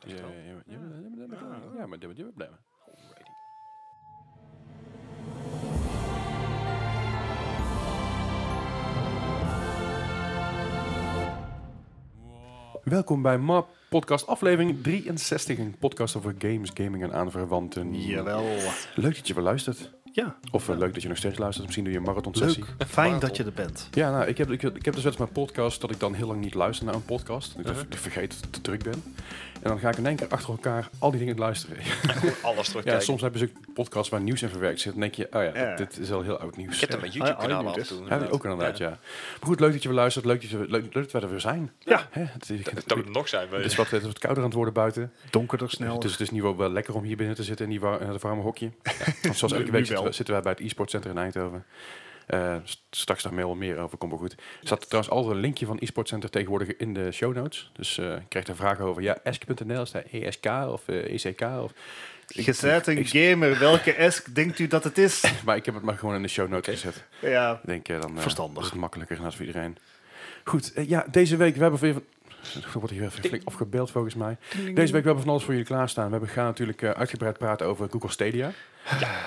echt wel. Ja, maar dat blijven. blijven. Alrighty. Welkom bij MAP Podcast, aflevering 63. Een podcast over games, gaming en aanverwanten. Jawel. Leuk dat je weer luistert. Ja, Of eh, leuk dat je nog steeds luistert. Misschien doe je een marathon sessie. leuk. Fijn dat je er bent. Ja, nou, ik heb, ik, ik heb dus wel eens mijn podcast dat ik dan heel lang niet luister naar een podcast. Ik, Uh-huh. ik vergeet dat ik te druk ben. En dan ga ik in één keer achter elkaar al die dingen luisteren. Alles Ja, terugkijken. soms hebben ze ook podcasts waar nieuws in verwerkt zit. Dan denk je, oh ja, Ja. dit is al heel oud nieuws. Ik heb dat met YouTube-kanaal af en toe. Ja, die ook inderdaad, ja. Maar goed, leuk dat je weer luistert. Leuk dat, je, leuk, leuk dat wij er weer zijn. Ja. Hè, Het, is- Dat dat moet het nog zijn. het weet is je. wat, het is wat kouder aan het worden buiten. Donkerder snel. Dus het is nu wel, wel lekker om hier binnen te zitten in die wa- in het warme hokje. Want zoals Nu- elke nu week zitten, wel. we- zitten wij bij het e-sportcentrum in Eindhoven. Eh, st- straks nog meer, wel meer over, komt wel goed. Er staat trouwens al een linkje van e-sportcenter tegenwoordig in de show notes. Dus eh, ik krijg daar vragen over. Ja, ESC.nl, is dat ESK of eh, ECK? Of, Je bent een gamer. Welke esk denkt u dat het is? maar ik heb het maar gewoon in de show notes gezet. Ja. Ik denk, eh, dan eh, Verstandig. is het makkelijker inderdaad voor iedereen. Goed, eh, ja, deze week, we hebben voor je van... Er wordt hier weer even flink afgebeeld volgens mij. Deze week we hebben we van alles voor jullie klaarstaan. We hebben, gaan natuurlijk eh, uitgebreid praten over Google Stadia.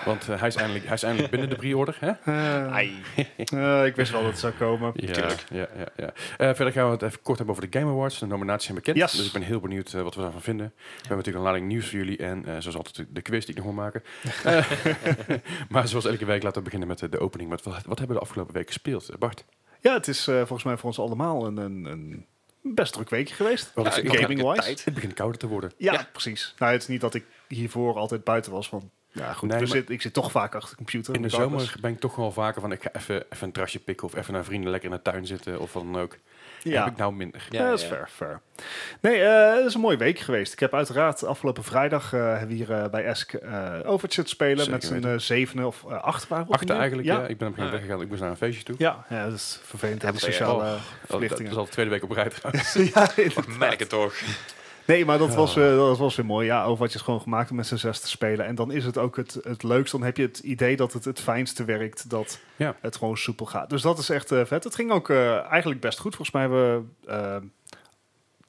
Want eh, hij, is eindelijk, hij is eindelijk binnen de pre-order. Hè? Eh, Ai. eh, ik wist wel dat het zou komen. Ja, Tuurlijk. ja, ja, ja. Eh, verder gaan we het even kort hebben over de Game Awards. De nominaties zijn bekend, Yes. dus ik ben heel benieuwd eh, wat we daarvan vinden. We hebben natuurlijk een lading nieuws voor jullie en eh, zoals altijd de- de quiz die ik nog wil maken. Eh, maar zoals elke week laten we beginnen met eh, de opening. Wat, wat hebben we de afgelopen week gespeeld, eh, Bart? Ja, het is eh, volgens mij voor ons allemaal een, een, een best druk weekje geweest. Wat Ja, ik- ik ik- had eigenlijk gaming-wise? tijd. Het begint kouder te worden. Ja, Ja. precies. Nou, het is niet dat ik hiervoor altijd buiten was. Want ja, goed, Nee, we maar- zit, ik zit toch vaak achter de computer. In de regardless. zomer ben ik toch wel vaker van ik ga even, even een trasje pikken of even naar vrienden lekker in de tuin zitten of wat dan ook. Ja. Heb ik nou minder. Ja, Eh, dat is fair, fair. Nee, eh, het is een mooie week geweest. Ik heb uiteraard afgelopen vrijdag eh, hebben we hier eh, bij Esk eh Overwatch zitten spelen Zeker met z'n weten. eh, zevenen of eh, acht waren we op Achter die- eigenlijk, ja. Ja, Ik ben op een gegeven moment Ah. weggegaan. Ik moest naar een feestje toe. ja. ja, dat is vervelend. Hebben Ja, sociale eh, Oh, Dat, dat is verplichtingen. al de tweede week op rij trouwens. ja, Wat inderdaad. merk het toch. Nee, maar dat, was, eh, dat was weer mooi. Ja, Overwatch is gewoon gemaakt om met z'n zes te spelen. En dan is het ook het, het leukst. Dan heb je het idee dat het het fijnste werkt. Dat Ja. het gewoon soepel gaat. Dus dat is echt eh, vet. Het ging ook eh, eigenlijk best goed. Volgens mij hebben we,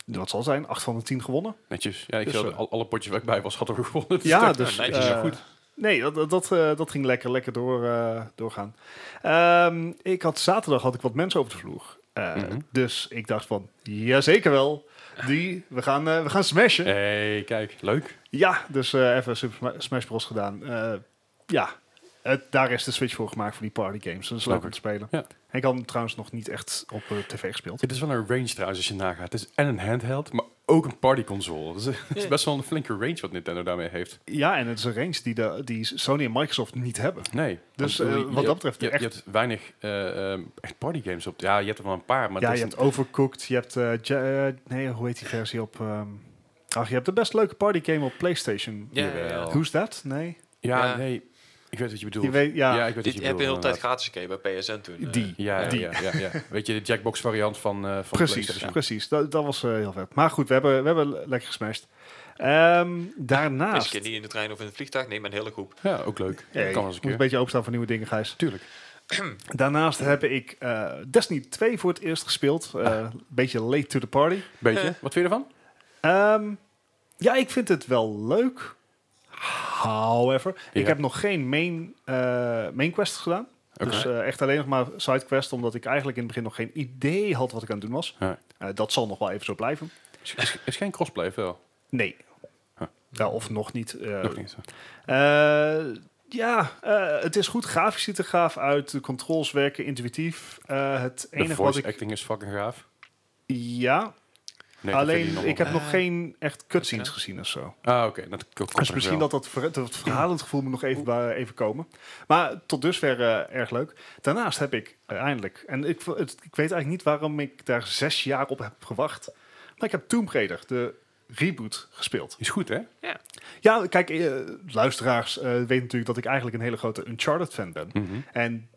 eh, wat zal het zijn, acht van de tien gewonnen. Netjes. Ja, ik Dus, zat eh, al, alle potjes waar ik bij was, hadden we gewonnen. Ja, dat- dus nou, netjes. eh, Ja, goed. Nee, dat, dat, dat, eh, dat ging lekker, lekker door, eh, doorgaan. Ehm, ik had zaterdag had ik wat mensen over de vloer. Eh, Mhm. Dus ik dacht van, jazeker wel. Die, we gaan, eh, we gaan smashen. hey, kijk, leuk. Ja, dus eh, even Super Sma- Smash Bros. gedaan. Eh, ja, het, daar is de Switch voor gemaakt voor die party games. Dat is leuk Snap om te spelen. Ja. Ik had hem trouwens nog niet echt op eh, tv gespeeld. Het is wel een range trouwens als je nagaat. Het is en een handheld, maar ook een partyconsole. Dus eh, het is best wel een flinke range wat Nintendo daarmee heeft. Ja, en het is een range die, de, die Sony en Microsoft niet hebben. Nee. Dus, want, eh, eh, wat je- dat betreft, Je, je echt- hebt weinig eh, ehm, echt partygames op. Ja, je hebt er wel een paar, maar ja, dat je is hebt Overcooked, je hebt... eh, ja- eh, nee, hoe heet die versie op... ehm, ach, je hebt de best leuke party game op PlayStation. Ja, Jawel. ja, ja. Who's that? Nee? Ja, Ja. nee. Ik weet wat je bedoelt. Die weet, ja, ik weet Dit wat heb je je de bedoelt, hele tijd inderdaad. gratis gekregen bij PSN toen. eh. die. Ja, ja, Die. ja, ja, ja. Weet je, de Jackbox variant van, eh van Precies, PlayStation. precies. Dat, dat was eh, heel vet. Maar goed, we hebben, we hebben le- lekker gesmashed. Ehm, Is daarnaast... een keer niet in de trein of in het vliegtuig. Nee, maar een hele groep. Ja, ook leuk. dat kan Hey, wel eens een moet keer. een beetje openstaan voor nieuwe dingen, Gijs. Tuurlijk. Daarnaast heb ik eh, Destiny 2 voor het eerst gespeeld. Eh, Ah. Een beetje late to the party. Beetje. Wat vind je ervan? Ehm, ja, ik vind het wel leuk. However, ik Ja. heb nog geen main, eh, main quest gedaan. Oké. Dus eh, echt alleen nog maar side quest, omdat ik eigenlijk in het begin nog geen idee had wat ik aan het doen was. Ja. Eh, dat zal nog wel even zo blijven. Is, is, is geen crossplay, of wel. Nee. Huh. Ja, of nog niet. eh, Nog niet. Eh, ja, eh, het is goed. Grafisch ziet er gaaf uit. De controls werken intuïtief. Eh, het De enige wat voice ik... acting is fucking gaaf. Ja, Nee, dat vind alleen nog ik wel. heb nog Eh, geen echt cutscenes oké. gezien of zo. Ah, oké. Dat komt Dus misschien dat dat, ver, dat verhalend gevoel moet nog even, bij- even komen. Maar tot dusver eh, erg leuk. Daarnaast heb ik eh, eindelijk... En ik, v- het- ik weet eigenlijk niet waarom ik daar zes jaar op heb gewacht. Maar ik heb Tomb Raider, de reboot, gespeeld. Is goed, hè? Ja, kijk, eh, luisteraars eh, weten natuurlijk dat ik eigenlijk een hele grote Uncharted-fan ben. Mhm. En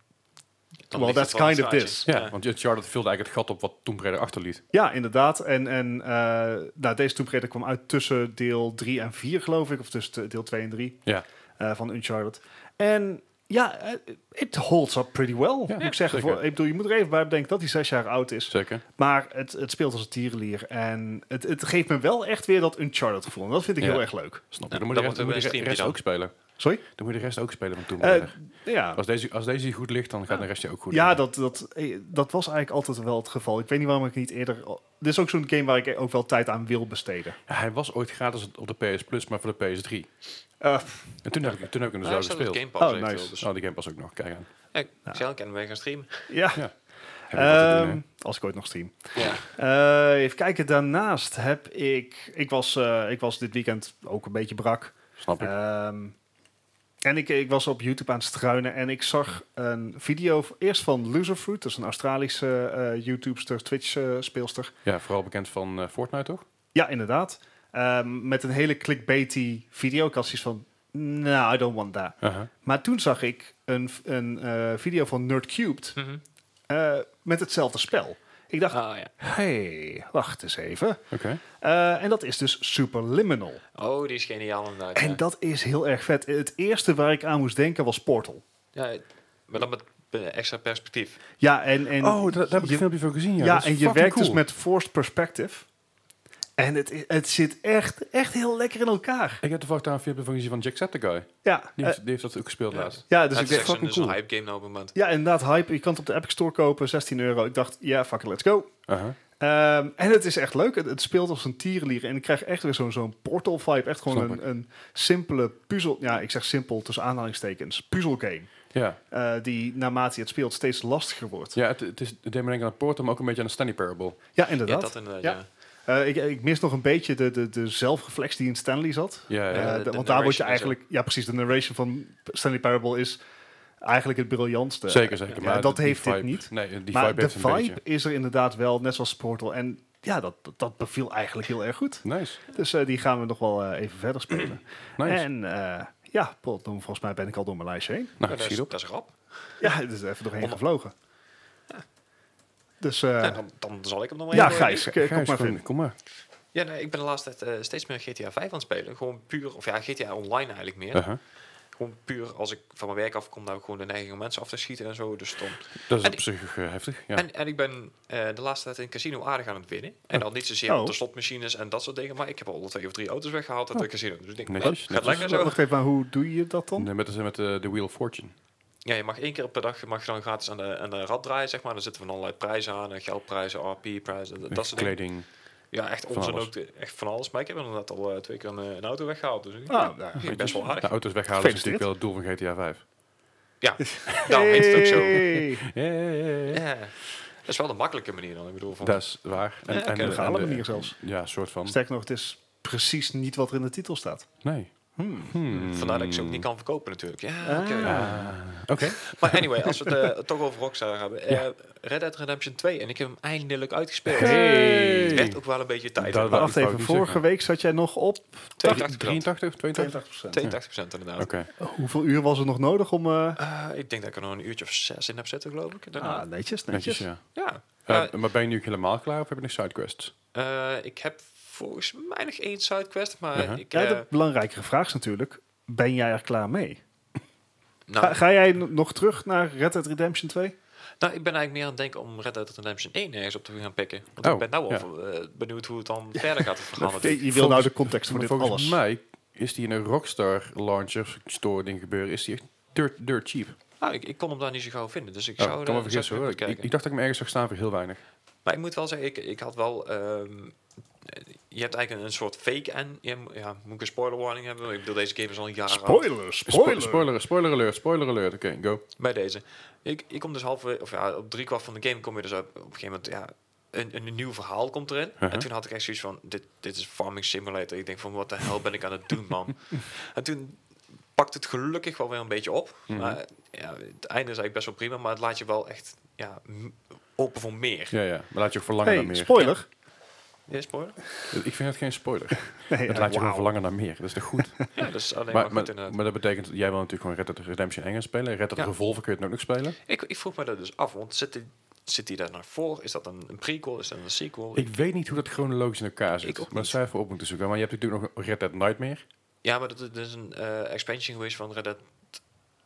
Dan well, ligt that's het wel kind een of straatje. this. Ja, Ja. want Charlotte vulde eigenlijk het gat op wat Tomb Raider achterliet. Ja, inderdaad. En, en eh, nou, deze Tomb Raider kwam uit tussen deel 3 en 4, geloof ik. Of tussen de- deel 2 en 3 Ja. eh, van Uncharted. En ja, eh, it holds up pretty well, moet ik zeggen. zeker. Voor, ik bedoel, je moet er even bij bedenken dat hij zes jaar oud is. Zeker. Maar het, het speelt als een tierenlier. En het, het geeft me wel echt weer dat Uncharted gevoel. En dat vind ik Ja. heel erg leuk. Snap je? Nou, Dan moet dan je de rest- wordt er dan moet een je de streampje rest dan. ook spelen. Sorry? Dan moet je de rest ook spelen van Tomb Eh, Raider. ja, Als deze, als deze goed ligt, dan gaat de rest je ook goed. ja liggen. dat, dat, eh, dat was eigenlijk altijd wel het geval. Ik weet niet waarom ik niet eerder... Dit is ook zo'n game waar ik ook wel tijd aan wil besteden. Ja, hij was ooit gratis op de PS Plus, maar voor de PS3. Eh, En toen heb ik, toen heb ik hem Maar hij dus staat wel op gespeeld. Game Pass Oh, eventueel, nice. dus- Oh, die game pas ook nog. Kijk aan. Ja, ik zei al, ik kan mee gaan streamen. ja, Heb je wat te doen, Ehm, hè? als ik ooit nog stream. Ja. Eh, even kijken, daarnaast heb ik... Ik was, eh, ik was dit weekend ook een beetje brak. Snap ik. Ehm, en ik, ik was op YouTube aan het struinen en ik zag een video v- eerst van Loserfruit, dat is een Australische eh YouTubester, Twitch-speelster. ja, vooral bekend van eh, Fortnite, toch? ja, inderdaad. Ehm, met een hele clickbaity video. Ik had zoiets van, nou, I don't want that. Aha. Maar toen zag ik een, v- een eh, video van Nerdcubed Mhm. eh, met hetzelfde spel. Ik dacht, Ah, ja. hey, wacht eens even. Oké. Eh, en dat is dus Superliminal. Oh, die is geniaal inderdaad. ja. En dat is heel erg vet. Het eerste waar ik aan moest denken was Portal. Ja, het- maar dan met eh, extra perspectief. Ja, en, en oh, daar, daar heb ik je- een filmpje van gezien. Ja, Ja, Dat is en je fucking werkt cool. dus met forced perspective. En het, i- het zit echt, echt heel lekker in elkaar. Ik heb toevallig daar een filmpje van gezien van Jacksepticeye. Ja, Die, eh, heeft, die heeft dat ook gespeeld ja. laatst. ja Dus dus ik het is dacht, echt zo'n fucking zo'n cool. hype game nou op het moment. ja, inderdaad, hype. Je kan het op de Epic Store kopen, 16 euro. Ik dacht, ja, fuck it, let's go. Aha. Ehm, en het is echt leuk. Het, het speelt als een tierenlier. En ik krijg echt weer zo'n zo'n portal vibe. Echt gewoon Snap een, een simpele puzzel. Ja, ik zeg simpel tussen aanhalingstekens. Puzzelgame. Ja, eh, die naarmate je het speelt steeds lastiger wordt. Ja, ja het, het is het deed me denken aan Portal, maar ook een beetje aan de Stanley Parable. Ja, inderdaad. dat inderdaad, Ja. ja. Eh, ik, ik mis nog een beetje de, de, de zelfreflex die in Stanley zat. Ja, ja. Eh, de- de- de want daar word je narration is eigenlijk... Ja, precies. De narration van Stanley Parable is eigenlijk het briljantste. zeker, zeker. eh, ja, maar dat die heeft dit vibe- niet. Nee, die maar vibe de heeft een vibe beetje. is er inderdaad wel, net zoals Portal. En ja, dat, dat- dat beviel eigenlijk heel erg goed. Nice, Dus eh, die gaan we nog wel eh, even verder spelen. nice. En eh, ja, pot, dan, volgens mij ben ik al door mijn lijstje heen. Ja, nou, dat, is, schiet op. dat is rap. Ja, het is even doorheen Om- gevlogen. Dus eh, Nou, dan, dan zal ik hem nog maar ja, even- Gijs, k- kom Gijs, maar kom- vinden. Kom maar. Ja, nee, ik ben de laatste tijd eh, steeds meer GTA 5 aan het spelen. Gewoon puur, of ja, GTA Online eigenlijk meer. Aha. Gewoon puur als ik van mijn werk afkom, dan heb ik gewoon de neiging om mensen af te schieten en zo. Dus dan Dat is En op zich eh, heftig. Ja. En, en ik ben eh, de laatste tijd in casino aardig aan het winnen. En dan niet zozeer Oh. op de slotmachines en dat soort dingen. Maar ik heb al twee of drie auto's weggehaald uit de casino. Dus ik denk, Netjes, nou, gaat netjes. lekker Oh. Zo, zo. Dus, Wacht even, maar hoe doe je dat dan? Nee, Met, de- met eh, de Wheel of Fortune. Ja, je mag één keer per dag mag je dan gratis aan de, aan de rad draaien, zeg maar. Dan zitten van allerlei prijzen aan. eh, Geldprijzen, RP-prijzen, dat, dat soort dingen. Kleding. Ja, echt van onzin alles. ook. eh, Echt van alles. Maar ik heb inderdaad al eh, twee keer een, eh, een auto weggehaald. Dus ik- Ah, nou, ik ben best wel aardig. De auto's weghalen is natuurlijk Gefeliciteerd. wel het doel van GTA 5. Ja, daarom heet het ook zo. Hey. Ja. Dat is wel de makkelijke manier dan. Ik bedoel, van, Dat is waar. Ja, oké, Op een legale de- manier zelfs. Ja, soort van. Sterker nog, het is precies niet wat er in de titel staat. Nee. Hmm. Hmm. Vandaar dat ik ze ook niet kan verkopen natuurlijk. Ja, Ah. oké. Ah, Oké. Maar anyway, als we het eh, toch over Rockstar hebben. eh, Red Dead Redemption 2. En ik heb hem eindelijk uitgespeeld. Hey. Het werd ook wel een beetje tijd. Dat- Maar wou wacht Nou, ik even, niet vorige zeggen. week zat jij nog op 82 82%. 83, 82? 82%. 82 inderdaad. Oké. Hoeveel uur was er nog nodig om... eh, Eh, ik denk dat ik er nog een uurtje of zes in heb zitten, geloof ik. daarna. Ah, netjes, Netjes, netjes. ja. Ja. Eh, Eh, maar ben je nu ook helemaal klaar of heb je nog sidequests? eh, ik heb volgens mij nog één sidequest, maar Uh-huh. ik... Ja, eh, de belangrijkere vraag is natuurlijk, ben jij er klaar mee? Ga, nou, ga jij n- nog terug naar Red Dead Redemption 2? nou, ik ben eigenlijk meer aan het denken om Red Dead Redemption 1 ergens op te gaan pikken. Want Oh, ik ben nou al ja. eh, benieuwd hoe het dan verder gaat, het verhaal Je, natuurlijk. je wil volgens- nou de context voor Maar dit volgens alles. mij is die in een Rockstar launcher store ding gebeuren, is die echt dirt, dirt cheap. Nou, ik, ik kon hem daar niet zo gauw vinden, dus ik Oh, zou kan me daar vergissen hoor. Ik, kijken. ik dacht dat ik hem ergens zag staan voor heel weinig. Maar ik moet wel zeggen, ik, ik had wel. ehm, je hebt eigenlijk een, een soort fake en ja, mo- ja, moet ik een spoiler warning hebben? Ik bedoel, deze game is al een jaar oud. Spoiler, spoiler. Spo- spoiler, spoiler alert, spoiler alert. Oké, go. Bij deze. Ik, ik kom dus halverwege, of ja, op drie kwart van de game kom je dus op, op een gegeven moment, ja, een, een, nieuw verhaal komt erin. Uh-huh. En toen had ik echt zoiets van, dit, dit is Farming Simulator. Ik denk van, wat de hel ben ik aan het doen, man. en toen pakt het gelukkig wel weer een beetje op. Mhm. Maar ja, het einde is eigenlijk best wel prima, maar het laat je wel echt ja, m- open voor meer. Ja, ja. Maar laat je ook verlangen Hey, naar meer. spoiler. Ja, spoiler? Ik vind het geen spoiler. Het Nee, ja, laat je gewoon wauw. verlangen naar meer. Dat is toch goed? Ja, dat is alleen maar, maar, goed maar, inderdaad. maar dat betekent, jij wil natuurlijk gewoon Red Dead Redemption 1 gaan spelen. Red Dead Ja. Revolver kun je het ook nog spelen. Ik, ik vroeg me dat dus af, want zit die, zit die daar naar voor? Is dat een, een prequel? Is dat een sequel? Ik weet niet hoe dat chronologisch in elkaar zit. Ik ook maar dat niet. zou je even op moeten zoeken. Maar je hebt natuurlijk nog Red Dead Nightmare. dus ja, maar dat, dat is een eh, expansion geweest van Red Dead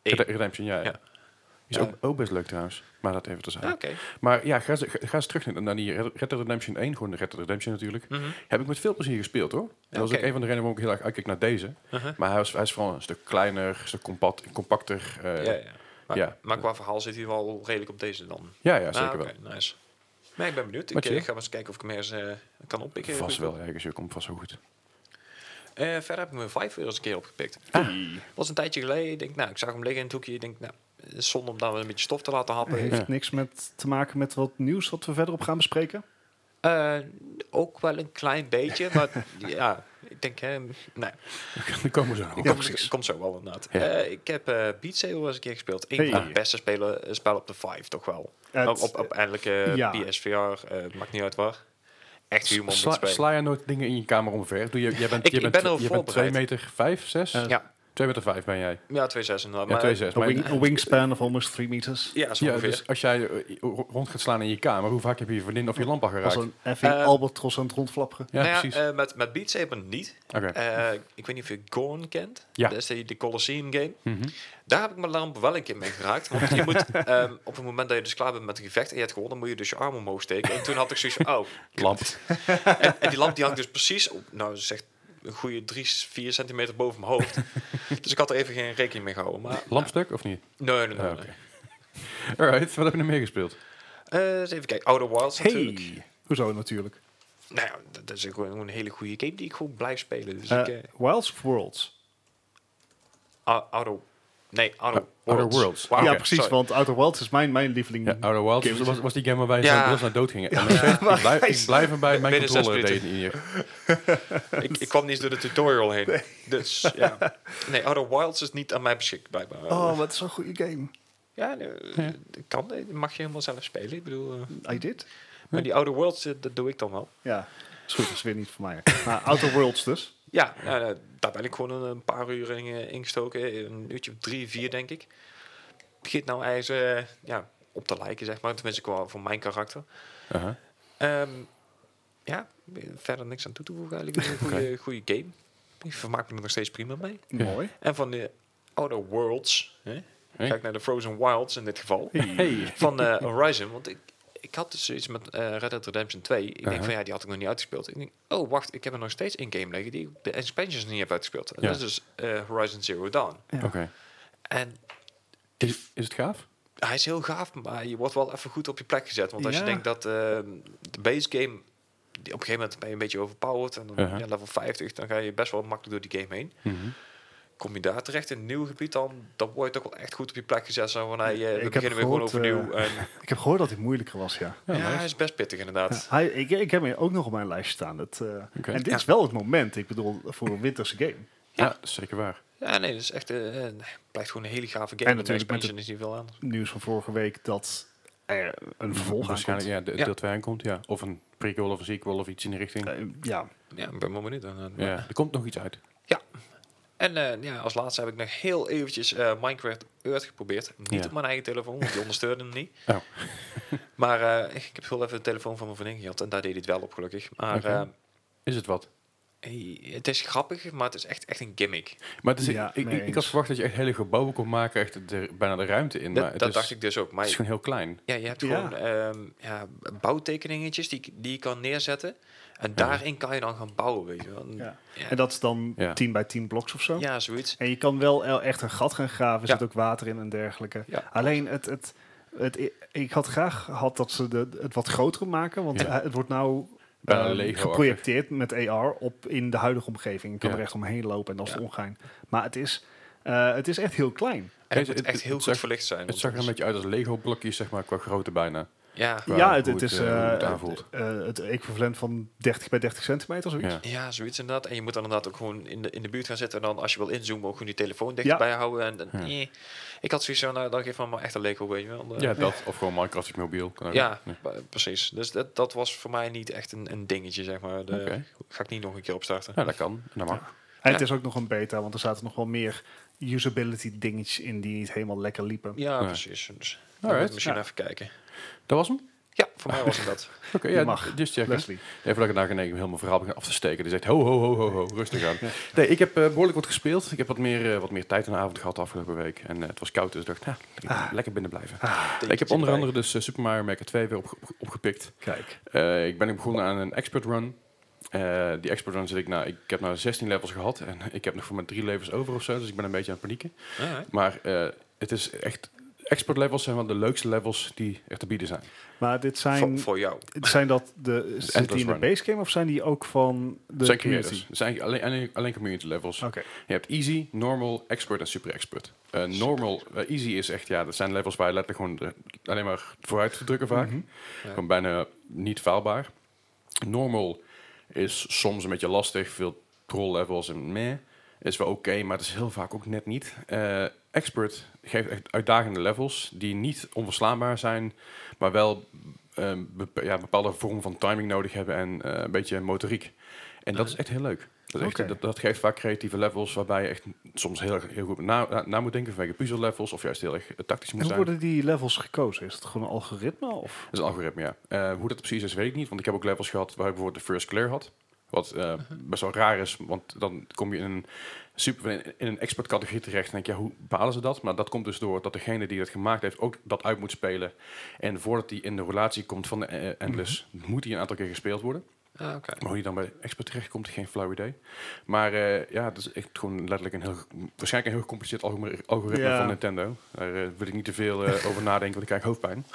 Eén. Red- Redemption, ja. ja. Ja. Is Ja. ook, ook best leuk trouwens, maar dat even terzijde. Ah, Oké. Maar ja, ga, ze- ga ga eens terug naar- naar die Red Red Dead Redemption 1, gewoon de Red Dead Redemption natuurlijk. Mhm. Heb ik met veel plezier gespeeld hoor. Dat was ook oké. een van de redenen waarom ik heel erg uitkeek naar deze. Uh-huh. Maar hij is, hij is vooral een stuk kleiner, een stuk compact, compacter. eh, ja, ja. ja. Maar, ja. maar qua verhaal zit hij wel redelijk op deze dan. Ja, zeker Ah, wel. oké, Nice. Maar ik ben benieuwd. Ik Wat je- eh, ga maar eens kijken of ik hem ergens eh, kan oppikken. Vast wel ergens, je komt vast wel goed. Eh, verder heb ik mijn Vive weer eens een keer opgepikt. Ah. Die was een tijdje geleden. Ik denk, nou, ik zag hem liggen in het hoekje. Ik denk, nou, het is zonde om daar wel een beetje stof te laten happen. heeft niks met, te maken met wat nieuws wat we verderop gaan bespreken. Eh, ook wel een klein beetje, maar ja, ik denk, hè, nou, nee, Dan komen ze nog. komt, komt zo wel inderdaad. Ja. Eh, ik heb eh Beat Saber eens een keer gespeeld. Een van Hey. de beste spelen, spel op de 5, toch wel. Het- op, op, op eindelijk eh, ja. PSVR, eh, maakt niet uit waar. Echt humor moet Sla, spelen. sla je nooit dingen in je kamer omver? Doe je, jij bent, Ik- je ik bent, ben erop je bent 2 voorbereid. meter 5, 6? Ja. Ja, 2 meter 5 ben jij. ja 2-6 inderdaad. Ja, maar- 2, 6. Een wing- een wingspan of almost 3 meters. Ja, zo Ja, ongeveer. dus als jij eh, ro- rond gaat slaan in je kamer, hoe vaak heb je je vriendin of je lamp al Als geraakt? een effing Eh, albatros aan het rondflapperen. Ja, nou ja, precies. eh, met, met Beat Saber niet. Oké. Eh, ik weet niet of je Gorn kent. Ja. Dat is die, die Colosseum game. Mhm. Daar heb ik mijn lamp wel een keer mee geraakt. Want je moet, ehm, op het moment dat je dus klaar bent met een gevecht en je hebt gewonnen, moet je dus je arm omhoog steken. En toen had ik zoiets van, oh. Lamp. En, en die lamp die hangt dus precies op, nou zegt een goede 3, 4 centimeter boven mijn hoofd. Dus ik had er even geen rekening mee gehouden. Maar, Lampstuk of niet? nee, nee, nee. nee. Ah, oké. Alright, wat heb je nog meer gespeeld? Eh, eens even kijken. Outer Wilds natuurlijk. Hey! Hoezo natuurlijk? Nou ja, dat dat is gewoon een hele goede game die ik gewoon blijf spelen. Dus ik, Eh, eh, Wilds of Worlds? Ou- Outer... Nee, Outer Ou- Worlds. Outer Worlds. Wauw, oké, Ah, ja, precies, sorry. want Outer Wilds is mijn, mijn lieveling. Ja, Outer Wilds Game. was- was, was die game waarbij Ja. ze zelfs naar dood gingen. En nog steeds- ik, blijf, ik blijf erbij, mijn Binnen zes controller deed minuten. het hier. ik, ik kwam niet eens door de tutorial heen. Dus ja. Nee, Outer Wilds is niet aan mij beschikt blijkbaar. Oh, wat een goede game. Ja, eh, dat kan. Dat mag je helemaal zelf spelen. Ik bedoel, eh, I did. maar die Outer Worlds, eh, dat doe ik dan wel. Ja, is goed, is weer niet voor mij. Maar Outer Worlds dus. Ja, nou, nou, daar ben ik gewoon een, een paar uur in, eh, ingestoken. Een uurtje of drie, vier, denk ik. Begint nou eens eh, ja, op te lijken, zeg maar. Tenminste, qua voor mijn karakter. Aha. Ehm, ja, verder niks aan toe te voegen eigenlijk. Een goede, goede game. Ik vermaak me er nog steeds prima mee. Mooi. En van de Outer Worlds, hè, Hey. ga ik naar de Frozen Wilds in dit geval. Hey. van eh, Horizon. Want ik, ik had dus iets met eh, Red Dead Redemption 2. Ik denk Aha. van ja, die had ik nog niet uitgespeeld. Ik denk, oh wacht, ik heb er nog steeds één game liggen die ik de expansions niet heb uitgespeeld. En Ja. dat is dus eh, Horizon Zero Dawn. Oké. En Is, is het gaaf? hij is heel gaaf, maar je wordt wel even goed op je plek gezet. Want als Ja. je denkt dat eh, de base game, die op een gegeven moment ben je een beetje overpowered. En dan Uh-huh. Aha. ja, level 50, dan ga je best wel makkelijk door die game heen. Mhm. Kom je daar terecht in een nieuw gebied, dan, dan word je toch wel echt goed op je plek gezet. Zo van, hey, eh, Ik we heb beginnen weer gewoon gehoord, eh, overnieuw. en, Ik heb gehoord dat dit moeilijker was, ja. Ja, ja, nice. hij is best pittig inderdaad. Hij, ik, ik heb hem ook nog op mijn lijst staan. Het, eh, Oké. En dit Ja. is wel het moment, ik bedoel, voor een winterse game. Ja, zeker waar. Ja, nee, dat is echt, eh, eh, blijft gewoon een hele gave game. En natuurlijk de met expansion is niet veel anders. Nieuws van vorige week dat er een vervolg Waarschijnlijk, aankomt. ja, de- Ja. deel 2 aankomt, ja. Of een prequel of een sequel of iets in die richting. Eh, ja, Ja, ik ben wel benieuwd. aan, eh, ja, er komt nog iets uit. En eh, ja, als laatste heb ik nog heel eventjes eh, Minecraft Earth geprobeerd. Niet Ja. op mijn eigen telefoon, want die ondersteunde hem niet. Oh. maar eh, ik heb heel even de telefoon van mijn vriendin gehad en daar deed hij het wel op gelukkig. Maar Oké. Is het wat? eh, hey, het is grappig, maar het is echt, echt een gimmick. Maar het is, Ja, ik, mee ik, ik had eens. verwaard dat je echt hele gebouwen kon maken, echt de, bijna de ruimte in. maar Dat, het dat is, dacht ik dus Het ook. is Maar gewoon heel klein. ja, je hebt Ja. gewoon ehm, ja, bouwtekeningetjes die, ik- die je kan neerzetten. En daarin kan je dan gaan bouwen, weet je wel. ja. Ja. En dat is dan Ja. 10 bij 10 bloks of zo. ja, zoiets. En je kan wel el- echt een gat gaan graven, er Ja. zit ook water in en dergelijke. Ja. Alleen het, het, het, i- ik had graag gehad dat ze de, het wat groter maken, want Ja. eh, het wordt nou Bijna eh, Lego-achtig. geprojecteerd met AR op in de huidige omgeving. Je kan Ja. er echt omheen lopen en dat is Ja. de ongein. Maar het is, eh, het is echt heel klein. En het Deze- moet het- echt heel het goed zag- verlicht zijn. Het want zag er een anders- beetje uit als Lego-blokjes, zeg maar, qua grootte bijna. Ja, Qua ja, het, hoe het het, is eh, hoe eh, het aanvoelt. eh, het equivalent van 30 bij 30 centimeter, zoiets. Ja. ja, zoiets inderdaad. En je moet dan inderdaad ook gewoon in de, in de buurt gaan zitten. En dan als je wil inzoomen, ook gewoon die telefoon dichtbij houden. En, en- eh. Ik had zoiets van, nou, dan geef me maar echt een Lego, weet je wel. Eh, Ja, dat. Of gewoon Minecraft op mobiel. Kan ook. ja, Nee. pa- precies. Dus dat, dat was voor mij niet echt een, een dingetje, zeg maar. De, Oké. Ga ik niet nog een keer opstarten. Ja, dat kan. En dat mag. En het Ja. is ook nog een beta, want er zaten nog wel meer usability dingetjes in die niet helemaal lekker liepen. Ja, Nee. precies. Dus dan Alright, moet ik misschien ja. even kijken. Dat was hem? Ja, voor mij was het dat. Oké, Je ja, mag. just checken. Leslie. Even dat ik daar ineens helemaal verhaal begin af te steken. Die zegt ho, ho, ho, ho, ho, rustig aan. Nee, ik heb eh, behoorlijk wat gespeeld. Ik heb wat meer, eh, wat meer tijd in de avond gehad de afgelopen week. En eh, het was koud, dus ik dacht, nou, ik Ah. lekker binnen blijven. Tekentje Ik heb onder erbij. andere dus eh, Super Mario Maker 2 weer opge- opge- opgepikt. Kijk. Eh, ik ben ook begonnen aan een expert run. Eh, die expert run zit ik nou, ik heb nou 16 levels gehad en ik heb nog voor mijn drie levels over of zo, dus ik ben een beetje aan het panieken. Alright. Maar eh, het is echt, expert levels zijn wel de leukste levels die er te bieden zijn. Maar dit Voor, zijn, voor jou. zijn dat de, zit die in de Run. base game of zijn die ook van de Het zijn community? creators, het zijn alleen, alleen, alleen community levels. Oké. Je hebt easy, normal, expert en super expert. Eh, normal, eh, easy is echt, ja, dat zijn levels waar je letterlijk gewoon eh, alleen maar vooruit te drukken vaak. Mhm. Gewoon bijna niet faalbaar. Normal is soms een beetje lastig, veel troll levels en meh. Is wel oké, maar het is heel vaak ook net niet. Eh, Expert geeft echt uitdagende levels die niet onverslaanbaar zijn, maar wel eh, bepa- ja, bepaalde vorm van timing nodig hebben en eh, een beetje motoriek. En dat is echt heel leuk. Dat, is echt- Oké. dat, dat geeft vaak creatieve levels waarbij je echt soms heel, erg- heel goed na, na, na moet denken vanwege puzzel levels of juist heel erg eh, tactisch moet En hoe zijn. worden die levels gekozen? Is het gewoon een algoritme of? Dat is een algoritme, ja. Eh, hoe dat precies is, weet ik niet. Want ik heb ook levels gehad waar ik bijvoorbeeld de first clear had. Wat eh, best wel raar is, want dan kom je in een, super, in- in een expert categorie terecht. En denk je, ja, hoe bepalen ze dat? Maar dat komt dus door dat degene die dat gemaakt heeft ook dat uit moet spelen. En voordat die in de relatie komt van de eh, Endless, moet die een aantal keer gespeeld worden. Ah, oké. Maar hoe je dan bij expert terechtkomt, geen flauw idee. Maar eh, ja, het is echt gewoon letterlijk een heel, waarschijnlijk een heel gecompliceerd algoritme, algoritme Ja. van Nintendo. Daar eh, wil ik niet te veel eh, over nadenken, want ik krijg hoofdpijn.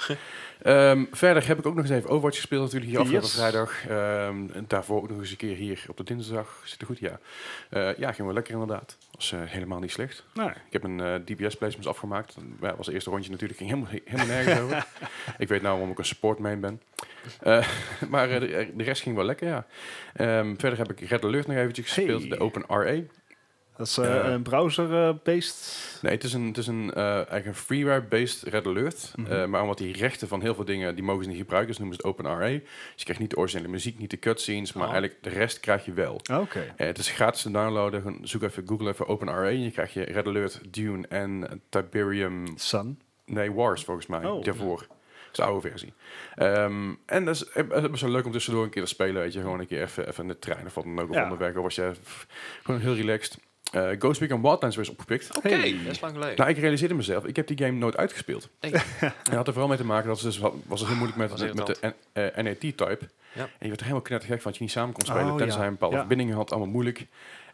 Ehm, verder heb ik ook nog eens even Overwatch gespeeld natuurlijk hier afgelopen Yes. vrijdag. Ehm, en daarvoor ook nog eens een keer hier op de dinsdag. Zit er goed, ja. Eh, ja, ging wel lekker inderdaad. Was eh, helemaal niet slecht. Nou, Ik heb een eh, DPS placements afgemaakt. Dat was het eerste rondje natuurlijk. Ging helemaal, helemaal nergens over. Ik weet nou waarom ik een support main ben. Eh, maar eh, de, de rest ging wel lekker, ja. Ehm, verder heb ik Red Alert nog eventjes gespeeld. Hey. De Open RA. dat is eh, Ja. een eh, browser-based. Nee, het is een, het is een eh, eigenlijk een freeware-based Red Alert. Mhm. Eh, maar omdat die rechten van heel veel dingen, die mogen ze niet gebruiken. Dus noemen ze het Open RA. Dus je krijgt niet de originele muziek, niet de cutscenes. Maar Oh. eigenlijk de rest krijg je wel. Oké. Eh, het is gratis te downloaden. Gewoon Zoek even, Google even OpenRA. En je krijgt je Red Alert, Dune en Tiberium Sun. Nee, Wars volgens mij. Oh. Daarvoor. Dat is de oude versie. Ehm, en dat is, eh, dat is wel leuk om tussendoor een keer te spelen. Weet je, gewoon een keer even, even in de trein of wat dan ook. Of Ja. onderweg. Of was je f- gewoon heel relaxed. Eh, Ghost Recon Wildlands weer is opgepikt. Oké, Hey. dat is lang geleden. Nou, ik realiseerde mezelf, ik heb die game nooit uitgespeeld. Hey. En dat had er vooral mee te maken dat ze dus, wa- was het heel moeilijk met, Dat met, is de eh, NET-type. E Ja. En je werd er helemaal knettergek van dat je niet samen kon Oh, spelen, tenzij ja. een bepaalde Ja. verbindingen had, allemaal moeilijk.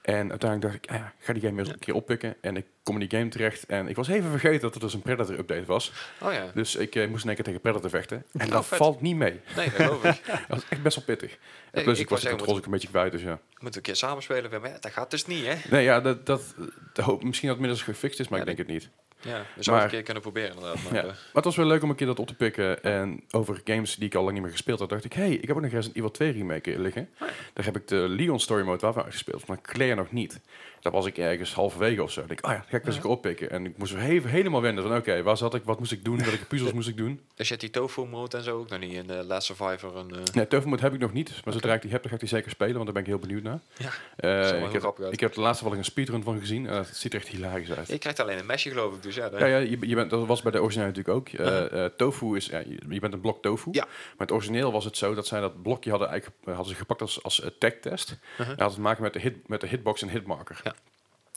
En uiteindelijk dacht ik, ah, ja, ik ga die game weer eens een keer oppikken. En ik kom in die game terecht. En ik was even vergeten dat het dus een Predator-update was. Oh ja, Dus ik eh, moest in één keer tegen Predator vechten. En dat vet. valt niet mee. nee, dat geloof ik. Dat was echt best wel pittig. En Hey, plus, ik ik, was de wou zeggen, controles ook een beetje kwijt, dus ja. Moeten we een keer samenspelen weer, maar ja, dat gaat dus niet, hè? Nee, ja, dat, dat, dat hoop- misschien dat het inmiddels gefixt is, maar Ja, ik denk het niet. Ja, we zouden Maar- een keer kunnen proberen inderdaad. Maar, Ja. eh, Maar het was wel leuk om een keer dat op te pikken. En over games die ik al lang niet meer gespeeld had, dacht ik... hey, ik heb ook nog Resident Evil 2 remake liggen. Oh Daar heb ik de Leon Story Mode wel van uitgespeeld, maar Claire nog niet. Daar was ik ergens halverwege of zo. Ik dacht, oh ja, dat ga ik dus eens oppikken. En ik moest weer even, helemaal wennen van... oké, waar zat ik, wat moest ik doen, welke puzzels moest ik doen? dus je hebt die tofu mode en zo ook nog niet in eh, Last Survivor. En, eh, Nee, Tovermoed heb ik nog niet. Maar zodra ik die heb, dan ga ik die zeker spelen. Want daar ben ik heel benieuwd naar. Ja, Eh, wel heel ik, heb, grappig uit. ik heb de laatste wel een speedrun van gezien. En dat ziet er echt hilarisch uit. Je krijgt alleen een mesje geloof ik, dus ja. dat- Ja, ja je, je bent, dat was bij de originele natuurlijk ook. Eh, eh, tofu is... ja, je, je bent een blok tofu. Ja. Maar het origineel was het zo dat zij dat blokje hadden, eigenlijk, eh, hadden ze gepakt als, als eh, tag-test. En Uh-huh. Dat had het te maken met de, hit, met de hitbox en hitmarker. Ja.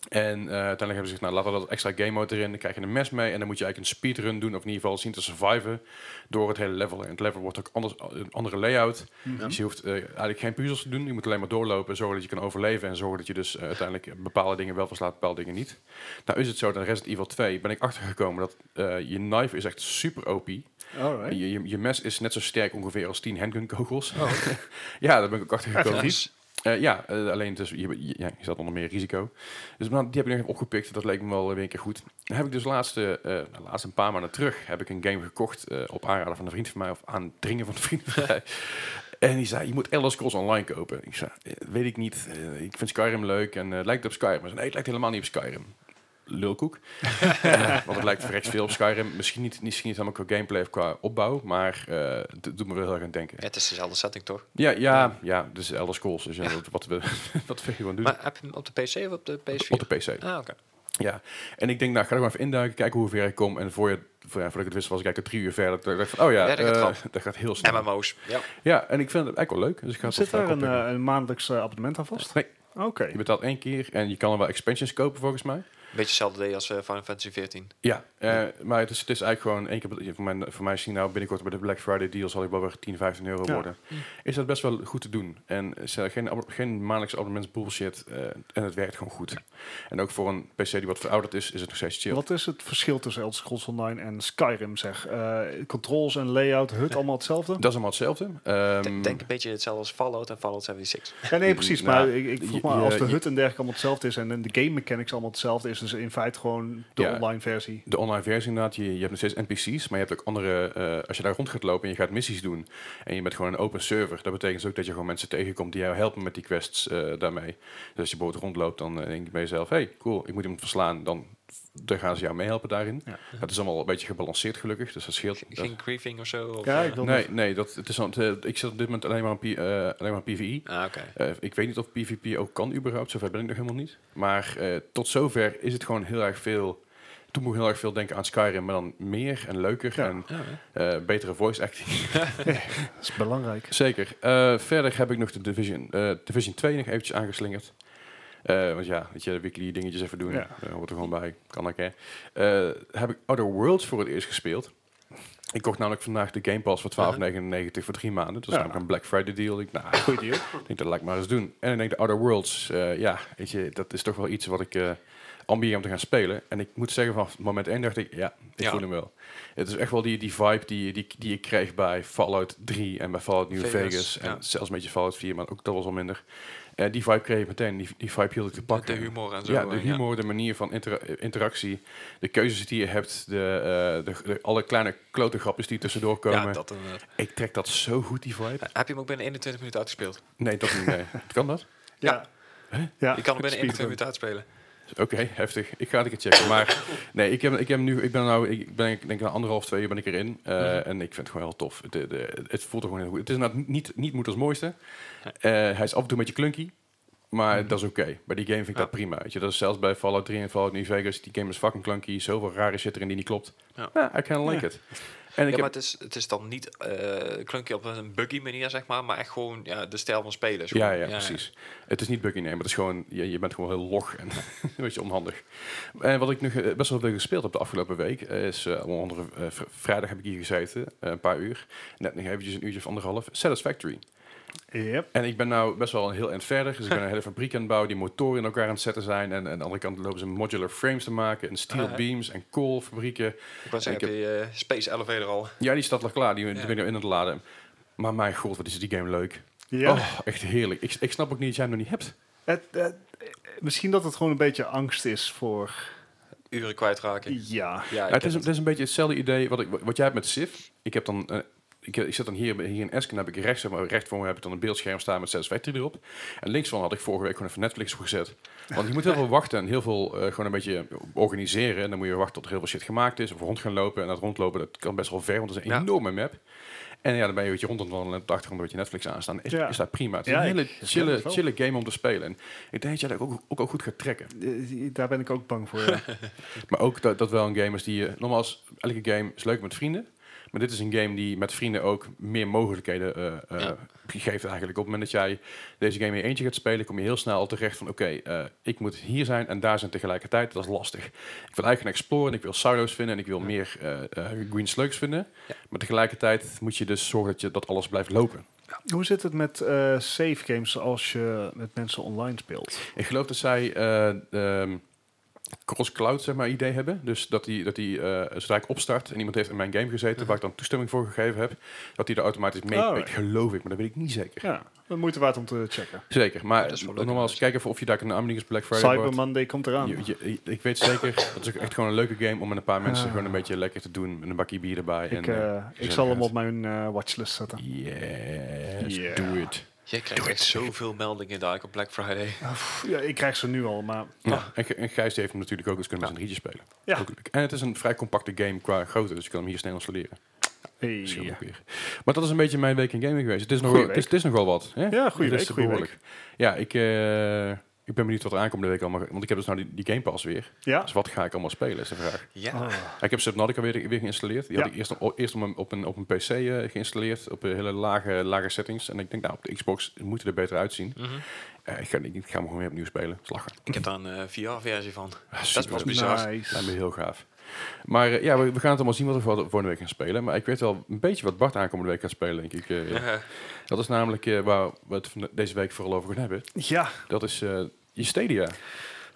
En eh, uiteindelijk hebben ze gezegd, nou laten we dat extra game mode erin. Dan krijg je een mes mee en dan moet je eigenlijk een speedrun doen. Of in ieder geval zien te surviven door het hele level. En het level wordt ook anders, een andere layout. Dus je hoeft eh, eigenlijk geen puzzels te doen. Je moet alleen maar doorlopen, zorgen dat je kan overleven. En zorgen dat je dus eh, uiteindelijk bepaalde dingen wel verslaat, bepaalde dingen niet. Nou is het zo, dat in Resident Evil 2 ben ik achtergekomen dat eh, je knife is echt super OP. Alright. Je, je, je mes is net zo sterk ongeveer als 10 handgunkogels. ja, daar ben ik ook achter gekomen. nice. Eh, ja, eh, alleen dus, je, je, ja, je zat onder meer risico. Dus nou, die heb ik nog even opgepikt. Dat leek me wel weer een keer goed. Dan heb ik dus laatste, eh, nou, laatst een paar maanden terug heb ik een game gekocht eh, op aanraden van een vriend van mij of aandringen van een vriend van mij. En die zei, je moet Elder Scrolls Online kopen. Ik zei, eh, weet ik niet. Eh, ik vind Skyrim leuk en eh, het lijkt op Skyrim. Hij zei, nee, het lijkt helemaal niet op Skyrim. Lulkoek. Eh, want het lijkt verrekt veel op Skyrim. Misschien niet, misschien niet helemaal qua gameplay of qua opbouw, maar eh, het doet me wel heel erg aan het denken. Ja, het is dezelfde setting toch? Ja, ja, ja, dus Elder Scrolls. Dus ja, Wat, wat, we, wat we gewoon doen. Maar heb je hem op de PC of op de PS4? op de PC. Ah, oké. Ja, en ik denk, nou, ga er maar even induiken, kijken hoe ver ik kom. En voor je, voor, ja, voordat ik het wist, was ik eigenlijk al drie uur verder. Toen dacht ik van, oh ja, Ja, dat gaat eh, trappen. dat gaat heel snel. MMO's. Ja. Ja, en ik vind het eigenlijk wel leuk. Dus ik ga het Zit wel daar vaak een, oppikken. eh, een maandelijks eh, abonnement aan vast? Nee, Oké. je betaalt één keer en je kan er wel expansions kopen volgens mij. Beetje hetzelfde idee als eh, Final Fantasy 14. Ja, eh, maar het is, het is eigenlijk gewoon één keer... betaald. Voor mij, voor mij zien nou binnenkort bij de Black Friday deal zal ik wel weer 10, 15 euro Ja. worden. Is dat best wel goed te doen. En is er geen, abo- geen maandelijks abonnement bullshit. eh, en het werkt gewoon goed. En ook voor een PC die wat verouderd is, is het nog steeds chill. Wat is het verschil tussen Elder Scrolls Online en Skyrim, zeg? Eh, controls en layout, HUD, allemaal hetzelfde? Dat is allemaal hetzelfde. Ehm, Ik Denk een beetje hetzelfde als Fallout en Fallout 76. Ja, nee, precies. Nou, Maar ik, ik vroeg je- me als je- de je- HUD en dergelijke allemaal hetzelfde is en en de game mechanics allemaal hetzelfde is, dus in feite gewoon de Ja. online versie. De online versie inderdaad, je, je hebt nog steeds NPC's, maar je hebt ook andere, eh, als je daar rond gaat lopen en je gaat missies doen en je bent gewoon een open server, dat betekent dus ook dat je gewoon mensen tegenkomt die jou helpen met die quests eh, daarmee. Dus als je bijvoorbeeld rondloopt, dan eh, denk je bij jezelf, hey, cool, ik moet hem verslaan, dan, dan gaan ze jou meehelpen daarin. Ja. Dat is allemaal een beetje gebalanceerd gelukkig, dus dat scheelt. Ge- dat- Geen griefing of zo? Of, Ja, eh, ik wil nee, nog- nee dat, het is, aan het, eh, ik zit op dit moment alleen maar aan, P- eh, alleen maar aan PvE. Ah, oké. Eh, ik weet niet of PvP ook kan überhaupt, zover ben ik nog helemaal niet. Maar eh, tot zover is het gewoon heel erg veel... Toen moet ik heel erg veel denken aan Skyrim, maar dan meer en leuker Ja. en Ja, hè. eh, betere voice acting. dat is belangrijk. Zeker. Eh, verder heb ik nog de Division, eh, Division 2 nog eventjes aangeslingerd. Eh, want ja, weet je, de weekly dingetjes even doen, Ja. Eh, hoort er gewoon bij, kan ik hè. Eh, heb ik Other Worlds voor het eerst gespeeld. Ik kocht namelijk vandaag de Game Pass voor 12,99 voor drie maanden. Dat is Ja. namelijk een Black Friday deal. Ik, nou, Goed deal. ik denk, dat laat ik maar eens doen. En ik denk, de Outer Worlds, eh, ja, weet je, dat is toch wel iets wat ik eh ambieer om te gaan spelen. En ik moet zeggen, vanaf moment 1 dacht ik, ja, ik Ja. voel hem wel. Het is echt wel die, die vibe die, die, die ik kreeg bij Fallout 3 en bij Fallout New Vegas. Vegas, en ja. zelfs een beetje Fallout 4, maar ook dat was al minder. Eh, die vibe kreeg ik meteen, die, die vibe hield ik te De pakken. humor en zo. Ja, de eh, humor, de manier van intera- interactie, de keuzes die je hebt, de, eh, de, de- alle kleine klote grapjes die tussendoor komen. Ja, dat, inderdaad. Ik trek dat zo goed, die vibe. heb je hem ook binnen 21 minuten uitgespeeld? Nee, dat niet, nee. kan dat? Ja. ja. je kan hem binnen 21 Speedrun. minuten uitspelen. Oké, heftig. Ik ga het een keer checken. Maar nee, ik, heb, ik, heb nu, ik ben nou, ik ben ik denk na anderhalf, twee uur ben ik erin. Mhm. Eh, En ik vind het gewoon heel tof. De, de, het voelt er gewoon heel goed. Het is inderdaad niet, niet moeders mooiste. Eh, hij is af en toe een beetje clunky. Maar Mhm. dat is oké. Bij die game vind ik dat prima. Weet je, dat is zelfs bij Fallout 3 en Fallout New Vegas. Die game is fucking clunky. Zoveel rare shit erin die niet klopt. Ja, Ja. I kinda like Ja. it. En ik Ja, heb, maar het is, het is dan niet eh klunky op een buggy manier, zeg maar, maar echt gewoon ja, de stijl van spelen. Ja, ja, precies. Het is niet buggy, nee, maar het is gewoon, je, je bent gewoon heel log en een beetje onhandig. En wat ik nu ge- best wel veel gespeeld heb de afgelopen week, eh, is eh, onder andere eh, vr- vrijdag heb ik hier gezeten, eh, een paar uur, net nog eventjes een uurtje of anderhalf, Satisfactory. Yep. En ik ben nou best wel een heel eind verder, dus ik ben een hele fabriek aan het bouwen die motoren in elkaar aan het zetten zijn en, en aan de andere kant lopen ze modular frames te maken en steel Ah, hè. beams en koolfabrieken. Ik was Ik zeggen, heb je eh, Space Elevator al? Ja, die staat al klaar, die, die Ja. ben ik nou in aan het laden. Maar mijn god, wat is die game leuk. Ja. Oh, echt heerlijk. Ik, ik snap ook niet dat jij hem nog niet hebt. Het, het- misschien dat het gewoon een beetje angst is voor... Uren kwijtraken. Ja. Ja, ik Ja, het, heb is, het is een beetje hetzelfde idee wat, ik, wat jij hebt met SIF. Ik heb dan... eh, ik, ik zit dan hier, bij- hier in Esken, heb ik rechts, zeg maar, recht voor me heb ik dan een beeldscherm staan met Satisfactory erop. En links van had ik vorige week gewoon even Netflix opgezet. Want je moet heel veel wachten en heel veel eh, gewoon een beetje organiseren. En dan moet je wachten tot er heel veel shit gemaakt is of rond gaan lopen. En dat rondlopen, dat kan best wel ver, want dat is een Ja. enorme map. En ja, dan ben je een beetje rond aan het wandelen en op de achtergrond een beetje Netflix aanstaan. Is, Ja. is dat prima. Het is Ja, een ik- hele ik ken chille, het wel. chille game om te spelen. En ik denk dat jij dat ook, ook, ook goed gaat trekken. Eh, Daar ben ik ook bang voor. ja. Maar ook dat, dat wel een game is die je... Nogmaals, elke game is leuk met vrienden. Maar dit is een game die met vrienden ook meer mogelijkheden eh, eh, Ja. geeft eigenlijk. Op het moment dat jij deze game in je eentje gaat spelen... kom je heel snel al terecht van... oké, eh, ik moet hier zijn en daar zijn tegelijkertijd. Dat is lastig. Ik wil eigenlijk gaan exploren. Ik wil silo's vinden en ik wil meer eh eh, green slugs vinden. Ja. Maar tegelijkertijd moet je dus zorgen dat, je, dat alles blijft lopen. Hoe zit het met eh, save games als je met mensen online speelt? Ik geloof dat zij eh, ehm, cross-cloud zeg maar, idee hebben. Dus dat die, dat die eh zodra ik opstart en iemand heeft in mijn game gezeten waar ik dan toestemming voor gegeven heb, dat die er automatisch mee Mhm. Oh, pikt, geloof ik, maar dat weet ik niet zeker. Ja, de moeite waard om te checken. Zeker, maar dat is wel leuk, normaal eens kijken of je daar een Amnius Black Friday Cyber wordt. Monday komt eraan. Je- je- ik weet zeker, dat is ook echt gewoon een leuke game om met een paar mensen Ah. gewoon een beetje lekker te doen. Met een bakje bier erbij. en, Ik, eh, eh, ik zal hem gezelligheid. op mijn eh, watchlist zetten. Yes, Yeah. do it. Jij krijgt echt zoveel meldingen daar op Black Friday. Ja, ik krijg ze nu al, maar Ja. En, Ge- en Gijs die heeft hem natuurlijk ook, dus kunnen we met z'n drietje spelen. Ah. Ja. Ook leuk. En het is een vrij compacte game qua grootte, dus je kan hem hier snel installeren. hey. Scheelt ook weer. Maar dat is een beetje mijn week in gaming geweest. Het is nog, Goeie wel, het is, het is nog wel wat. Hè? Ja, goeie Het is week, goeie behoorlijk. Ja, ik, eh, Ik ben benieuwd wat er aankomende week allemaal... Want ik heb dus nou die, die Game Pass weer. Ja? Dus wat ga ik allemaal spelen, is de vraag. Ah, Ja. Oh. Ik heb Subnautica weer, weer geïnstalleerd. Die had Ja. ik eerst, op, eerst op, een, op, een, op een PC eh, geïnstalleerd, op eh, hele lage, lage settings. En ik denk, nou, op de Xbox moet het er beter uitzien. Mhm. Eh, ik, ga, ik, ga hem gewoon weer opnieuw spelen. Slagen. Ik heb daar een VR-versie van. super. Dat was bizar. Lijkt me Ah, Nice. heel gaaf. Maar eh, ja, we, we gaan het allemaal zien wat we vol- volgende week gaan spelen. Maar ik weet wel een beetje wat Bart aankomende week gaat spelen, denk ik. eh. Ja. nou, Dat is namelijk eh, waar we het van de- deze week vooral over gaan hebben. Ja, Dat is eh je Stadia.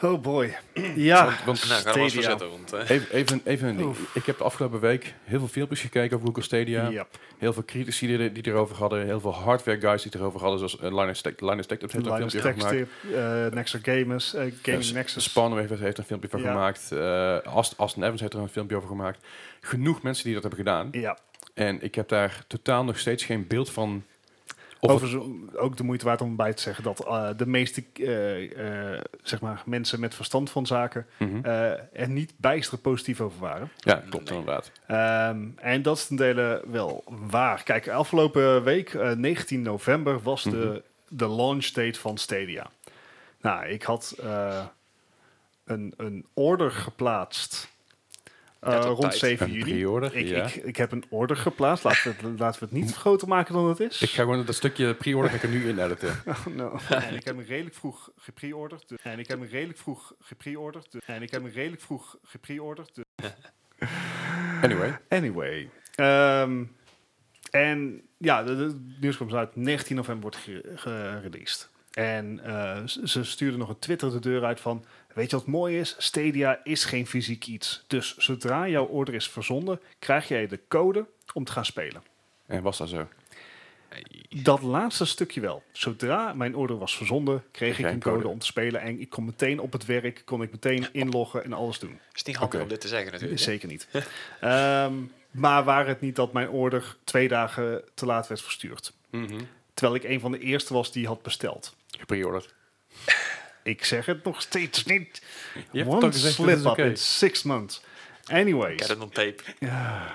oh boy. Ja, Want, want Nou, ik ga er wel eens voor Stadia. zetten, want... eh, even, even, even een ding. Ik heb de afgelopen week heel veel filmpjes gekeken over Google Stadia. Yep. Heel veel critici die, er- die erover hadden. Heel veel hardware guys die het erover hadden. Zoals eh, Linus Tech Linus Tech Tips heeft er een Linus filmpje over Tech gemaakt. Tip, eh, Nexer Gamers, eh, Gaming Eh, Nexus. Spanum heeft, heeft er een filmpje van Ja. gemaakt. Eh Ast, Aston Evans heeft er een filmpje over gemaakt. Genoeg mensen die dat hebben gedaan. Ja, En ik heb daar totaal nog steeds geen beeld van. Of overigens ook de moeite waard om bij te zeggen dat eh, de meeste eh, eh, zeg maar, mensen met verstand van zaken Mhm. eh, er niet bijster positief over waren. ja, klopt inderdaad. Ehm, en dat is ten dele wel waar. Kijk, afgelopen week, eh, 19 november, was Mhm. de, de launch date van Stadia. Nou, ik had eh, een, een order geplaatst eh, Ja, tot rond tijd. 7 Een juli. pre-order, Ik, ja. ik, ik heb een order geplaatst. Laten we, het- laten we het niet groter maken dan het is. Ik ga gewoon dat stukje pre-order ga ik er nu in editen. No. En ik heb hem redelijk vroeg gepreorderd. dus- En ik heb hem redelijk vroeg gepreorderd. dus- En ik heb hem redelijk vroeg gepreorderd. dus- Anyway. Anyway. Ehm, en ja, de, de nieuws komt dus uit. 19 november wordt ge- gereleased. En eh, ze- ze stuurden nog een Twitter de deur uit van... Weet je wat mooi is? Stadia is geen fysiek iets. Dus zodra jouw order is verzonden... krijg jij de code om te gaan spelen. En was dat zo? Dat laatste stukje wel. Zodra mijn order was verzonden, kreeg ik jij een een code? Oh. code om te spelen. En ik kon meteen op het werk, kon ik meteen inloggen en alles doen. Eh, is niet handig Oké. om dit te zeggen natuurlijk. hè? Zeker niet. Ehm, maar waar het niet dat mijn order twee dagen te laat werd verstuurd. Mhm. Terwijl ik een van de eerste was die had besteld. Gepreorderd. Ik zeg het nog steeds niet. Je hebt het One ook gezegd, dit slip is up oké. in six months. Anyways. Get it on tape. Ja.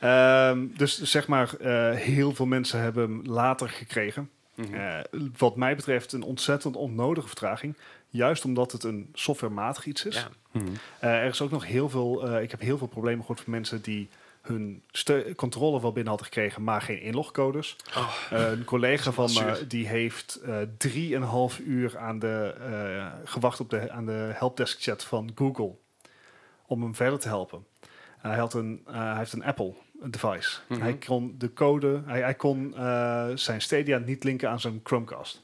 Ehm, dus zeg maar, eh, heel veel mensen hebben hem later gekregen. Mhm. Eh, wat mij betreft een ontzettend onnodige vertraging. Juist omdat het een softwarematig iets is. Ja. Mhm. Eh, er is ook nog heel veel, eh, ik heb heel veel problemen gehoord van mensen die hun ste- controle wel binnen hadden gekregen, maar geen inlogcodes. Oh. Eh, een collega van me zuur. die heeft eh, drieënhalf uur aan de, eh, gewacht op de, aan de helpdesk chat van Google om hem verder te helpen. En hij, had een, eh, hij heeft een Apple device. Mhm. Hij kon de code, hij, hij kon eh, zijn Stadia niet linken aan zijn Chromecast.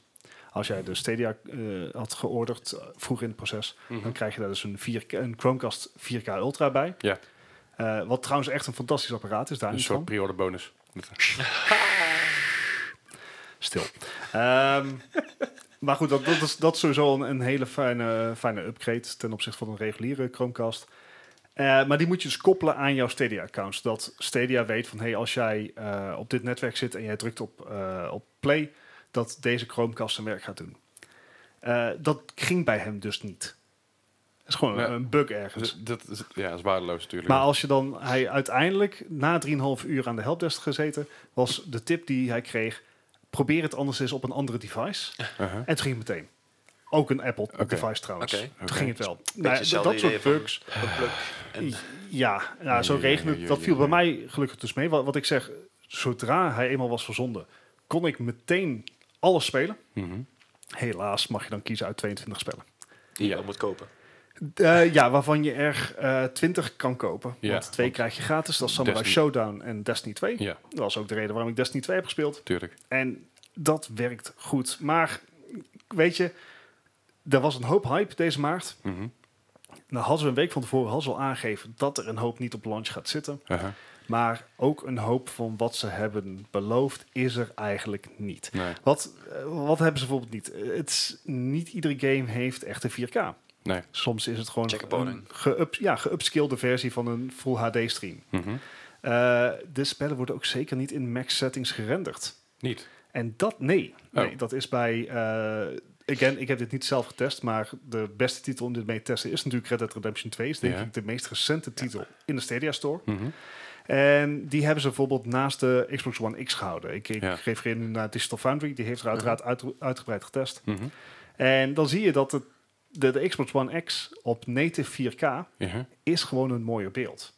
Als jij de Stadia eh, had georderd eh, vroeg in het proces, dan Mhm. krijg je daar dus een, 4K, een Chromecast 4K Ultra bij. Ja. Eh, wat trouwens echt een fantastisch apparaat is, daar Een niet soort van. pre-order bonus. Stil. Ehm, maar goed, dat, dat, is, dat is sowieso een, een hele fijne, fijne upgrade ten opzichte van een reguliere Chromecast. Eh, maar die moet je dus koppelen aan jouw Stadia-account. Zodat Stadia weet van, hey, als jij eh, op dit netwerk zit en jij drukt op, eh, op play, dat deze Chromecast zijn werk gaat doen. Eh, dat ging bij hem dus niet. Dat is gewoon Nee. een, een bug ergens. Dus dat is, ja, dat is waardeloos natuurlijk. Maar als je dan, hij uiteindelijk na 3,5 uur aan de helpdesk gezeten, was de tip die hij kreeg: probeer het anders eens op een andere device. Uh-huh. En het ging meteen. Ook een Apple Oké. device trouwens. Oké. Toen ging het wel. Nou, Beetje d- hetzelfde dat soort idee bugs. van een plug en- Ja, ja, zo Ja, ja, regende ja, het. ja, Dat ja, viel bij ja. mij gelukkig dus mee. Wat, wat ik zeg, zodra hij eenmaal was verzonden, kon ik meteen alles spelen. Mhm. Helaas mag je dan kiezen uit 22 spellen. die je Ja. wel moet kopen. Eh, ja, waarvan je er eh 20 kan kopen. Ja, want twee want krijg je gratis. Dat is Samurai Destiny- Showdown en Destiny 2. Ja, Dat was ook de reden waarom ik Destiny 2 heb gespeeld. tuurlijk. En dat werkt goed. Maar weet je, er was een hoop hype deze maart. Mhm. Nou hadden ze een week van tevoren hadden ze al aangegeven dat er een hoop niet op launch gaat zitten. Uh-huh. Maar ook een hoop van wat ze hebben beloofd is er eigenlijk niet. Nee, Wat, eh, wat hebben ze bijvoorbeeld niet? Eh, Het is, niet iedere game heeft echt een 4K. nee. Soms is het gewoon Checkerboarding. een geup, ja, geupskillede versie van een Full HD stream. Mhm. Eh, de spellen worden ook zeker niet in max settings gerenderd. Niet. En dat, nee. Oh. nee dat is bij, eh again, ik heb dit niet zelf getest, maar de beste titel om dit mee te testen is natuurlijk Red Dead Redemption 2. Is denk Ja. ik de meest recente titel in de Stadia Store. Mhm. En die hebben ze bijvoorbeeld naast de Xbox One X gehouden. Ik, ik Ja. refereer nu naar Digital Foundry, die heeft er uiteraard uit- uitgebreid getest. Mhm. En En dan zie je dat het, de, de Xbox One X op native 4K Ja, Oké. is gewoon een mooier beeld.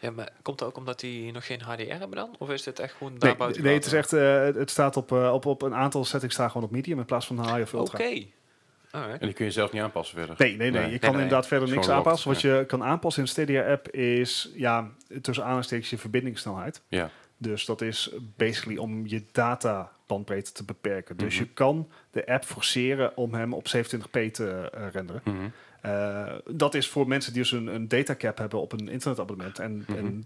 Ja, maar komt dat ook omdat die nog geen HDR hebben dan? Of is dit echt gewoon Nee, daar buiten? nee, het is echt, eh, het- het staat op, eh, op, op een aantal settings staan gewoon op medium in plaats van high of Oké. ultra. Alright. En die kun je zelf niet aanpassen verder. Nee, nee, nee. Nee. Je kan Nee, nee. inderdaad verder Is niks gewoon aanpassen. Wat locked, je kan aanpassen in de Stadia-app is, ja, tussen aanhalingstekens je verbindingssnelheid. Ja. Dus dat is basically om je data bandbreedte te beperken. Mhm. Dus je kan de app forceren om hem op 27p te eh, renderen. Mhm. Eh, dat is voor mensen die dus een, een datacap hebben op een internetabonnement. En, Mhm. en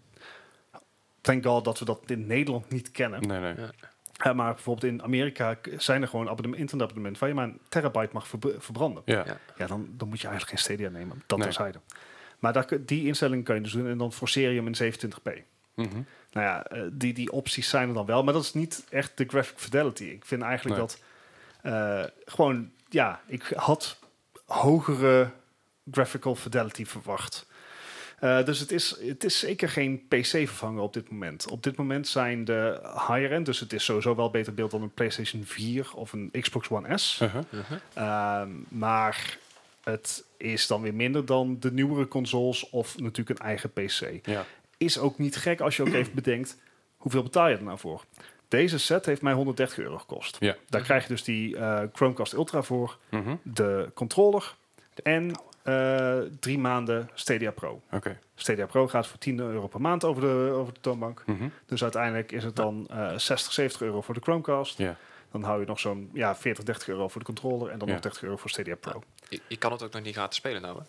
thank god dat we dat in Nederland niet kennen. Nee, nee. Ja. Eh, maar bijvoorbeeld in Amerika k- zijn er gewoon abonnement, internetabonnementen waar je maar een terabyte mag verb- verbranden. Ja. Ja. Ja, dan, dan moet je eigenlijk geen Stadia nemen. Dat Nee. terzijde. Maar daar, kun- die instellingen kan je dus doen en dan forceer je hem in 27p. Mhm. Nou ja, eh, die, die opties zijn er dan wel. Maar dat is niet echt de graphic fidelity. Ik vind eigenlijk Nee. dat eh, gewoon, ja, ik had hogere graphical fidelity verwacht. Eh, dus het is, het is zeker geen PC-vervanger op dit moment. Op dit moment zijn de higher-end, dus het is sowieso wel beter beeld dan een PlayStation 4 of een Xbox One S. Uh-huh. Uh-huh. Ehm, maar het is dan weer minder dan de nieuwere consoles of natuurlijk een eigen PC Ja. is ook niet gek als je ook even bedenkt hoeveel betaal je er nou voor. Deze set heeft mij 130 euro gekost. Ja. Daar krijg je dus die eh, Chromecast Ultra voor, Mhm. de controller en eh, drie maanden Stadia Pro. Oké. Stadia Pro gaat voor 10 euro per maand over de, over de toonbank. Mhm. Dus uiteindelijk is het dan eh, 60, 70 euro voor de Chromecast. Ja. Dan hou je nog zo'n ja, 40, 30 euro voor de controller en dan Ja. nog 30 euro voor Stadia Pro. Je, je kan het ook nog niet gratis spelen nou, hè?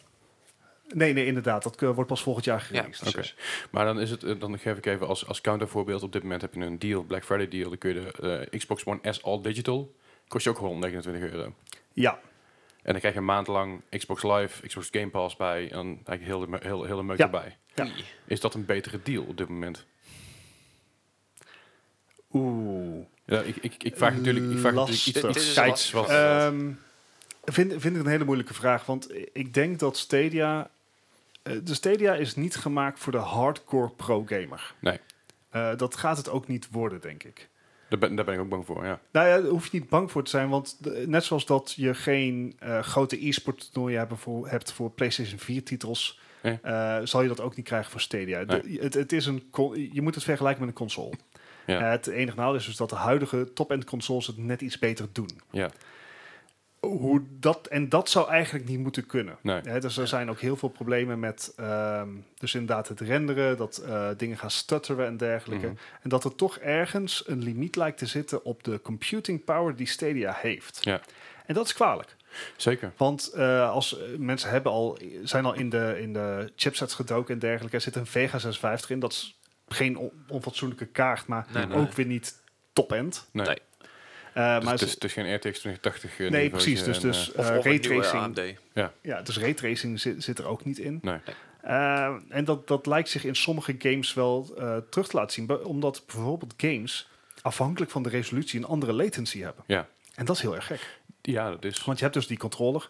Nee, nee, inderdaad. Dat eh, wordt pas volgend jaar Ja, Eh, gereleased. precies. Maar dan is het, eh, dan geef ik even als, als countervoorbeeld. Op dit moment heb je een deal, Black Friday deal. Dan kun je de eh, Xbox One S All Digital. Kost je ook 129 euro. Ja, En dan krijg je een maand lang Xbox Live, Xbox Game Pass bij. En dan eigenlijk heel de, me- heel, heel de meuk Ja. erbij. Ja. Oei. Is dat een betere deal op dit moment? oeh. Ja, ik, ik, ik vraag natuurlijk, ik vraag natuurlijk iets, iets Lastig. Dit is scheids. lastig. Wat, Ehm, vind, vind ik een hele moeilijke vraag. Want ik denk dat Stadia. eh, De Stadia is niet gemaakt voor de hardcore pro-gamer. Nee. Eh, dat gaat het ook niet worden, denk ik. daar, ben, daar ben ik ook bang voor, ja. Nou ja, daar hoef je niet bang voor te zijn. Want de- net zoals dat je geen eh, grote e-sport toernooien hebt voor, hebt voor PlayStation 4 titels... Nee. eh, zal je dat ook niet krijgen voor Stadia. De- het, het is een con- je moet het vergelijken met een console. Ja. Eh, het enige nadeel is dus dat de huidige top-end consoles het net iets beter doen. Ja, hoe dat, en dat zou eigenlijk niet moeten kunnen. nee. Hè, dus er zijn ook heel veel problemen met ehm, dus inderdaad het renderen, dat eh, dingen gaan stutteren en dergelijke. Mhm. En dat er toch ergens een limiet lijkt te zitten op de computing power die Stadia heeft. Ja. En dat is kwalijk. Zeker. Want eh, als eh, mensen hebben al, zijn al in de, in de chipsets gedoken en dergelijke. Er zit een Vega 56 in. Dat is geen on- onfatsoenlijke kaart, maar Nee, nee. ook weer niet top-end. Nee. Nee. Eh, Dus maar het, ze- is, het is geen RTX 2080. eh, nee, niveautje precies. Dus, en, dus eh, Of, eh, of een nieuwe raytracing AMD. ja, dus raytracing zit, zit er ook niet in. Nee. Eh, en dat, dat lijkt zich in sommige games wel eh, terug te laten zien. be- Omdat bijvoorbeeld games afhankelijk van de resolutie een andere latency hebben. Ja. En dat is heel erg gek. ja, dat is... Want je hebt dus die controller.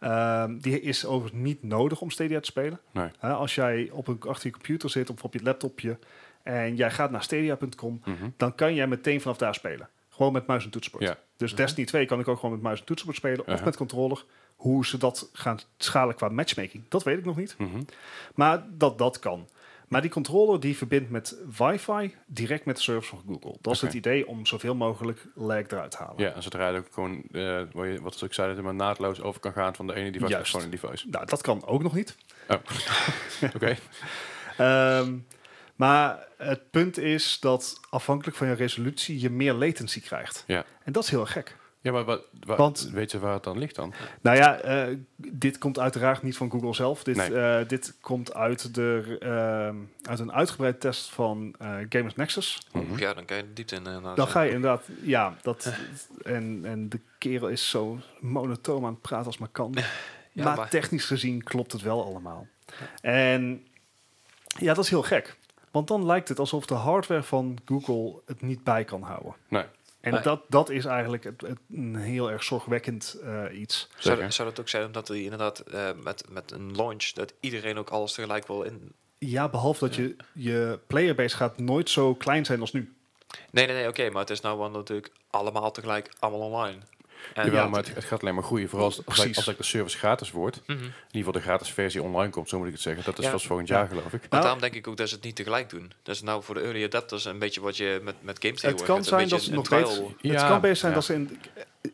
Ehm, die is overigens niet nodig om Stadia te spelen. Nee. Eh, als jij op een, achter je computer zit of op je laptopje... en jij gaat naar stadia.com... Mhm. dan kan jij meteen vanaf daar spelen. Gewoon met muis en toetsenbord. Ja. Dus Mhm. Destiny 2 kan ik ook gewoon met muis en toetsenbord spelen... of Uh-huh. met controller. Hoe ze dat gaan schalen qua matchmaking, dat weet ik nog niet. Mhm. Maar dat dat kan. Maar die controller die verbindt met wifi direct met de service van Google. Dat is Oké. het idee om zoveel mogelijk lag eruit te halen. Ja, en zodra je er ook gewoon, eh, wat je- wat ik zei, dat je maar naadloos over kan gaan van de ene device naar Juist. het andere device. Nou, dat kan ook nog niet. Oké. Ehm, maar het punt is dat afhankelijk van je resolutie je meer latency krijgt. Ja. En dat is heel erg gek. Ja, maar wat, wat- Want- weet je waar het dan ligt dan? Nou ja, eh, dit komt uiteraard niet van Google zelf. Dit, Nee. eh, dit komt uit, de, ehm, uit een uitgebreid test van eh, Gamers Nexus. Mhm. Ja, dan kan je er diepte in. eh, Dan ga je inderdaad, ja, dat, en, en de kerel is zo monotoom aan het praten als maar kan. Ja, maar, maar- technisch gezien klopt het wel allemaal. En ja, dat is heel gek. Want dan lijkt het alsof de hardware van Google het niet bij kan houden. Nee. En Nee. dat, dat is eigenlijk het, het- een heel erg zorgwekkend eh, iets. Zou, Zeker. dat- zou dat ook zijn omdat hij inderdaad eh, met, met een launch dat iedereen ook alles tegelijk wil in. Ja, behalve dat je, je playerbase gaat nooit zo klein zijn als nu. Nee, nee, nee, oké, maar het is nou wel natuurlijk allemaal tegelijk, allemaal online. En- Jawel, ja, maar het, het gaat alleen maar groeien. Vooral als, als, Precies. als de service gratis wordt. In Mhm. ieder geval de gratis versie online komt, zo moet ik het zeggen. Dat is Ja. vast volgend Ja. jaar, geloof ik. Maar Nou- daarom denk ik ook dat ze het niet tegelijk doen. Dat is nou voor de early adapters een beetje wat je met, met games Het tegenwoordig kan hebt, zijn een beetje dat ze een- nog een beter... trial. Het Ja, kan best zijn ja. dat ze... In,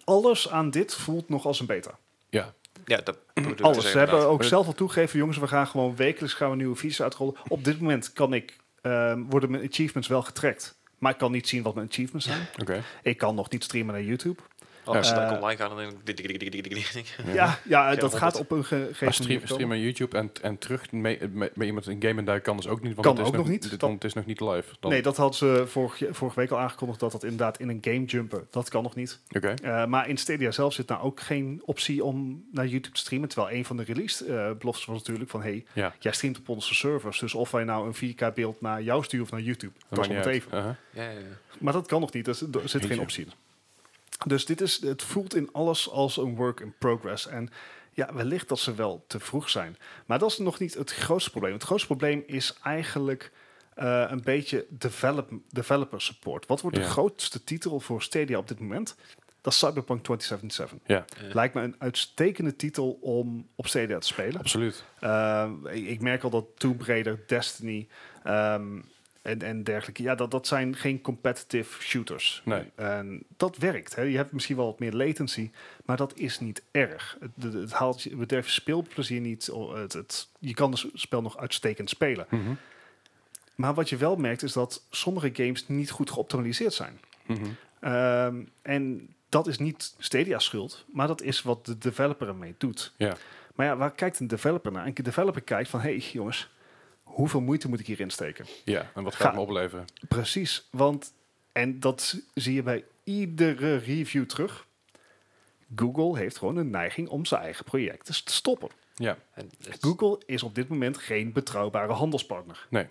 alles aan dit voelt nog als een beta. Ja. Ja, dat bedoel ik te Alles. zeggen, Ze hebben inderdaad. ook zelf al toegegeven, jongens, we gaan gewoon wekelijks gaan we nieuwe features uitrollen. Op dit moment kan ik, ehm, worden mijn achievements wel getrackt. Maar ik kan niet zien wat mijn achievements zijn. Oké. Ik kan nog niet streamen naar YouTube. Als ze Ja. dan Eh, online gaan, dan denk ik... dik, dik, dik, dik, dik, dik, dik. Ja, Ja. ja, dat 100. gaat op een ge- gegeven Maar moment. stream, komen. streamen YouTube en, en terug mee- met met iemand in game en daar kan dus ook niet. Want Kan het is ook nog niet. dit- Dat- Want het is nog niet live. Dan- Nee, dat had ze vorige, vorige week al aangekondigd dat dat inderdaad in een game jumpen. Dat kan nog niet. Oké. Eh, maar in Stadia zelf zit nou ook geen optie om naar YouTube te streamen. Terwijl een van de release eh, beloftes was natuurlijk van... hey, Ja. jij streamt op onze servers. Dus of wij nou een 4K beeld naar jou sturen of naar YouTube. Dat Dat maakt is om niet het uit. even. Uh-huh. Ja, ja, ja. Maar dat kan nog niet. Er zit- er zit geen Jeetje. optie in. Dus dit is, het voelt in alles als een work in progress. En ja, wellicht dat ze wel te vroeg zijn. Maar dat is nog niet het grootste probleem. Het grootste probleem is eigenlijk eh, een beetje develop, developer support. Wat wordt de Ja. grootste titel voor Stadia op dit moment? Dat is Cyberpunk 2077. Ja, Ja. Lijkt me een uitstekende titel om op Stadia te spelen. absoluut. Eh, ik, ik merk al dat Tomb Raider, Destiny ehm, en, en dergelijke... Ja, dat, dat zijn geen competitive shooters. Nee. En dat werkt. Hè. Je hebt misschien wel wat meer latency, maar dat is niet erg. Het, het, het haalt je- het bederft je speelplezier niet. o- Het, het, je kan dus het spel nog uitstekend spelen. Mhm. Maar wat je wel merkt is dat sommige games niet goed geoptimaliseerd zijn. Mhm. Ehm, en dat is niet Stadia's schuld, maar dat is wat de developer ermee doet. Ja. Maar ja, waar kijkt een developer naar? Een developer kijkt van, hé hey, jongens, hoeveel moeite moet ik hierin steken? Ja, en wat Ga- gaat het me opleveren? Precies, want en dat zie je bij iedere review terug. Google heeft gewoon een neiging om zijn eigen projecten te stoppen. Ja, En het- Google is op dit moment geen betrouwbare handelspartner. nee,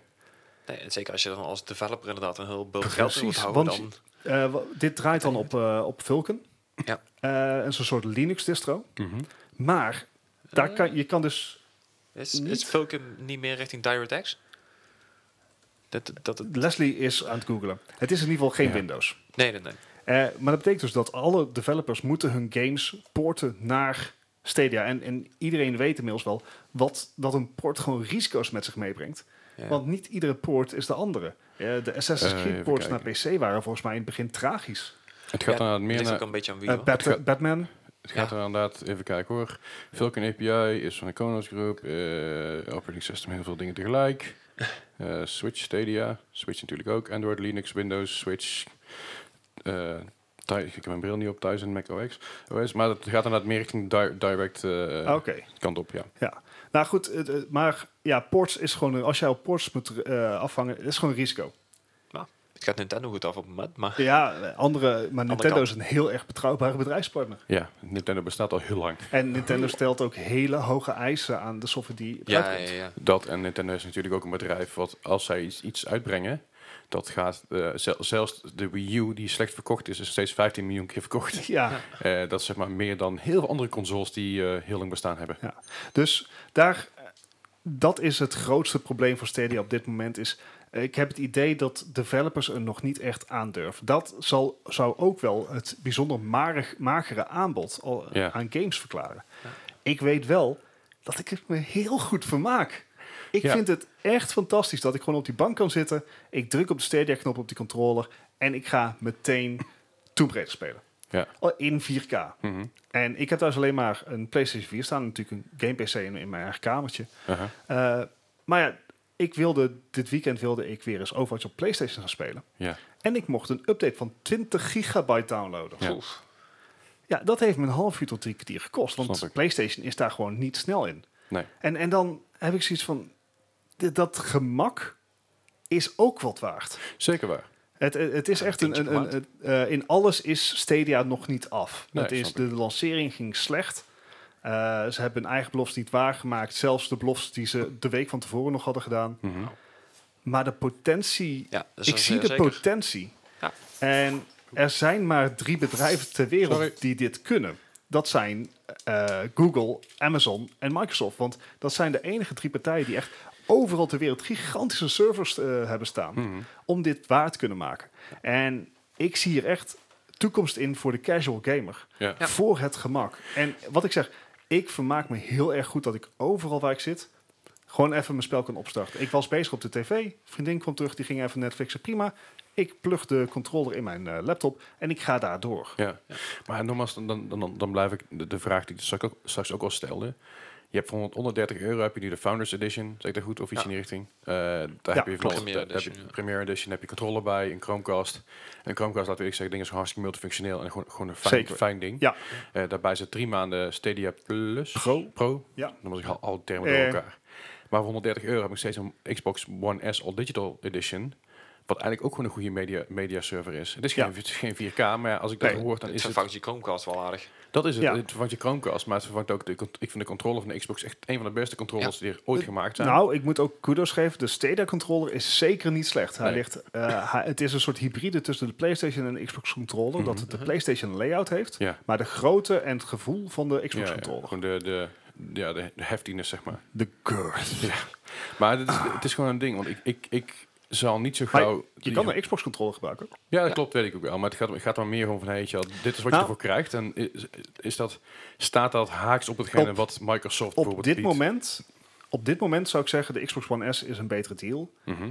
en zeker als je dan als developer inderdaad een heel bult geld in moet Precies, houden, want dan... Eh, wa- dit draait dan op, eh, op Vulkan. Ja. Eh, een soort Linux-distro. Mhm. Maar daar kan, je kan dus Is, niet- is Vulcan niet meer richting DirectX? Dat, dat, het Leslie is aan het googlen. Het is in ieder geval geen Ja. Windows. nee, nee, nee. Eh, maar dat betekent dus dat alle developers moeten hun games porten naar Stadia. En, en iedereen weet inmiddels wel wat, dat een port gewoon risico's met zich meebrengt. Ja. Want niet iedere poort is de andere. Eh, de Assassin's Eh, Creed even ports naar kijken. PC waren volgens mij in het begin tragisch. Het gaat Ja, dan Het meer ligt ook naar, een beetje aan wie, Eh, hoor. Bat- Het gaat- Batman, het gaat er inderdaad, even kijken hoor. Vulkan API is van de Konos Group, eh, operating system, heel veel dingen tegelijk. Eh, Switch, Stadia, Switch natuurlijk ook, Android, Linux, Windows, Switch. Eh, Thij- ik heb mijn bril niet op, thuis en Mac OS. OS maar het gaat inderdaad meer richting di- direct eh, Ah, oké. kant op, ja. Nou goed, het- het- maar ja, ports is gewoon, een- als jij op ports moet eh, afvangen, dat is gewoon een risico. Het gaat Nintendo goed af op het moment, maar... Ja, eh, andere, maar Nintendo kant. is een heel erg betrouwbare bedrijfspartner. Ja, Nintendo bestaat al heel lang. En Nintendo stelt ook hele hoge eisen aan de software die eruit Ja, komt. ja, ja. Dat en Nintendo is natuurlijk ook een bedrijf wat als zij iets, iets uitbrengen, dat gaat eh, zel- zelfs de Wii U die slecht verkocht is, is steeds 15 miljoen keer verkocht. Ja, Eh, dat is zeg maar meer dan heel veel andere consoles die eh, heel lang bestaan hebben. Dus daar, dat is het grootste probleem voor Stadia op dit moment. Is, eh, ik heb het idee dat developers er nog niet echt aan durven. Dat zal, zou ook wel het bijzonder marig, magere aanbod al, Ja. aan games verklaren. Ja. Ik weet wel dat ik het me heel goed vermaak. Ik Ja. vind het echt fantastisch dat ik gewoon op die bank kan zitten. Ik druk op de Stadia-knop op die controller en ik ga meteen Tomb Raider spelen. Ja. Al In 4K. Mhm. En ik heb thuis alleen maar een PlayStation 4 staan, natuurlijk een game PC in, in mijn eigen kamertje. Aha. Eh, maar ja, ik wilde, dit weekend wilde ik weer eens Overwatch op PlayStation gaan spelen. Ja. En ik mocht een update van 20 gigabyte downloaden. Ja. Oef. Ja, dat heeft me een half uur tot drie kwartier gekost, want Snap ik. PlayStation is daar gewoon niet snel in. Nee. En, en dan heb ik zoiets van, dit- dat gemak is ook wat waard. Zeker waar. Het, het, het is Ja, echt een een... tientje een, een een- eh, in alles is Stadia nog niet af. Nee, het is, snap de ik. lancering ging slecht. Eh, ze hebben hun eigen beloftes niet waargemaakt. Zelfs de beloftes die ze de week van tevoren nog hadden gedaan. Mhm. Maar de potentie... Ja, dat is ik wel zie de zeer zeker. potentie. Ja. En er zijn maar drie bedrijven ter wereld Sorry. die dit kunnen. Dat zijn eh, Google, Amazon en Microsoft. Want dat zijn de enige drie partijen die echt overal ter wereld gigantische servers eh, hebben staan Mhm. om dit waar te kunnen maken. En ik zie hier echt toekomst in voor de casual gamer. Ja. Ja. Voor het gemak. En wat ik zeg, ik vermaak me heel erg goed dat ik overal waar ik zit... gewoon even mijn spel kan opstarten. Ik was bezig op de tv. Vriendin kwam terug, die ging even Netflixen. Prima. Ik plug de controller in mijn eh, laptop en ik ga daar door. Ja. Maar nogmaals, dan, dan, dan, dan blijf ik de, de vraag die ik straks ook, straks ook al stelde. Je hebt voor 130 euro heb je nu de Founders Edition, zeg ik dat goed, of iets Ja. in die richting. Eh, daar Ja, heb je klopt. van- daar Premiere heb je Edition, ja. Premiere Edition, heb je controller bij, een Chromecast. En Chromecast, laten we eerlijk zeggen, ding is gewoon hartstikke multifunctioneel en gewoon, gewoon een fijn, Zeker. fijn ding. Ja. Eh, daarbij zit drie maanden Stadia Plus Pro. Pro. Ja. Dan was ik al, al termen door Eh. elkaar. Maar voor 130 euro heb ik steeds een Xbox One S All Digital Edition. Wat eigenlijk ook gewoon een goede media, media server is. Het is geen, Ja. het is geen 4K, maar ja, als ik dat Nee. hoor, dan Het is het... vervangt je Chromecast wel aardig. Dat is het. Ja. Het vervangt je Chromecast, maar het vervangt ook de... cont- Ik vind de controller van de Xbox echt een van de beste controllers die er ooit gemaakt zijn. Nou, ik moet ook kudos geven. De Stadia controller is zeker niet slecht. Hij Nee. ligt, eh, hij- het is een soort hybride tussen de PlayStation en de Xbox controller. Dat het de PlayStation layout heeft, Mhm, ja. maar de grootte en het gevoel van de Ja, Xbox ja, controller. gewoon de, de, ja, de, de heftiness, zeg maar. De girth. Maar het is, het is gewoon een ding, want ik, ik, ik zal niet zo Ah. Maar gauw... Je kan de Xbox controller gebruiken. Ja, dat klopt, weet ik ook wel. Maar het gaat, het gaat dan meer om van, hey, weet je wel, dit is wat Nou. je ervoor krijgt. En is, is dat, staat dat haaks op hetgene Op- wat Microsoft Op bijvoorbeeld dit, biedt? moment, op dit moment zou ik zeggen, de Xbox One S is een betere deal. Mhm.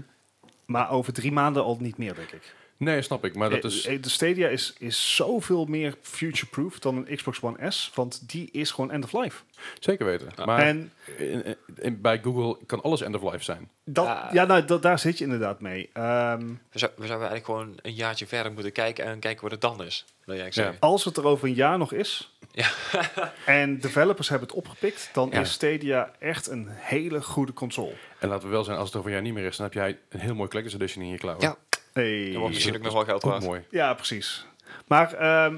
Maar over drie maanden al niet meer, denk ik. Nee, snap ik. Maar dat Eh, is... eh, De Stadia is, is zoveel meer future-proof dan een Xbox One S. Want die is gewoon end of life. Zeker weten. Maar En in- in- in- bij Google kan alles end of life zijn. dat, Ja. ja, nou, dat, daar zit je inderdaad mee. Ehm, We, zou- we zouden eigenlijk gewoon een jaartje verder moeten kijken en kijken wat het dan is. Wil jij zeggen. als het er over een jaar nog is... Ja. en developers hebben het opgepikt... dan Ja. is Stadia echt een hele goede console. En laten we wel zijn, als het over jou niet meer is, dan heb jij een heel mooi collector's edition in je klauw. Ja, Hey. dat wordt misschien ook nog wel geld dus Ook waard. mooi. Ja, precies. Maar ehm,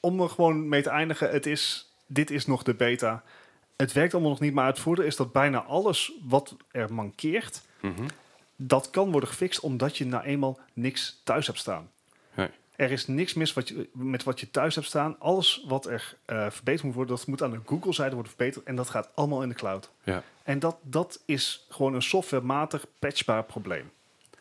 om er gewoon mee te eindigen, het is, dit is nog de beta. Het werkt allemaal nog niet, maar het voordeel is dat bijna alles wat er mankeert, Mhm. dat kan worden gefixt omdat je nou eenmaal niks thuis hebt staan. Nee. Er is niks mis wat je, met wat je thuis hebt staan. Alles wat er eh, verbeterd moet worden, dat moet aan de Google-zijde worden verbeterd. En dat gaat allemaal in de cloud. Ja. En dat, dat is gewoon een softwarematig patchbaar probleem.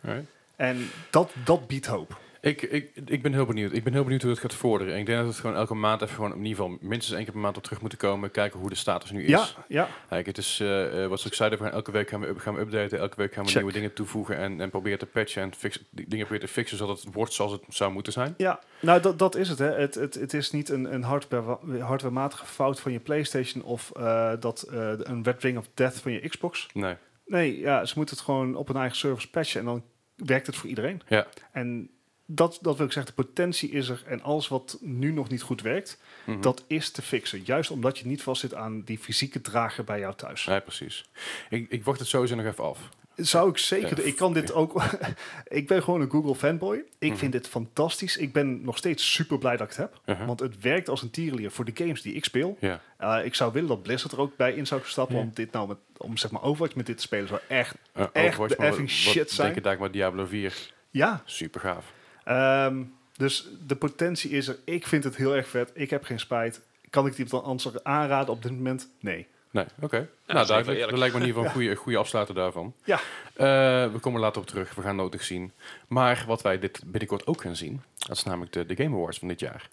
Alright. En dat, dat biedt hoop. Ik, ik, ik ben heel benieuwd. Ik ben heel benieuwd hoe het gaat vorderen. En ik denk dat we het gewoon elke maand even gewoon in ieder geval minstens één keer per maand op terug moeten komen. Kijken hoe de status nu is. Ja, ja. Kijk, het is eh, eh, wat ze ook zeiden, we gaan elke week gaan we, up- gaan we updaten. Elke week gaan we Check. nieuwe dingen toevoegen en, en proberen te patchen en fix, die dingen proberen te fixen zodat het wordt zoals het zou moeten zijn. Ja, nou dat, dat is het. Hè. Het, het. het is niet een, een hardware, hardwarematige fout van je PlayStation of eh, dat, eh, een Red Ring of Death van je Xbox. Nee. Nee, ja, ze moeten het gewoon op hun eigen service patchen en dan werkt het voor iedereen. Ja. En dat, dat wil ik zeggen, de potentie is er en alles wat nu nog niet goed werkt, Mhm. dat is te fixen. Juist omdat je niet vastzit aan die fysieke drager bij jou thuis. Nee, precies. Ik, ik wacht het sowieso nog even af. Zou ik zeker. Ja, doen. ik kan dit ook. ik ben gewoon een Google fanboy. Ik Mhm. vind dit fantastisch. Ik ben nog steeds super blij dat ik het heb. Uh-huh. Want het werkt als een tierenlier voor de games die ik speel. Ja. Eh, ik zou willen dat Blizzard er ook bij in zou stappen. Ja. Om dit nou met, om zeg maar Overwatch met dit te spelen. Zou echt. Eh, Echt Overwatch, de maar effing shit wat zijn. Denk ik daar maar Diablo 4. Ja. Super gaaf. Ehm, dus de potentie is er. Ik vind het heel erg vet. Ik heb geen spijt. Kan ik die dan anders aanraden op dit moment? Nee. Nee, oké. dat nou, is even duidelijk. eerlijk. Dat lijkt me in ieder geval een goede, goede afsluiter daarvan. Ja. Eh, we komen later op terug. We gaan nodig zien. Maar wat wij dit binnenkort ook gaan zien, dat is namelijk de, de Game Awards van dit jaar.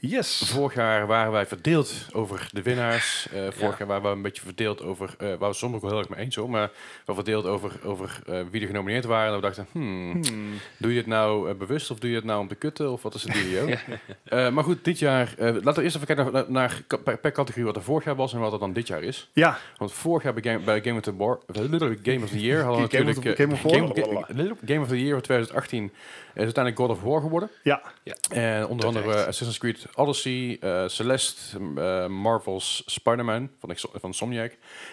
Yes. Vorig jaar waren wij verdeeld over de winnaars. Eh, vorig Ja. jaar waren we een beetje verdeeld over, eh waar we sommigen wel heel erg mee eens hoor, maar wel verdeeld over, over eh, wie er genomineerd waren. En we dachten, hmm, Hmm. Doe je het nou eh, bewust of doe je het nou om te kutten of wat is het video? maar goed, dit jaar, eh, laten we eerst even kijken naar, naar, ka- per, per categorie wat er vorig jaar was en wat er dan dit jaar is. Ja. Want vorig jaar bij Game, bij Game, of, the Bar, eh, Game of the Year hadden we Game of natuurlijk the- eh, Game of Game, War? Game- Game of the Year van 2018 is uiteindelijk God of War geworden. Ja. En onder andere Terecht. eh, Assassin's Creed Odyssey, eh, Celeste, m- eh, Marvel's Spider-Man van, Ex- van Somniac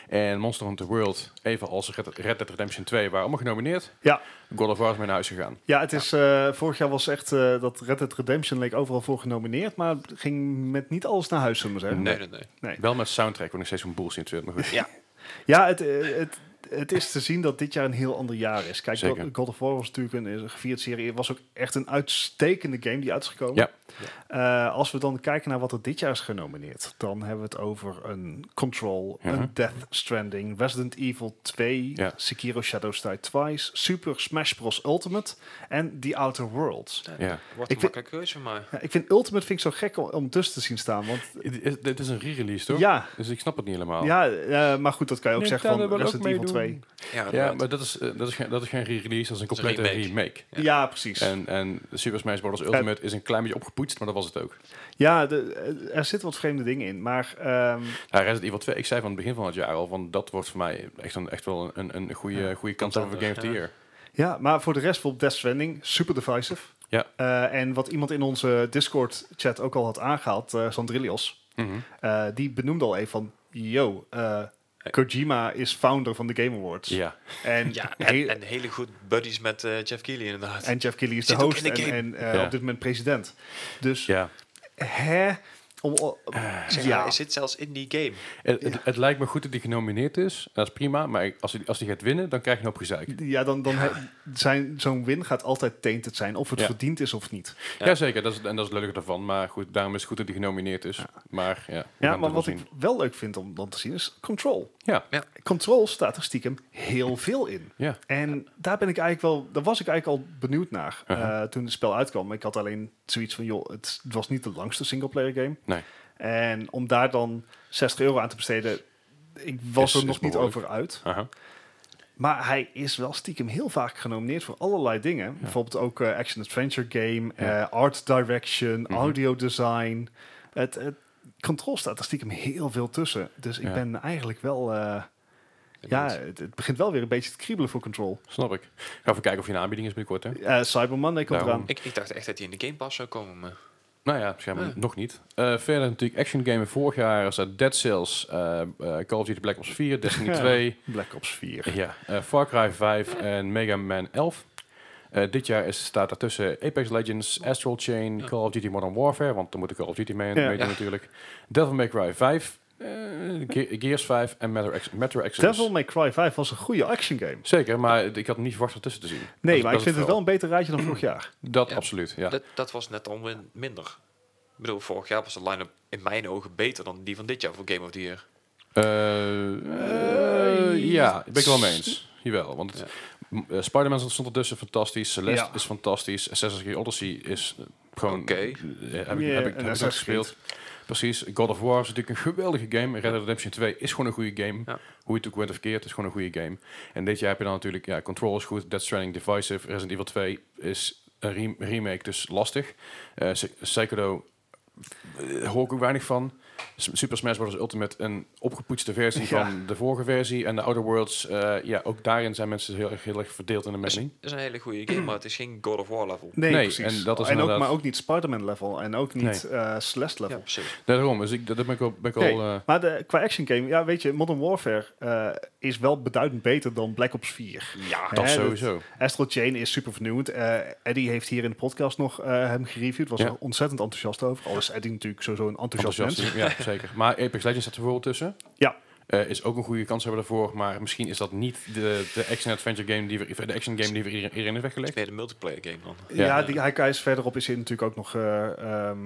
en Monster Hunter World, evenals Red, Red Dead Redemption 2 waren allemaal genomineerd. Ja. God of War is mee naar huis gegaan. Ja, het is, eh, vorig jaar was echt eh, dat Red Dead Redemption leek overal voor genomineerd, maar het ging met niet alles naar huis, zullen we zeggen. Nee, nee, nee. Wel met soundtrack, want ik steeds zo'n bullshit vind, maar goed. Ja, het, eh, het, het is te zien dat dit jaar een heel ander jaar is. Kijk, Zeker. God- God of War was natuurlijk een, is een gevierd serie. Het was ook echt een uitstekende game die uit is gekomen. Ja. Eh, als we dan kijken naar wat er dit jaar is genomineerd, dan hebben we het over een Control, Ja. een Death Stranding, Resident Evil 2, Ja. Sekiro Shadows Die Twice, Super Smash Bros. Ultimate en The Outer Worlds. Ja. Wat vind- een makkelijke keuze, maar... Ja, ik vind Ultimate vind ik zo gek om, om dus te zien staan, want Het is- Dit is een re-release, toch? ja, Dus ik snap het niet helemaal. ja eh, maar goed, dat kan je ook zeggen van Resident Evil 2. Ja, Ja, ja maar dat is, eh, dat is, geen- dat is geen re-release, dat is een Dat is een complete remake. Ja, Ja. precies. En, en Super Smash Bros. Ultimate is een klein beetje opgepoetst, maar dat was het ook. Ja, de- eh, er zitten wat vreemde dingen in. Maar ehm, Ja, Nou, Resident Evil 2, ik zei van het begin van het jaar al, van dat wordt voor mij echt, een, echt wel een, een goede, goede kans over Game of the ja. Year. ja, maar voor de rest vond Death Stranding super divisive. Ja. Eh, en wat iemand in onze Discord-chat ook al had aangehaald, eh Sandrilios, Mhm. eh, die benoemde al even van, yo, eh, Hey. Kojima is founder van de Game Awards. Ja, En, ja he- en, en hele goed buddies met eh, Jeff Keighley inderdaad. en Jeff Keighley is de Zit ook host in de en, game. en, eh, Ja. op dit moment president. Dus, ja. hè? Om, om- Ik Eh, zeg, ja. Hij zit zelfs in die game. Het, het, het lijkt me goed dat hij genomineerd is, dat is prima, maar ik- als hij, als hij gaat winnen, dan krijg je een hoop gezeik. Ja, dan, dan he- zijn, zo'n win gaat altijd tainted zijn. Of het Ja. verdiend is of niet. Ja. Jazeker, dat is, en dat is het leuke daarvan, maar goed, daarom is het goed dat hij genomineerd is. Maar ja, we gaan Ja, het maar wel wat zien. ik wel leuk vind om dan te zien is Control. Ja, Control staat er stiekem heel veel in. ja. En daar ben ik eigenlijk wel, daar was ik eigenlijk al benieuwd naar eh, Uh-huh. toen het spel uitkwam. Ik had alleen zoiets van, joh, het was niet de langste singleplayer game. Nee. En om daar dan 60 euro aan te besteden, ik was Is- er is nog niet behoorlijk. over uit. Aha. Maar hij is wel stiekem heel vaak genomineerd voor allerlei dingen. Bijvoorbeeld ook eh, Action Adventure Game, Ja. eh, Art Direction, Mhm. Audio Design. Het, het control staat er stiekem heel veel tussen. Dus ik Ja. ben eigenlijk wel. eh, ja, het, het begint wel weer een beetje te kriebelen voor control. Snap ik. Ga even kijken of je een aanbieding is binnenkort, hè? Eh Cyber Monday komt Daarom. eraan. Ik, ik dacht echt dat hij in de Game Pass zou komen. Maar Nou ja, schijnbaar Ja. nog niet. Eh, verder natuurlijk action games. Vorig jaar is dat Dead Cells, eh, eh, Call of Duty Black Ops 4, Destiny Ja. 2, Black Ops 4. ja, eh, Far Cry 5 en Mega Man 11. Eh, dit jaar is, staat daartussen Apex Legends, Astral Chain, Ja. Call of Duty Modern Warfare, want dan moet de Call of Duty mee, Ja. meedoen Ja. natuurlijk. Devil May Cry 5, eh, Ge- Gears 5 en Metro, Ex Metro Exodus. Devil May Cry 5 was een goede action game. Zeker, maar ik had hem niet verwacht ertussen te zien. Dat Nee, is- maar ik dat is vind het wel een beter rijtje dan vorig jaar. Dat Ja. absoluut, ja. dat, dat was net al min- minder. Ik bedoel, vorig jaar was de line-up in mijn ogen beter dan die van dit jaar voor Game of the Year. Eh, eh, ja, daar ben ik wel mee eens. Jawel, want Ja. m- eh, Spider-Man stond ertussen fantastisch, Celeste Ja. is fantastisch, Assassin's Creed Odyssey is eh, gewoon... Oké. eh, heb ik, Ja, heb ik, en heb ik nog Assassin's gespeeld. Precies, God of War is natuurlijk een geweldige game. Red Dead Redemption 2 is gewoon een goede game. Ja. Hoe je het ook went of verkeerd, is gewoon een goede game. En dit jaar heb je dan natuurlijk, ja, Control is goed, Dead Stranding, Divisive, Resident Evil 2 is een re- remake, dus lastig. Eh Psy- Psychodo eh, hoor ik ook weinig van. S- Super Smash Bros. Ultimate een opgepoetste versie Ja. van de vorige versie. En de Outer Worlds, eh, ja, ook daarin zijn mensen heel, erg- heel erg verdeeld in de Het is, mening. is een hele goede game, maar het is geen God of War level. Nee, Nee, precies. en dat is ook, inderdaad- maar ook niet Spider-Man level en ook niet eh Celeste Ja, level. precies. Daarom, dus ik, dat ben ik al... Ben ik Nee, al eh, Maar de, qua action game, ja, weet je, Modern Warfare eh, is wel beduidend beter dan Black Ops 4. Ja, Hè, Ah, dat dat- sowieso. Astral Chain is super vernieuwend. Eh Eddie heeft hier in de podcast nog eh, hem gereview. Was Ja. er ontzettend enthousiast over. Al is Eddie natuurlijk sowieso een enthousiast, Enthousiast, mens. ja, zeker. Maar Apex Legends staat er bijvoorbeeld tussen. Ja. Eh, is ook een goede kans hebben daarvoor, maar misschien is dat niet de, de action-adventure game die we, de action game die we hier- hierin is Het is weggelegd. meer de multiplayer game dan. Ja, Ja. die, hij, hij is verderop is hij natuurlijk ook nog eh, ehm,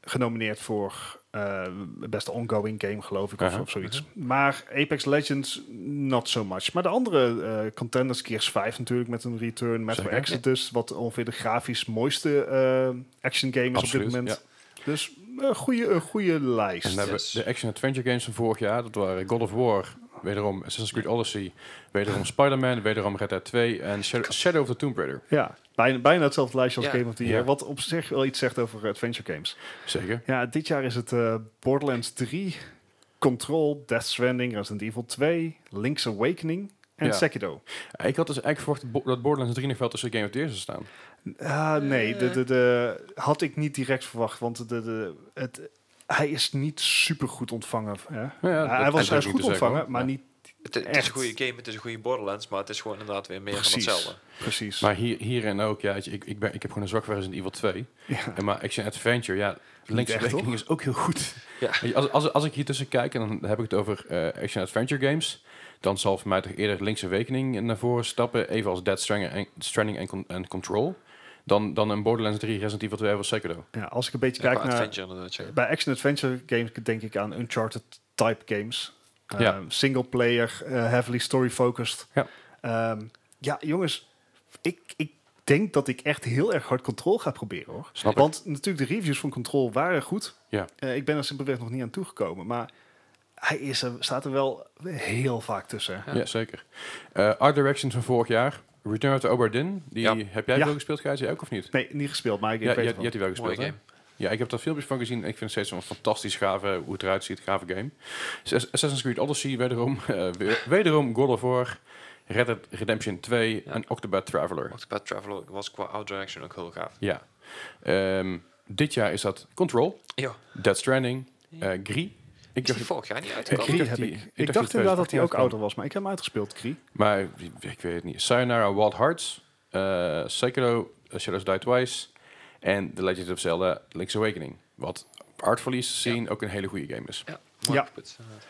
genomineerd voor eh, beste ongoing game, geloof ik, of- Aha. of, zoiets. Uh-huh. Maar Apex Legends, not so much. Maar de andere eh, contenders, Gears 5 natuurlijk met een return, Metro Zeker. Exodus, wat ongeveer de grafisch mooiste eh, action game is op Absoluut, dit moment. Dus een goede, een goede lijst. En eh, dan hebben we Yes. de action-adventure games van vorig jaar. Dat waren God of War, wederom Assassin's Creed Odyssey, wederom Spider-Man, wederom Red Dead 2 en Shadow, Shadow of the Tomb Raider. Ja, bijna, bijna hetzelfde lijstje als Ja. Game of the Ja. Year. Wat op zich wel iets zegt over adventure games. Zeker. Ja, dit jaar is het eh, Borderlands 3, Control, Death Stranding, Resident Evil 2, Link's Awakening en Ja. Sekiro. Ik had dus eigenlijk verwacht bo- dat Borderlands 3 nog wel tussen Game of the Year zou staan. Ah, nee, de, de, de, had ik niet direct verwacht, want de, de, het, hij is niet super goed ontvangen. Hè? dat- hij dat zou was hij ik is goed moeten ontvangen, zeggen, maar hoor. niet Het, het is Echt. een goede game, het is een goede Borderlands, maar het is gewoon inderdaad weer meer precies. van hetzelfde. Precies. Maar hier, hierin ook, ja, weet je, ik, ik, ben, ik heb gewoon een zwak voor Resident Evil 2. ja. En maar action-adventure, ja, Link's echt, Awakening is ook heel goed. Ja. Weet je, Als, als, als ik hier tussen kijk, en dan heb ik het over eh, action-adventure games, dan zal voor mij toch eerder linkse rekening naar voren stappen, even als Dead Stranding en, Stranding en, Con- en Control, dan, dan een Borderlands 3, Resident Evil 2 of Sekiro. Ja, als ik een beetje Kijk kijk naar... Adventure inderdaad, ja. Bij action-adventure games denk ik aan Uncharted-type games. Eh, Ja. Single-player, eh, heavily story-focused. Ja. Ehm, ja, jongens, ik, ik denk dat ik echt heel erg hard Control ga proberen, hoor. Snap ik. Want natuurlijk, de reviews van Control waren goed. Ja. Eh, ik ben er simpelweg nog niet aan toegekomen, maar... Hij is er, staat er wel heel vaak tussen. Ja, zeker. Eh, Art Directions van vorig jaar, Return to Oberdin, die Ja. heb jij Ja. wel gespeeld, Gijs, jij ook of niet? Nee, niet gespeeld, maar ik Ja, ik je, weet je het wel. hebt die wel Mooie gespeeld, hè? game. Ja, ik heb daar filmpjes van gezien. en Ik vind het steeds een fantastisch gave, hoe het eruit ziet, gave game. Ass- Assassin's Creed Odyssey, wederom, eh, weer- wederom God of War, Red Dead Redemption 2 Ja. en Octopath Traveler. Octopath Traveler was qua Out Direction ook heel gaaf. Ja. Ehm, dit jaar is dat Control, Ja, Dead Stranding, eh Gris. Ik ik dacht dacht, die vorig jaar niet Ik- Kree uitgekomen. dacht heb die- ik. ik dacht Ik die dacht inderdaad dat hij ook 2018 ouder was, maar ik heb hem uitgespeeld, Kree. maar ik weet het niet. Sayonara Wild Hearts, eh Sekiro, eh, Shadows Die Twice en The Legend of Zelda Link's Awakening. Wat artverlies zien ook een hele goede game is. Ja, Ja. mooi geput, inderdaad.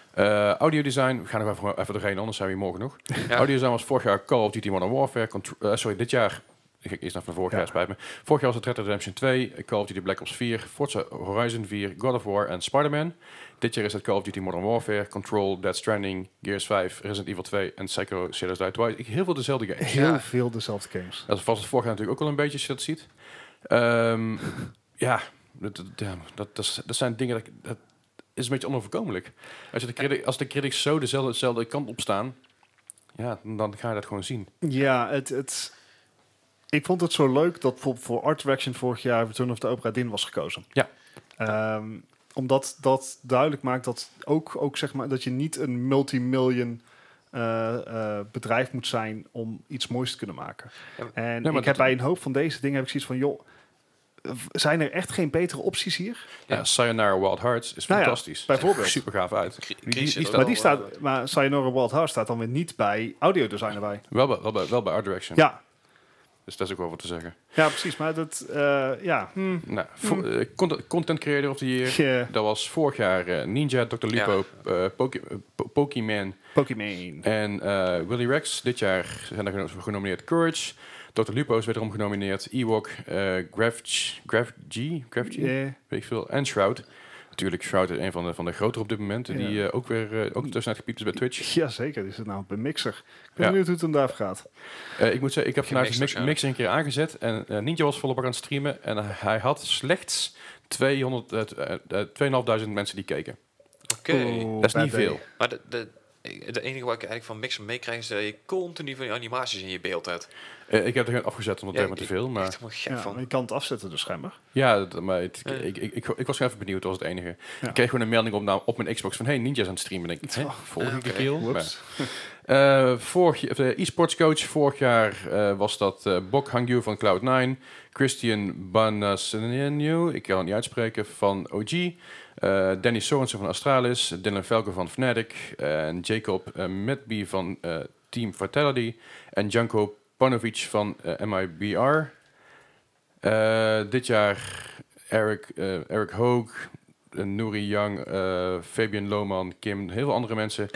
Eh audiodesign, we gaan nog even, even doorheen, anders zijn we hier morgen nog. Ja. Audiodesign was vorig jaar Call of Duty Modern Warfare. Contr- eh, sorry, dit jaar. Ik ga eerst naar van vorig Ja. jaar, spijt me. Vorig jaar was het Red Dead Redemption 2, eh, Call of Duty Black Ops 4, Forza Horizon 4, God of War en Spider-Man. Dit jaar is het Call of Duty Modern Warfare, Control, Dead Stranding, Gears 5, Resident Evil 2 en Sekiro Shadows Die Twice. Ik- Heel veel dezelfde games. Heel Ja. veel dezelfde games. Dat was het vorig jaar natuurlijk ook al een beetje, als je dat ziet. Ehm, ja, dat, dat, ja, dat, dat, is- dat zijn dingen dat, ik- dat is een beetje onoverkomelijk. Als, je de critics, als de critics zo dezelfde, dezelfde kant op staan, ja, dan ga je dat gewoon zien. Ja, het, het, ik vond het zo leuk dat bijvoorbeeld voor Art Direction vorig jaar Return of the Opera Dinn was gekozen. Ja. Ehm, omdat dat duidelijk maakt dat, ook, ook zeg maar, dat je niet een multimillion eh, eh, bedrijf moet zijn om iets moois te kunnen maken. Ja, maar- En Ja, maar ik heb dat- bij een hoop van deze dingen heb ik zoiets van, joh, v- zijn er echt geen betere opties hier? Ja. Sayonara Wild Hearts is Nou ja, fantastisch. bijvoorbeeld. Super gaaf uit. Cri- Die- die- Chris die zit staat- er Maar die wel, staat, maar Sayonara Wild Heart staat dan weer niet bij audiodesign erbij. Wel bij, wel, bij, wel bij Art Direction, Ja, dus dat is ook wel wat te zeggen. ja precies. Maar dat, eh, ja. hm, Nou, vo- eh, content, content Creator of the Year, je- dat was vorig jaar eh, Ninja, Dr. Lupo, eh, Poké- eh, Po- Pokémon, Pokémon. En eh, Willy Rex, dit jaar zijn er geno- genomineerd Courage. Dr. Lupo is wederom genomineerd. Ewok, eh Graf G, Graf G, Graf G? Eh, weet ik veel. En Shroud. Natuurlijk, Shroud is een van de, van de grotere op dit moment. Ja. Die eh, ook weer eh, ook tussenuit gepiept is bij Twitch. Jazeker, die zit nou op een mixer. Ik ben Ja. benieuwd hoe het hem daar gaat. Eh, ik moet zeggen, ik heb Geen vandaag de mix, mixers, ja. mixer een keer aangezet. En eh, Ninja was volop aan het streamen. En hij had slechts 200, eh, t- eh, eh, 2.500 mensen die keken. eh, Oké. Oeh, dat is bad niet day. veel. Maar de, de, de enige wat ik eigenlijk van Mixer meekrijg is dat je continu van die animaties in je beeld hebt. Eh, ik heb er geen afgezet, omdat Ja, het helemaal ik- te veel. Maar... Echt helemaal gek Ja, van. maar je kan het afzetten dus schijnbaar. Ja, dat- maar het- Ja. Ik, ik, ik, ik was gewoon even benieuwd, dat was het enige. Ja. Ik kreeg gewoon een melding op, nou, op mijn Xbox van, hey, Ninja's aan het streamen. En ik, hè, Oh, volg ik de oké. keel? Whoops. Maar, eh, vorig jaar- of de e-sports coach vorig jaar eh, was dat eh, Bok Hangyu van Cloud9, Christian Banasenu, ik kan het niet uitspreken, van OG, eh, Danny Sorensen van Astralis, Dylan Velko van Fnatic, eh, en Jacob eh, Medby van eh, Team Vitality en Janko Panovic van eh, MIBR. Eh, dit jaar Eric, eh, Eric Hoog, eh, Nouri Yang, eh, Fabian Lohman, Kim, heel veel andere mensen.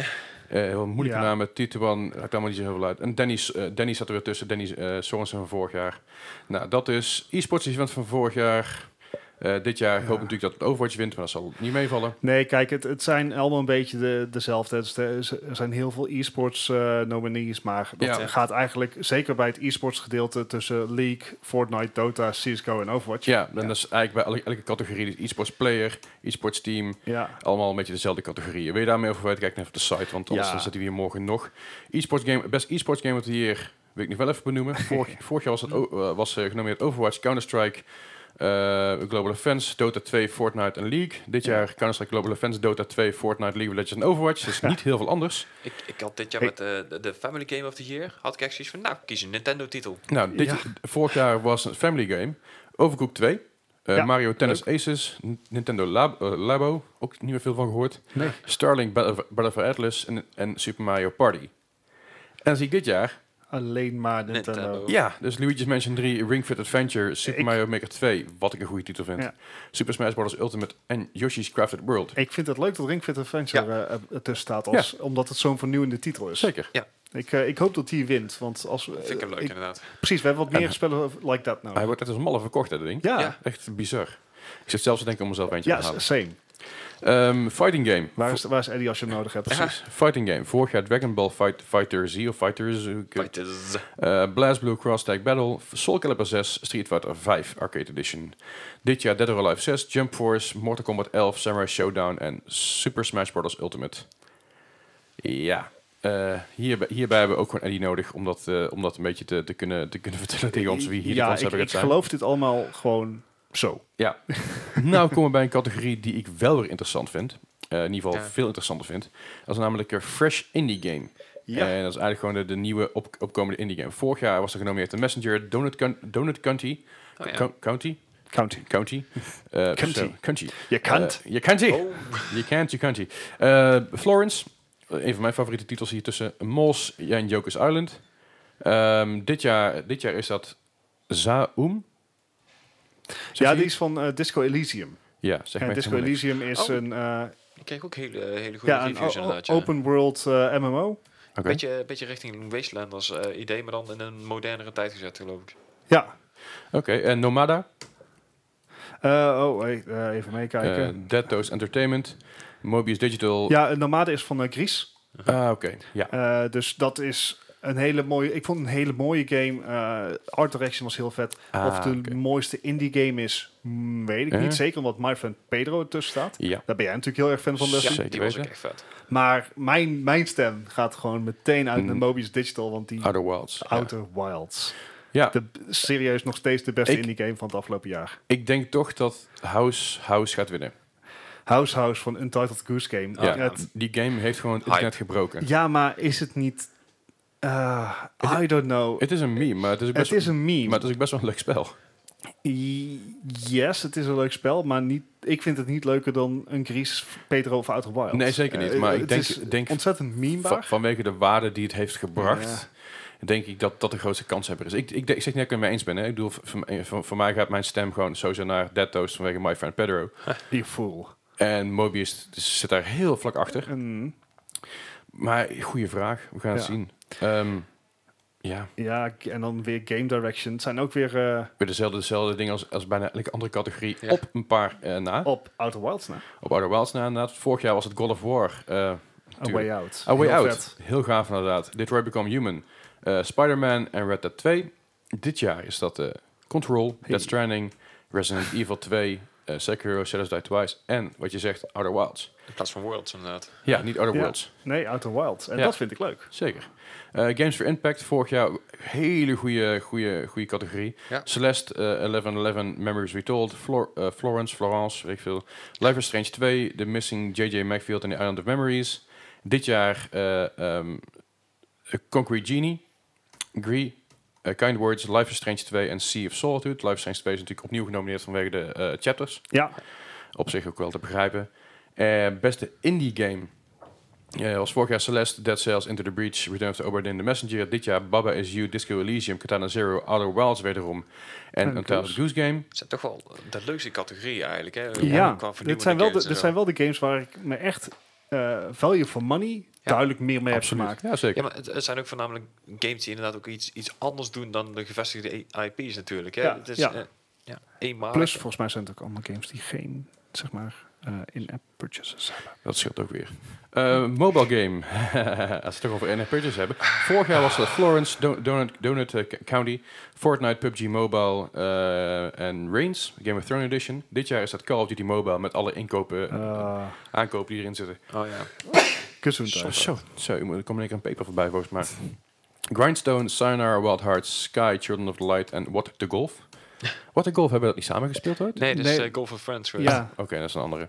Eh, heel moeilijke Ja. namen. Tituan, raakt allemaal niet zo heel veel uit. En Danny, S- eh, Danny zat er weer tussen, Danny eh, Sorensen van vorig jaar. Nou, dat is e-sports event van vorig jaar. Eh, dit jaar, ik hoop Ja. natuurlijk dat het Overwatch wint, maar dat zal niet meevallen. Nee, kijk, het, het zijn allemaal een beetje de, dezelfde. Dus er is- er zijn heel veel e-sports eh, nominees, maar dat Ja. gaat eigenlijk, zeker bij het e-sports gedeelte tussen League, Fortnite, Dota, CSGO en Overwatch. Ja, en dat is eigenlijk bij elke, elke categorie, dus e-sports player, e-sports team, Ja. Uitkijken Allemaal een beetje dezelfde categorieën. Wil je daarmee over verder kijken? Even op de site, want anders Ja. dan zitten we hier morgen nog. E-sports game, best e-sports game of the year wil ik nog wel even benoemen. Vorig, vorig jaar was, dat, o- eh, was eh, genomineerd Overwatch, Counter-Strike, eh, Global Offense, Dota 2, Fortnite en League. Dit Ja. jaar Counter-Strike, Global Offense, Dota 2, Fortnite, League of Legends en Overwatch. Dus niet heel veel anders. Ik, ik had dit jaar Ik- met eh, de, de Family Game of the Year, had ik echt zoiets van, nou, kies een Nintendo-titel. Nou, dit, Ja. vorig jaar was een family game. Overcooked 2, eh, Ja, Mario Tennis Aces, N- Nintendo Lab- eh, Labo, ook niet meer veel van gehoord. Nee. Starlink Battle, Battle for Atlas en, en Super Mario Party. En dan zie ik dit jaar alleen maar Nintendo. Nintendo. Ja, dus Luigi's Mansion 3, Ring Fit Adventure, Super Oh. Ik- Mario Maker 2, wat ik een goede titel vind. Ja. Super Smash Bros. Ultimate en Yoshi's Crafted World. Ik vind het leuk dat Ring Fit Adventure eh, eh, tussen staat, als, omdat het zo'n vernieuwende titel is. Zeker. Ik, eh, ik hoop dat die wint, want als we... Vind Eh, ik hem leuk, ik- inderdaad. precies, we hebben wat En- meer spellen like that nodig. Hij wordt net als een malle verkocht, hè, dat ding. Oh. ja, ja, Ja. Echt bizar. Ik zit zelfs te denken om mezelf eentje te halen. same. Ehm, fighting game. Waar is, waar is Eddie als je hem nodig hebt? Precies. Fighting game. Vorig jaar Dragon Ball Fight, Fighter Z of Fighters. eh, ik- Fighters. eh, Blast Blue Cross Tag Battle. Soul Calibur 6. Street Fighter 5 Arcade Edition. Dit jaar Dead or Alive 6. Jump Force. Mortal Kombat 11. Samurai Showdown. En Super Smash Bros. Ultimate. Ja. Eh, hierbij, hierbij hebben we ook gewoon Eddie nodig. Om dat, eh, om dat een beetje te, te, kunnen, te kunnen vertellen tegen ons. Wie hier de ja, kans ik, hebben ik zijn. geloof dit allemaal gewoon zo. Ja. nou komen we bij een categorie die ik wel weer interessant vind. Eh, in ieder geval Ja. veel interessanter vind. Dat is namelijk een fresh indie game. En dat is eigenlijk gewoon de, de nieuwe op, opkomende indie game. Vorig jaar was er genomineerd de Messenger, Donut, Coun- Donut County. Oh, ja. Co- County? County. County? Eh, County. zo, County. Je kan. Eh, je County. Oh, Je kent, je kent die. Eh, Florence, eh, een van mijn favoriete titels hier tussen Moss en Joker's Island. Ehm, dit, jaar, dit jaar is dat Zaum. Zeg ja, je die is van eh, Disco Elysium. Ja, zeg en maar. Disco Elysium is Oh. een, eh, ik kreeg ook hele, hele goede ja, een reviews o- o- inderdaad. ja. open world eh, MMO. Beetje, beetje richting Wastelanders eh idee, maar dan in een modernere tijd gezet, geloof ik. Ja. Oké, en Nomada, Eh, oh, hey, eh, even eh meekijken. Dead Toast Entertainment, Mobius Digital. ja, een Nomade is van eh, Gries. Ah, oké. Ja. Eh, dus dat is een hele mooie... Ik vond een hele mooie game. Eh, art direction was heel vet. Ah, of het de oké. mooiste indie game is, mm, weet ik Eh? niet zeker. Omdat My Friend Pedro ertussen staat. Ja. Daar ben jij natuurlijk heel erg fan van, Leslie. ja, zeker die was ook weten. echt vet. Maar mijn, mijn stem gaat gewoon meteen uit naar Mm. Mobius Digital, want die Outer Wilds. ja. Outer Wilds. Ja. De, serieus nog steeds de beste Ik- indie game van het afgelopen jaar. Ik denk toch dat House House gaat winnen. House House van Untitled Goose Game. ja. Het- Die game heeft gewoon het Hype. internet gebroken. ja, maar is het niet... eh, I don't know. Het is een meme, maar het is ook best, Het is een meme. maar het is ook best wel een leuk spel. I- Yes, het is een leuk spel, maar niet, ik vind het niet leuker dan een Gries, Pedro of Outer Wilds. Nee, zeker niet, Eh, maar ik het denk- is denk- ontzettend Va- memebaar. vanwege de waarde die het heeft gebracht, denk ik dat dat de grootste kanshebber is. Ik, ik, ik zeg niet dat ik het mee eens ben. Hè. Ik bedoel, voor, voor, voor mij gaat mijn stem gewoon sowieso naar Dead Toast vanwege My Friend Pedro. Die fool. En Mobius dus zit daar heel vlak achter. Mm. Maar goede vraag, we gaan het Ja. zien. Ehm, ja, Ja, en dan weer Game Direction. Het zijn ook weer eh, weer dezelfde, dezelfde ding als, als bijna elke andere categorie Ja. op een paar eh, na. op Outer Wilds nou. na. Op Outer Wilds na inderdaad. Vorig jaar was het God of War. eh, A Tuurlijk. Way Out. A Way Heel Out. vet. Heel gaaf inderdaad. Detroit Become Human. eh, Spider-Man en Red Dead 2. Dit jaar is dat eh, Control, Hey. Dead Stranding, Resident Evil 2, eh Sekiro, Shadows Die Twice en wat je zegt, Outer Wilds. In plaats van Worlds, inderdaad. Ja, niet Outer Ja. Worlds. Nee, Outer Wilds. En Ja. dat vind ik leuk. Zeker. Eh, Games for Impact, vorig jaar hele goede, goede, goede categorie. Ja. Celeste, eh, 1111, Memories Retold, Flor- eh, Florence, Florence, weet ik veel. Life is Strange 2, The Missing J.J. Macfield en The Island of Memories. Dit jaar eh ehm, Concrete Genie, Gree, eh, Kind Words, Life is Strange 2 en Sea of Solitude. Life is Strange 2 is natuurlijk opnieuw genomineerd vanwege de eh, chapters. Ja, Op zich ook wel te begrijpen. Eh, beste indie game. Eh was vorig jaar Celeste, Dead Cells, Into the Breach, Return of the Obra Dinn, The Messenger. Dit jaar Baba Is You, Disco Elysium, Katana Zero, Outer Wilds wederom. En En een Tales Goose Game. Het zijn toch wel de leukste categorieën eigenlijk, hè? ja. Qua dit, vernieuwende zijn wel games de, en dit zo. zijn wel de games waar ik me echt eh, value for money duidelijk meer mee heb gemaakt. Ja, zeker. Ja, maar het, het zijn ook voornamelijk games die inderdaad ook iets, iets anders doen dan de gevestigde I- IP's natuurlijk, hè? Ja, het is, ja. eh, ja, eenmalig. Plus, volgens mij zijn het ook allemaal games die geen, zeg maar, eh, in-app purchases hebben. Dat scheelt ook weer. Eh, mobile game. Als we het toch over NFP's hebben. Vorig jaar was dat Florence, Don- Donut, Donut eh, K- County, Fortnite, PUBG Mobile eh, en Reigns, Game of Thrones Edition. Dit jaar is dat Call of Duty Mobile met alle inkopen, Eh aankopen die erin zitten. Oh ja. Kussen Oh, Zo, zo, ik moet- er komt in één keer een paper voorbij volgens mij. Grindstone, Sayonara, Wild Hearts, Sky, Children of the Light en What the Golf. What the Golf, hebben we dat niet samen gespeeld ooit? Nee, dus Nee. eh, Golf of Friends. geweest. Ja, Oké, dat is een andere.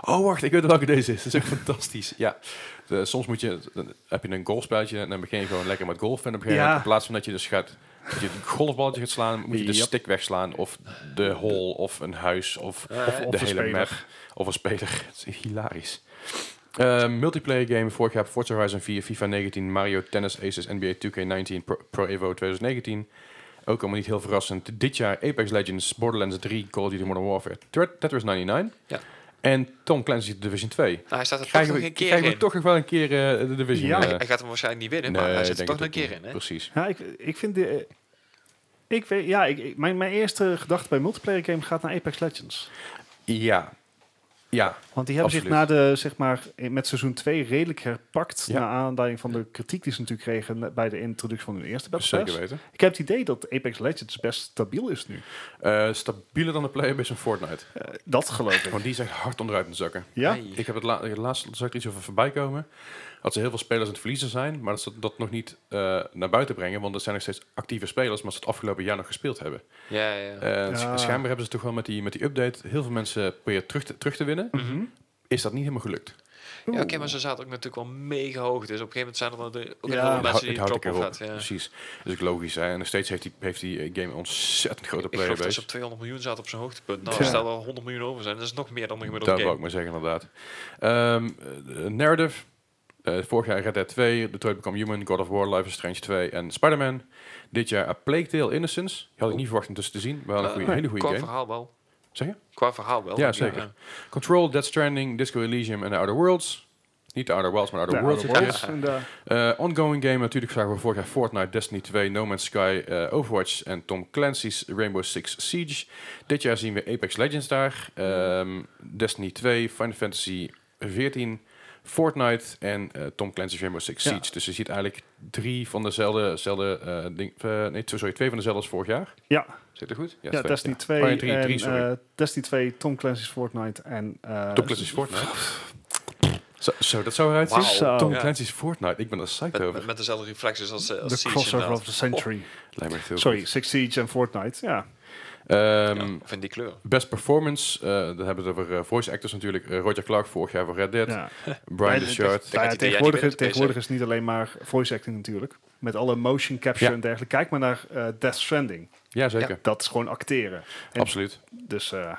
Oh, wacht, ik weet welke deze is. Dat is echt fantastisch. Ja, De- soms moet je, dan heb je een golfspelletje en dan begin je gewoon lekker met golf. En op een gegeven moment, Ja. in plaats van dat je dus gaat, dat je het golfballetje gaat slaan, moet je de Yep. stick wegslaan of de hole of een huis of Eh, of de hele een speler. map of een speler. Het is hilarisch. Eh, multiplayer game vorig jaar Forza Horizon 4, FIFA 19, Mario Tennis Aces, NBA 2K19, Pro, Pro Evo 2019. Ook allemaal niet heel verrassend. Dit jaar Apex Legends, Borderlands 3, Call of Duty Modern Warfare, Tet- Tetris 99. Ja. En Tom Clancy's Division 2. Nou, hij staat er toch Krijgen nog we, een keer krijgen we in. toch nog wel een keer eh, de Division? Ja. eh, Hij- Hij gaat hem waarschijnlijk niet winnen, maar nee, hij ik zit er denk toch nog een het keer ook in. Hè? niet. Precies. Ja, ik, ik vind... De, eh, ik weet, ja, ik- ik, mijn, mijn eerste gedachte bij multiplayer game gaat naar Apex Legends. Ja. Ja, Want die hebben zich na Absoluut. de, zeg maar, in- met seizoen 2 redelijk herpakt. Ja. Naar aanleiding van de kritiek die ze natuurlijk kregen bij de introductie van hun eerste Battle zeker Pass. weten. Ik heb het idee dat Apex Legends best stabiel is nu. Eh, stabieler dan de playerbase van Fortnite. Eh, dat geloof ik. Want die is echt hard onderuit in de zakken. Ja? Ai. Ik heb het la- laatst zag ik er iets over voorbij komen. Dat ze heel veel spelers aan het verliezen zijn, maar dat ze dat nog niet eh, naar buiten brengen. Want er zijn nog steeds actieve spelers, maar ze het afgelopen jaar nog gespeeld hebben. Ja, ja, ja. Eh, sch- Ja. Schijnbaar hebben ze toch wel met die, met die update heel veel mensen proberen terug te, terug te winnen. Mhm. Is dat niet helemaal gelukt? Ja, Oké, Oeh. maar ze zaten ook natuurlijk wel mega hoog. Dus op een gegeven moment zijn er dan de- Ja. ook heel veel Het hou- mensen die houdt drop-off een keer gaat. Ja. Precies. Dat is ook logisch. Hè? En nog steeds heeft die, heeft die eh, game een ontzettend grote Ik geloof dat ze playerbase. op 200 miljoen zaten op zijn hoogtepunt. Nou, Ja. stel dat er 100 miljoen over zijn, dat is nog meer dan de gemiddelde Dat wou ik game. maar zeggen, inderdaad. Ehm, eh, narrative. Eh, vorig jaar Red Dead 2, Detroit Become Human, God of War, Life is Strange 2 en Spider-Man. Dit jaar A Plague Tale Innocence. Die had ik niet verwacht om tussen te zien. Wel een Eh, goeie- hele goede Qua game. verhaal wel. Zeg je? Qua verhaal wel. Ja, zeker. Control, Dead Stranding, Disco Elysium en The Outer Worlds. Niet The Outer Worlds, maar The Ja, Outer Worlds. Outer dit Worlds, inderdaad. keer. Eh, ongoing game. Natuurlijk zagen we vorig jaar Fortnite, Destiny 2, No Man's Sky, eh, Overwatch en Tom Clancy's Rainbow Six Siege. Dit jaar zien we Apex Legends daar. ehm, Destiny 2, Final Fantasy 14, Fortnite en eh, Tom Clancy's Rainbow Six Ja. Siege. Dus je ziet eigenlijk drie van dezelfde, dezelfde eh, ding, eh, nee, t- sorry, twee van dezelfde als vorig jaar. Ja, Zit er goed? ja twee. Destiny Oh, ja, 2, drie, en, drie, sorry. eh, Destiny 2, Tom Clancy's Fortnite en... eh, Tom Clancy's Fortnite. Zo, zo, dat zou eruit zien. Wauw. Zo. Tom Ja. Clancy's Fortnite. Ik ben er psyched Met, over. met, met dezelfde reflexes als, eh, als De Siege crossover inderdaad. of the Oh. century. Lijkt me echt heel Sorry, goed. Six Siege en Fortnite. Ja, Ehm, Ja, Oh, of in die kleur. Best performance. eh dan hebben we het over eh, voice actors natuurlijk. Eh, Roger Clark vorig jaar voor Red Dead. ja. Brian Nee, Deshart. Nou ja, die- tegenwoordig, die- die- tegenwoordig is het niet alleen maar voice acting natuurlijk. Met alle motion capture Ja. en dergelijke. Kijk maar naar eh, Death Stranding. Ja, zeker. Dat is gewoon acteren. En- Absoluut. Dus eh, Eh,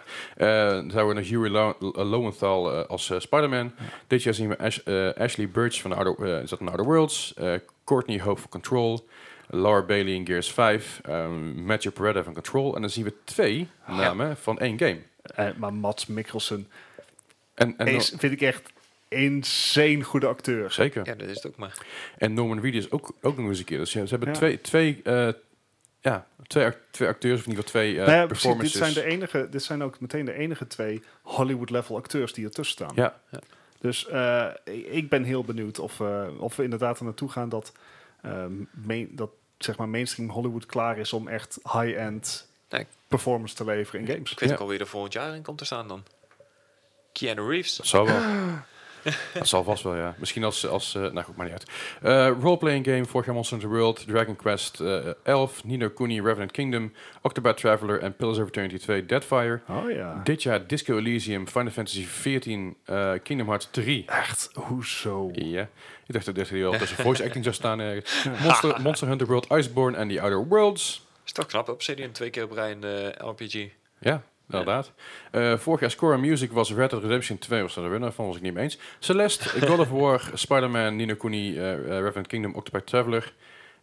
dan zouden we nog Yuri Lo- Lo- Lowenthal eh, als eh, Spider-Man. Dit jaar zien we Ash- eh, Ashley Birch van Outer, eh, is dat een Outer Worlds. Eh, Courtney Hope van Control. Laura Bailey in Gears 5. ehm Matthew Peretta van Control. En dan zien we twee namen van één game. eh, maar Mats Mikkelsen En, en is, vind ik echt insane goede acteur. Zeker. Ja, dat is het ook maar. En Norman Reedus ook, ook nog eens een keer. Dus ja, ze hebben Ja. twee, twee, eh, ja, twee, act- twee acteurs, of in ieder geval twee eh, nou ja, precies, dit performances. zijn, de enige, dit zijn ook meteen de enige twee Hollywood-level acteurs die ertussen staan. Ja. Dus eh, ik- ik ben heel benieuwd of, eh, of we inderdaad er naartoe gaan dat, eh, main- dat zeg maar mainstream Hollywood klaar is om echt high-end Nee. performance te leveren in games. Nou, Ik weet Ja. ook alweer er volgend jaar in komt te staan dan. Keanu Reeves. Dat zal wel. dat zal vast wel, ja. Misschien als... als eh, nou goed, maar niet uit. Eh, Roleplaying game, vorig jaar Monster Hunter World, Dragon Quest eh, 11, Nino Kuni, Revenant Kingdom, Octopath Traveler en Pillars of Eternity 2, Deadfire. Oh ja. Dit jaar Disco Elysium, Final Fantasy 14, eh, Kingdom Hearts 3. Echt, hoezo? Ja, ik dacht dat dit hier al tussen voice acting zou staan. ergens. Monster, Monster Hunter World, Iceborne en The Outer Worlds. Is toch knap, Obsidian twee keer op rij in de RPG. Ja, inderdaad. Eh, vorig jaar Score Music was Red Dead Redemption 2, was daar de winnaar van, was ik niet mee eens. Celeste, God of War, Spider-Man, Nino Kuni, eh, eh, Revenant Kingdom, Octopath Traveler.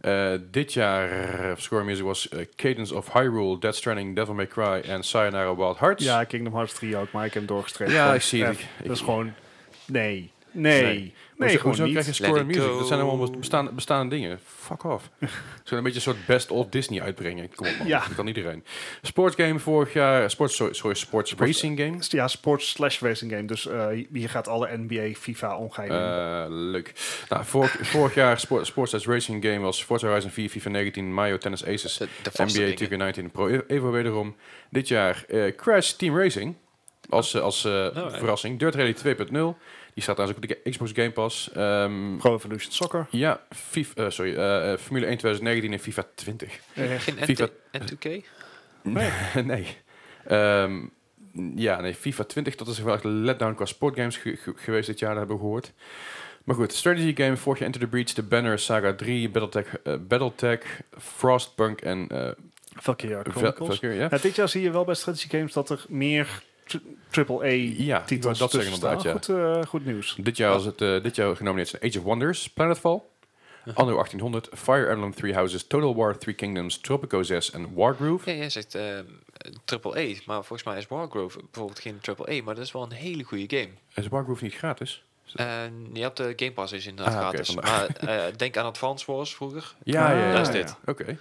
Eh, dit jaar eh, Score Music was eh, Cadence of Hyrule, Dead Stranding, Devil May Cry en Sayonara Wild Hearts. Ja, Kingdom Hearts 3 ook, maar ik heb hem doorgestreept. Ja, Gewoon, ik zie het. eh, Ik- Dat is ik- gewoon, nee, nee, nee, Hoezo- gewoon hoezo niet. krijg je Let Score it Music? go. Dat zijn allemaal bestaande, bestaande dingen. Fuck off. Ze een beetje een soort best of Disney uitbrengen. Kom op man, Ja. dat kan iedereen. Sportgame vorig jaar, sports, sorry, sorry, sports racing game. Ja, sports slash racing game. Dus eh, je gaat alle NBA, FIFA omgaan. Eh, leuk. Nou, vorig, vorig jaar sport, sports as racing game was Forza Horizon 4, FIFA 19, Mario Tennis Aces, De, de vaste NBA dingen. 2K19 Pro E- Evo wederom. Dit jaar eh, Crash Team Racing als, eh, als eh, Oh, ja. verrassing. Dirt Rally 2.0, die staat trouwens ook op de Ga- Xbox Game Pass. Ehm, Pro Evolution Soccer. ja, FIFA, eh, sorry, eh, eh, Formule 1 2019 en FIFA 20. Eh, Geen FIFA. N2- N2K? nee. Ehm, ja, nee, FIFA 20, dat is wel echt een letdown qua sportgames ge- ge- geweest dit jaar, dat hebben we gehoord. Maar goed, strategy game, vorig jaar Enter the Breach, The Banner, Saga 3, Battletech, eh, Battletech Frostpunk en eh, Fuck yeah, Val- Chronicles. Valkyrie, ja? Nou, dit jaar zie je wel bij strategy games dat er meer Ja, ik wou triple-A-titels dat zeggen tussen inderdaad, staan. Goed, eh, goed nieuws. Dit jaar, was het, eh, dit jaar genomineerd zijn Age of Wonders, Planetfall, Anno 1800, Fire Emblem Three Houses, Total War Three Kingdoms, Tropico 6 en Wargroove. Ja, jij zegt eh, triple A, maar volgens mij is Wargrove bijvoorbeeld geen triple A, maar dat is wel een hele goede game. Is Wargroove niet gratis? Eh, je hebt de Game Pass is inderdaad Ah, oké, gratis. vandaar. Maar eh, denk aan Advance Wars vroeger. Ja, ja, ja. dat is ja. dit. Oké.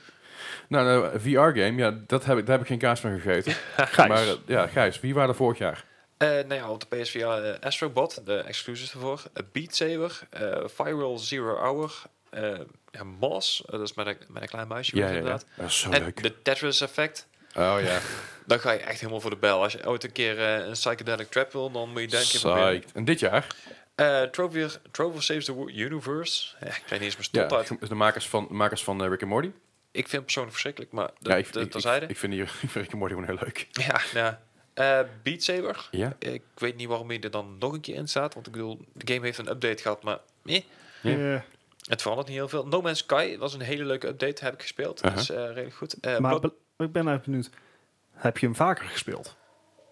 Nou, nou VR-game, ja, dat heb ik, daar heb ik geen kaas van gegeten. Gijs. Maar eh, ja, Gijs, wie waren er vorig jaar? Eh, nou ja, op de PSVR eh, Astrobot, de exclusives ervoor. eh, Beat Saber, eh Firewall Zero Hour, eh ja, Moss, eh, dat is met een, met een klein muisje Ja, ja, ja. inderdaad. Dat is zo En leuk. de Tetris Effect, Oh ja, dan ga je echt helemaal voor de bel. Als je ooit een keer eh, een psychedelic trap wil, dan moet je denk ik proberen. psyched. En dit jaar, Eh, Trover Trover Saves the Wo- Universe. Eh, ik weet niet eens mijn stond ja, uit. de makers van, de makers van eh, Rick and Morty. Ik vind het persoonlijk verschrikkelijk, maar dat ja, ik, dat- ik, dat ik, zeiden. ik vind hier, ik vind Rick and Morty gewoon heel leuk. Ja, ja. Eh, Beat Saber. Ja? Ik weet niet waarom je er dan nog een keer in staat. Want ik bedoel, de game heeft een update gehad, maar eh, Ja. Eh, het verandert niet heel veel. No Man's Sky was een hele leuke update, heb ik gespeeld. Uh-huh. Dat is eh, redelijk goed. Eh, maar Blood- be- ik ben eigenlijk benieuwd. Heb je hem vaker gespeeld?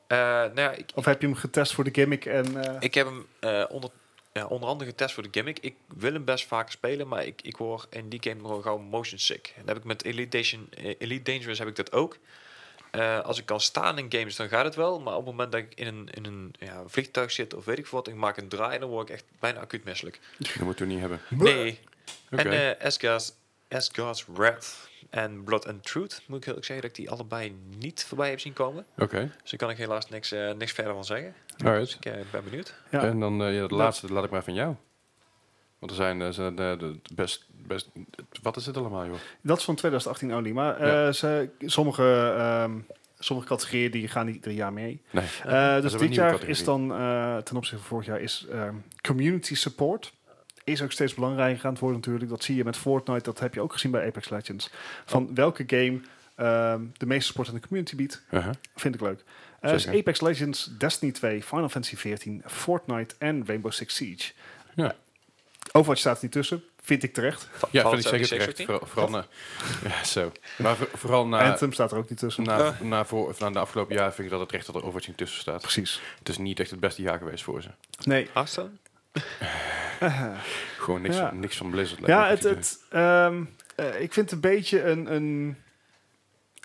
eh, nou ja, ik, Of heb je hem getest voor de gimmick? En, eh, ik heb hem eh, onder, ja, onder andere getest voor de gimmick. Ik wil hem best vaker spelen, maar ik, ik word in die game gewoon gauw motion sick. En dat heb ik met Elite, Dation- eh, Elite Dangerous heb ik dat ook. Eh, als ik kan staan in games, dan gaat het wel. Maar op het moment dat ik in een, in een ja, vliegtuig zit of weet ik wat, ik maak een draai, dan word ik echt bijna acuut misselijk. Dat moeten we niet hebben. Nee. Oké. En eh Asgard's, Asgard's Wrath en Blood and Truth, moet ik heel eerlijk zeggen dat ik die allebei niet voorbij heb zien komen. Oké, Dus daar kan ik helaas niks, eh, niks verder van zeggen. alright. Ik eh, ben benieuwd. ja. En dan eh, ja, de laatste, dat laat ik maar van jou. Want er zijn, eh, zijn eh, de de best, best... Wat is het allemaal, joh? Dat is van 2018 only. Maar eh, Ja. ze, sommige, ehm, sommige categorieën die gaan niet ieder jaar mee. Nee. Eh, dus een dit nieuwe jaar categorie. is dan, eh, ten opzichte van vorig jaar, is ehm, community support. Is ook steeds belangrijker aan het worden natuurlijk. Dat zie je met Fortnite, dat heb je ook gezien bij Apex Legends. Van Oh. welke game ehm, de meeste support aan de community biedt, Uh-huh. Vind ik leuk. Eh, dus Zeker. Apex Legends, Destiny 2, Final Fantasy 14, Fortnite en Rainbow Six Siege. Ja. Overwatch staat er niet tussen. Vind ik terecht. Ja, Valt vind ik zeker 76 ook terecht. Vooral, niet? vooral na, ja, zo. Maar voor- vooral na, Anthem staat er ook niet tussen. na, na, voor, of na de afgelopen jaar vind ik dat het recht dat er Overwatch tussen staat. Precies. Het is niet echt het beste jaar geweest voor ze. Nee. Hearthstone? Gewoon niks, Ja. van, niks van Blizzard. lijkt Ja, me het, te doen. het, ehm, eh, ik vind het een beetje een, een...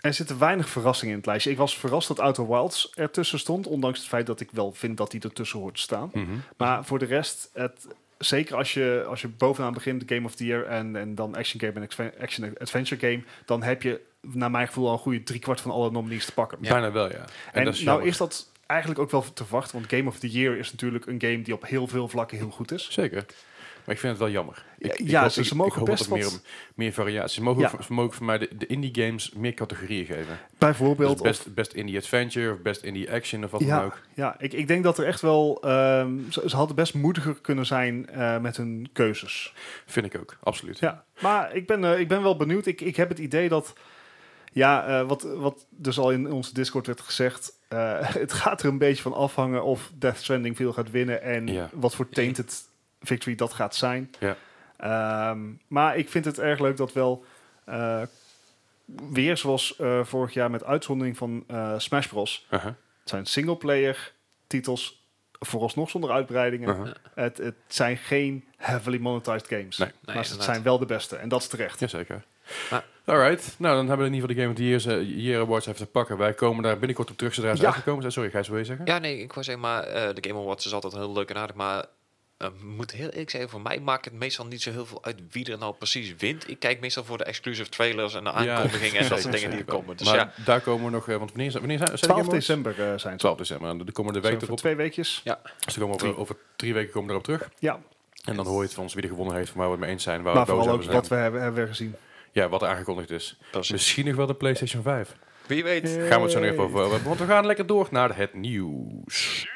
Er zitten weinig verrassingen in het lijstje. Ik was verrast dat Outer Wilds ertussen stond. Ondanks het feit dat ik wel vind dat die ertussen hoort te staan. Mhm. Maar voor de rest, het, zeker als je, als je bovenaan begint, Game of the Year en, en dan Action Game en exve- Action Adventure Game, dan heb je naar mijn gevoel al een goede driekwart van alle nominees te pakken. Ja. Bijna wel, ja. En, En dat is nou jammer. is dat eigenlijk ook wel te verwachten, want Game of the Year is natuurlijk een game die op heel veel vlakken heel goed is. Zeker. Maar ik vind het wel jammer. Ik, Ja, ik ja, hoop- ze- ze ik- mogen ik hoop best dat er wat- meer, meer variatie. Ze mogen, Ja. voor- ze mogen voor mij de, de indie games meer categorieën geven. Bijvoorbeeld, Dus of- best, best indie adventure of best indie action of wat dan ja, ook. ja ik, ik denk dat er echt wel, ehm, ze, ze hadden best moediger kunnen zijn eh, met hun keuzes. Vind ik ook, absoluut. Ja, maar ik ben, eh, ik ben wel benieuwd. Ik, ik heb het idee dat, ja, eh, wat, wat dus al in onze Discord werd gezegd, eh, het gaat er een beetje van afhangen of Death Stranding veel gaat winnen en Ja. wat voor tainted victory dat gaat zijn. Ja. Ehm, maar ik vind het erg leuk dat wel eh, weer zoals eh, vorig jaar met uitzondering van eh, Smash Bros. Uh-huh. Het zijn singleplayer titels, vooralsnog zonder uitbreidingen. Uh-huh. Het, het zijn geen heavily monetized games. Nee. Nee, maar ze inderdaad. zijn wel de beste. En dat is terecht. Jazeker. Maar- Alright, nou dan hebben we in ieder geval de Game of the Year's, eh, Year Awards even te pakken. Wij komen daar binnenkort op terug zodra ze Ja. uitgekomen zijn. Sorry, Gijs, wil je zeggen? Ja, nee, ik wou zeggen, maar eh, de Game Awards is altijd heel leuk en aardig, maar eh, moet heel eerlijk zeggen, voor mij maakt het meestal niet zo heel veel uit wie er nou precies wint. Ik kijk meestal voor de exclusive trailers en de aankondigingen en dat soort dingen die er komen. Dus maar ja, daar komen we nog, eh, want wanneer zijn, wanneer zijn, zijn de 12 Game Awards? december eh, zijn ze. 12 december, de komende Zijn week we voor erop. twee weekjes. Dus er komen over, over drie weken komen we erop terug. Ja, En dan hoor je het van ons wie er gewonnen heeft, van waar we het mee eens zijn. Waar maar we boos vooral ook over zijn. wat we hebben, hebben we gezien. Ja, wat er aangekondigd is. precies. Misschien nog wel de PlayStation 5. wie weet. Gaan we het zo nog even over hebben, want we gaan lekker door naar het nieuws.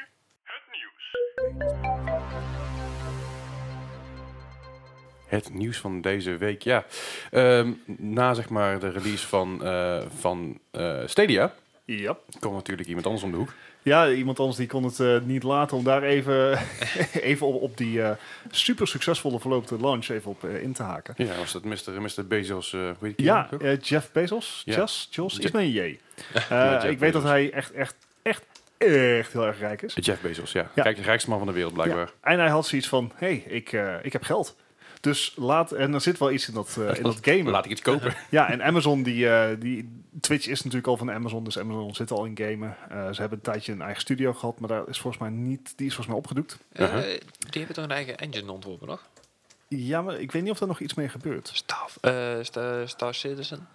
Het nieuws van deze week, ja. Ehm, na zeg maar de release van, eh, van eh, Stadia, Ja. komt natuurlijk iemand anders om de hoek. ja, iemand anders die kon het eh, niet laten om daar even, even op, op die eh, super succesvolle verloopte launch even op eh, in te haken. Ja, was dat Mr. Mr. Bezos, eh hoe heet die Ja, toch? eh, Jeff Bezos. Ja. Jos, Jos, Je- is mijn J. Eh, Ja, Jeff ik weet dat Bezos. hij echt, echt, echt echt heel erg rijk is. De Jeff Bezos, ja. Ja. Kijk, de rijkste man van de wereld blijkbaar. En hij had zoiets van, hé, hey, ik, eh, ik heb geld. Dus laat, en er zit wel iets in dat, eh, in dat gamen. Laat ik iets kopen. Ja, en Amazon, die, eh, die, Twitch is natuurlijk al van Amazon, dus Amazon zit al in gamen. Eh, ze hebben een tijdje een eigen studio gehad, maar daar is volgens mij niet, die is volgens mij opgedoekt. Uh-huh. Eh, die hebben toch een eigen engine ontworpen, nog? Ja, maar ik weet niet of daar nog iets mee gebeurt. Star, eh, Star, Star Citizen?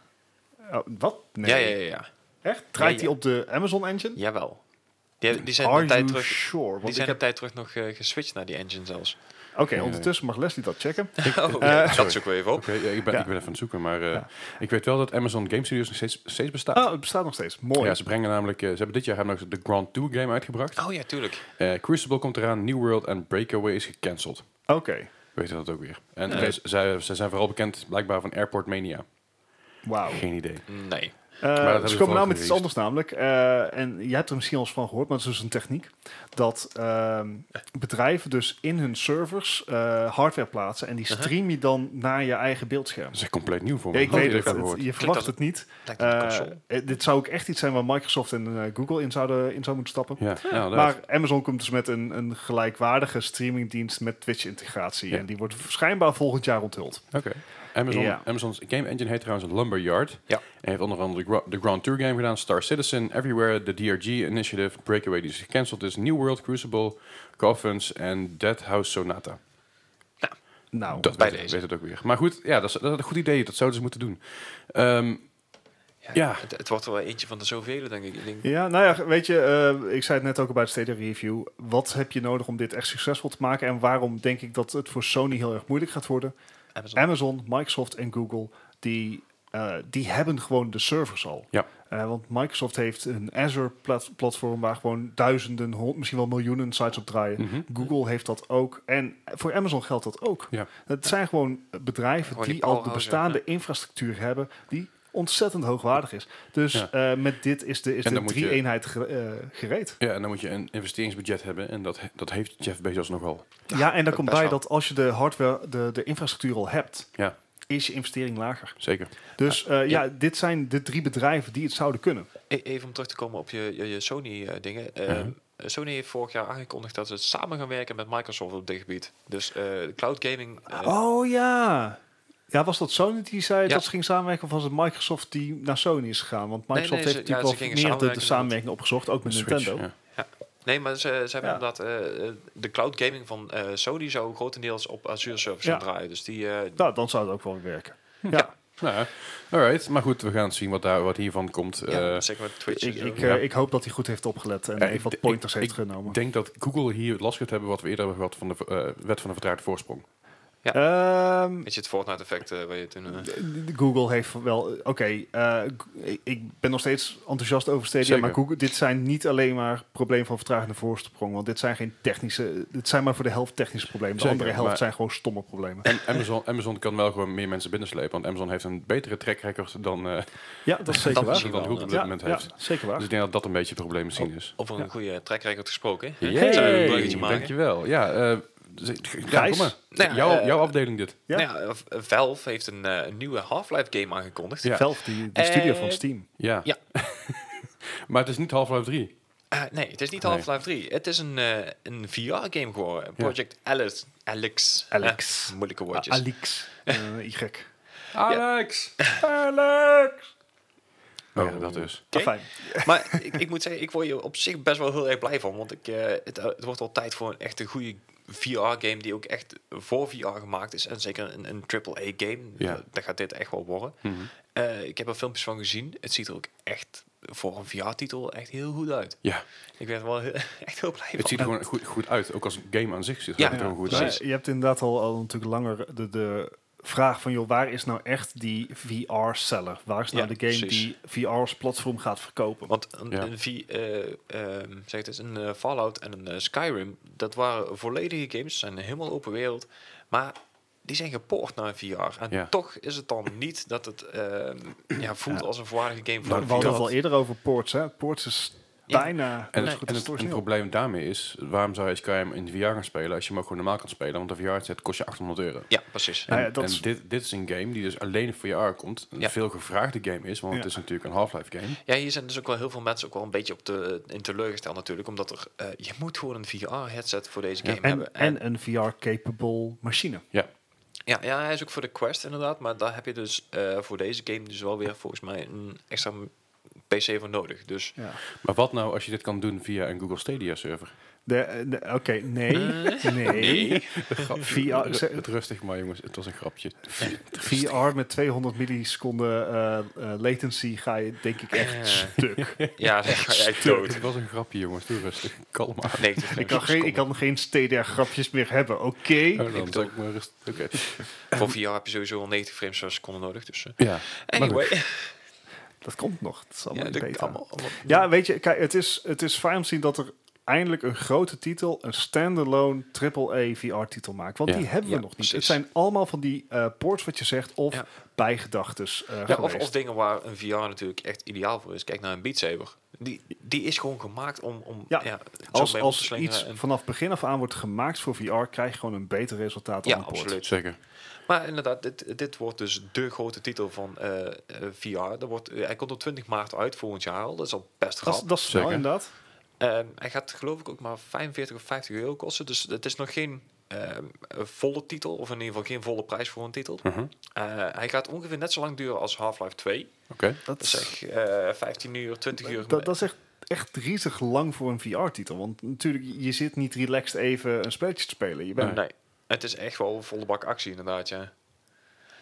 Oh, wat? Nee. Ja, ja, ja, ja. Echt? Draait Ja, die ja. op de Amazon engine? Jawel. Die, die zijn Are een tijd you terug, sure? Want die ik zijn heb- een tijd terug nog eh, geswitcht naar die engine zelfs. Oké, Ja, ja. ondertussen mag Leslie dat checken. Oh, Eh, dat zoeken we even op. Oké, ja, ik, ben, Ja. ik ben even aan het zoeken, maar eh, Ja. ik weet wel dat Amazon Game Studios nog steeds, steeds bestaat. Oh, het bestaat nog steeds. Mooi. Ja, ze brengen namelijk, eh, ze hebben dit jaar hebben nog de Grand Tour game uitgebracht. Oh ja, tuurlijk. Eh, Crucible komt eraan, New World en Breakaway is gecanceld. Oké. Weet je dat ook weer? En Nee. eh, ze- ze, ze zijn vooral bekend blijkbaar van Airport Mania. Wauw. Geen idee. Nee. Eh, hebben ze ze komen vooral nou met iets gereleased. anders namelijk. Eh, en jij hebt er misschien al eens van gehoord, maar het is dus een techniek. Dat ehm, bedrijven dus in hun servers eh, hardware plaatsen. En die stream je dan naar je eigen beeldscherm. Dat is echt compleet nieuw voor Ja, me. ik Had weet ik het, even het- gehoord. je verwacht als- het niet. Lijkt op een Eh, console. eh, dit zou ook echt iets zijn waar Microsoft en eh, Google in zouden, in zou moeten stappen. Ja, nou, dat- Maar Amazon komt dus met een, een gelijkwaardige streamingdienst met Twitch-integratie. Ja. En die wordt schijnbaar volgend jaar onthuld. Oké. Amazon, Ja. Amazon's game engine heet trouwens Lumberyard. Ja. En heeft onder andere de Gra- de Grand Tour game gedaan, Star Citizen, Everywhere, de DRG Initiative, Breakaway die is gecanceld is, New World, Crucible, Coffins en Dead House Sonata. Nou, dat bij weet, deze. weet het ook weer. Maar goed, ja, dat is, dat is een goed idee. Dat zouden ze moeten doen. Ehm, ja. Het, het wordt er wel eentje van de zoveel, denk ik. Ik denk, Ja, nou ja, weet je, eh, ik zei het net ook al bij het Stadia Review. Wat heb je nodig om dit echt succesvol te maken? En waarom denk ik dat het voor Sony heel erg moeilijk gaat worden? Amazon. Amazon, Microsoft en Google, die, eh, die hebben gewoon de servers al. Ja. Eh, want Microsoft heeft een Azure-platform waar gewoon duizenden, hond- misschien wel miljoenen sites op draaien. mhm. Google heeft dat ook. En voor Amazon geldt dat ook. Ja. Het zijn gewoon bedrijven Gewoon die, die al de powerhouses, bestaande infrastructuur hebben die ontzettend hoogwaardig is. Dus Ja. eh, met dit is de, is En de dan moet je- drie-eenheid ge- eh, gereed. ja, en dan moet je een investeringsbudget hebben. En dat, he- dat heeft Jeff Bezos nogal. Ja, en daar dat komt best bij wel. dat als je de hardware, de, de infrastructuur al hebt, Ja. is je investering lager. Zeker. Dus eh, ja, dit zijn de drie bedrijven die het zouden kunnen. E- Even om terug te komen op je, je, je eh, Sony-dingen. Mhm. Ehm, eh, Sony heeft vorig jaar aangekondigd dat ze samen gaan werken met Microsoft op dit gebied. Dus eh, cloud gaming. eh, Oh ja. Ja, was dat Sony die zei Ja. dat ze ging samenwerken of was het Microsoft die naar Sony is gegaan? Want Microsoft nee, heeft ze- ja, natuurlijk ze al gingen meer de- de, samenwerken samenwerking opgezocht, ook met Switch, Nintendo. ja. Nee, maar ze, ze hebben Ja. inderdaad eh, eh, de cloud gaming van eh, Sony zou grotendeels op Azure service Ja. gaan draaien. Dus die, eh, Nou, dan zou het ook wel werken. Ja, Nou, ja. alright. Maar goed, we gaan zien wat, daar, wat hiervan komt. ja, Eh, zeker met Twitch. ik, en zo. ik, Ja. eh, ik hoop dat hij goed heeft opgelet en Ja, even ik- wat pointers ik- heeft ik genomen. Ik denk dat Google hier last gaat hebben wat we eerder hebben gehad van de eh, wet van de vertraagde voorsprong. Ehm, Weet je het Fortnite-effect eh, waar je toen... eh, d- Google heeft wel... Oké, eh, g- ik- ik ben nog steeds enthousiast over Stadia, Zeker. maar Google, dit zijn niet alleen maar problemen van vertragende voorsprong, want dit zijn geen technische... Dit zijn maar voor de helft technische problemen. De Zeker, andere helft maar- zijn gewoon stomme problemen. En Amazon, Amazon kan wel gewoon meer mensen binnenslepen, want Amazon heeft een betere track record dan, eh, Ja, dat is Dat dan zeker waar. misschien wel, Google op dit Ja, moment ja, heeft. zeker waar. Dus ik denk dat dat een beetje het probleem misschien is. Over een Ja. goede track record gesproken. hè? Yay, Zullen we een bruggetje maken? Dankjewel. Ja, eh, z- ja, Gijs? kom maar. Nou ja, jouw, eh, jouw afdeling dit. Ja. Nou ja, eh, Valve heeft een eh, een nieuwe Half-Life game aangekondigd. Ja. Valve, die, die studio van Eh, Steam. Ja. ja. maar het is niet Half-Life 3. Eh, nee, het is niet Nee. Half-Life 3. Het is een, eh, een VR-game geworden. Project Alice. Alex. Alex. Eh, moeilijke woordjes. Ah, Alix. Eh, y. Alex! Alex! Oh, ja, dat is. Oké. Ah, Fijn. maar ik, ik moet zeggen, ik word hier op zich best wel heel erg blij van. Want ik, eh, het, eh, het wordt al tijd voor een echte goede VR-game die ook echt voor VR gemaakt is. En zeker een, een AAA-game. Ja. Dat, dat Eh, gaat dit echt wel worden. Mhm. Eh, ik heb er filmpjes van gezien. Het ziet er ook echt voor een VR-titel echt heel goed uit. Ja, Ik ben er wel heel- echt heel blij van. het ziet er gewoon goed, goed uit. Ook als game aan zich ziet het Ja, er gewoon goed Nou, uit. precies. je hebt inderdaad al, al natuurlijk langer de, de vraag van, joh, waar is nou echt die VR-seller? Waar is nou Ja, de game precies. die VR's platform gaat verkopen? Want een, Ja. een, V- eh, ehm, zeg het eens, een eh, Fallout en een eh, Skyrim, dat waren volledige games, zijn helemaal open wereld, maar die zijn gepoord naar VR. En Ja. toch is het dan niet dat het ehm, ja, voelt Ja. als een volwaardige game we Nou, van hadden het VR. al eerder over ports, hè? Ports is Ja. En, Bijna. Dat het, is en goed, dat is het, en het origineel. probleem daarmee is, waarom zou je Skyrim in de VR gaan spelen als je hem ook gewoon normaal kan spelen? Want de VR-set kost je 800 euro. Ja, precies. Nou ja, En- dat en is- dit, dit is een game die dus alleen voor VR komt. Een Ja. veel gevraagde game is, want Ja. het is natuurlijk een Half-Life game. Ja, hier zijn dus ook wel heel veel mensen ook wel een beetje op de, in teleurgesteld natuurlijk. Omdat er, eh, je moet gewoon een VR-headset voor deze game hebben. En, en een VR-capable machine. ja, ja, hij is ook voor de Quest inderdaad. Maar daar heb je dus eh, voor deze game dus wel weer volgens mij een extra PC voor nodig. Dus Ja. Maar wat nou als je dit kan doen via een Google Stadia server? De- de- Oké, nee. Nee. VR Ru- het rustig maar jongens, het was een grapje. VR met 200 milliseconden eh, eh, latency ga je denk ik echt Eh. stuk. ja, dan ga jij dood. Het was een grapje jongens, doe rustig. Kalm aan. Nee, dat is Ik kan, geen, ik kan geen STDR-grapjes meer hebben, oké? Oh, dan zal ik maar rust- Oké. Voor VR heb je sowieso al 90 frames per seconde nodig. Dus, eh. Ja. anyway. Dat komt nog. Dat is allemaal Ja, in dat beta. allemaal, allemaal- Ja, weet je, kijk, het is, het is fijn om te zien dat er eindelijk een grote titel, een standalone AAA VR-titel maakt. Want Ja. die hebben we Ja, nog niet. precies. Het zijn allemaal van die eh, ports, wat je zegt, of Ja. bijgedachtes eh, Ja, of, geweest. of dingen waar een VR natuurlijk echt ideaal voor is. Kijk naar een Beat Saber. Die, die is gewoon gemaakt om, om Ja, ja, zo als mee om te als slingeren iets en- vanaf begin af aan wordt gemaakt voor VR, krijg je gewoon een beter resultaat ja, dan een port. absoluut. Zeker. Maar inderdaad, dit, dit wordt dus de grote titel van eh, eh, VR. Dat wordt, eh, hij komt op 20 maart uit volgend jaar al. Dat is al Dat, best rap. is- dat is snel, Zeker. inderdaad. Ehm, hij gaat geloof ik ook maar 45 of 50 euro kosten. Dus het is nog geen ehm, eh, volle titel. Of in ieder geval geen volle prijs voor een titel. Mhm. Eh, hij gaat ongeveer net zo lang duren als Half-Life 2. Oké. Dat Dat is, is echt eh, 15 uur, 20 uur. dat, dat is echt, echt riezig lang voor een VR-titel. Want natuurlijk, je zit niet relaxed even een spelletje te spelen. Je bent, Nee. Het is echt wel volle bak actie inderdaad, ja.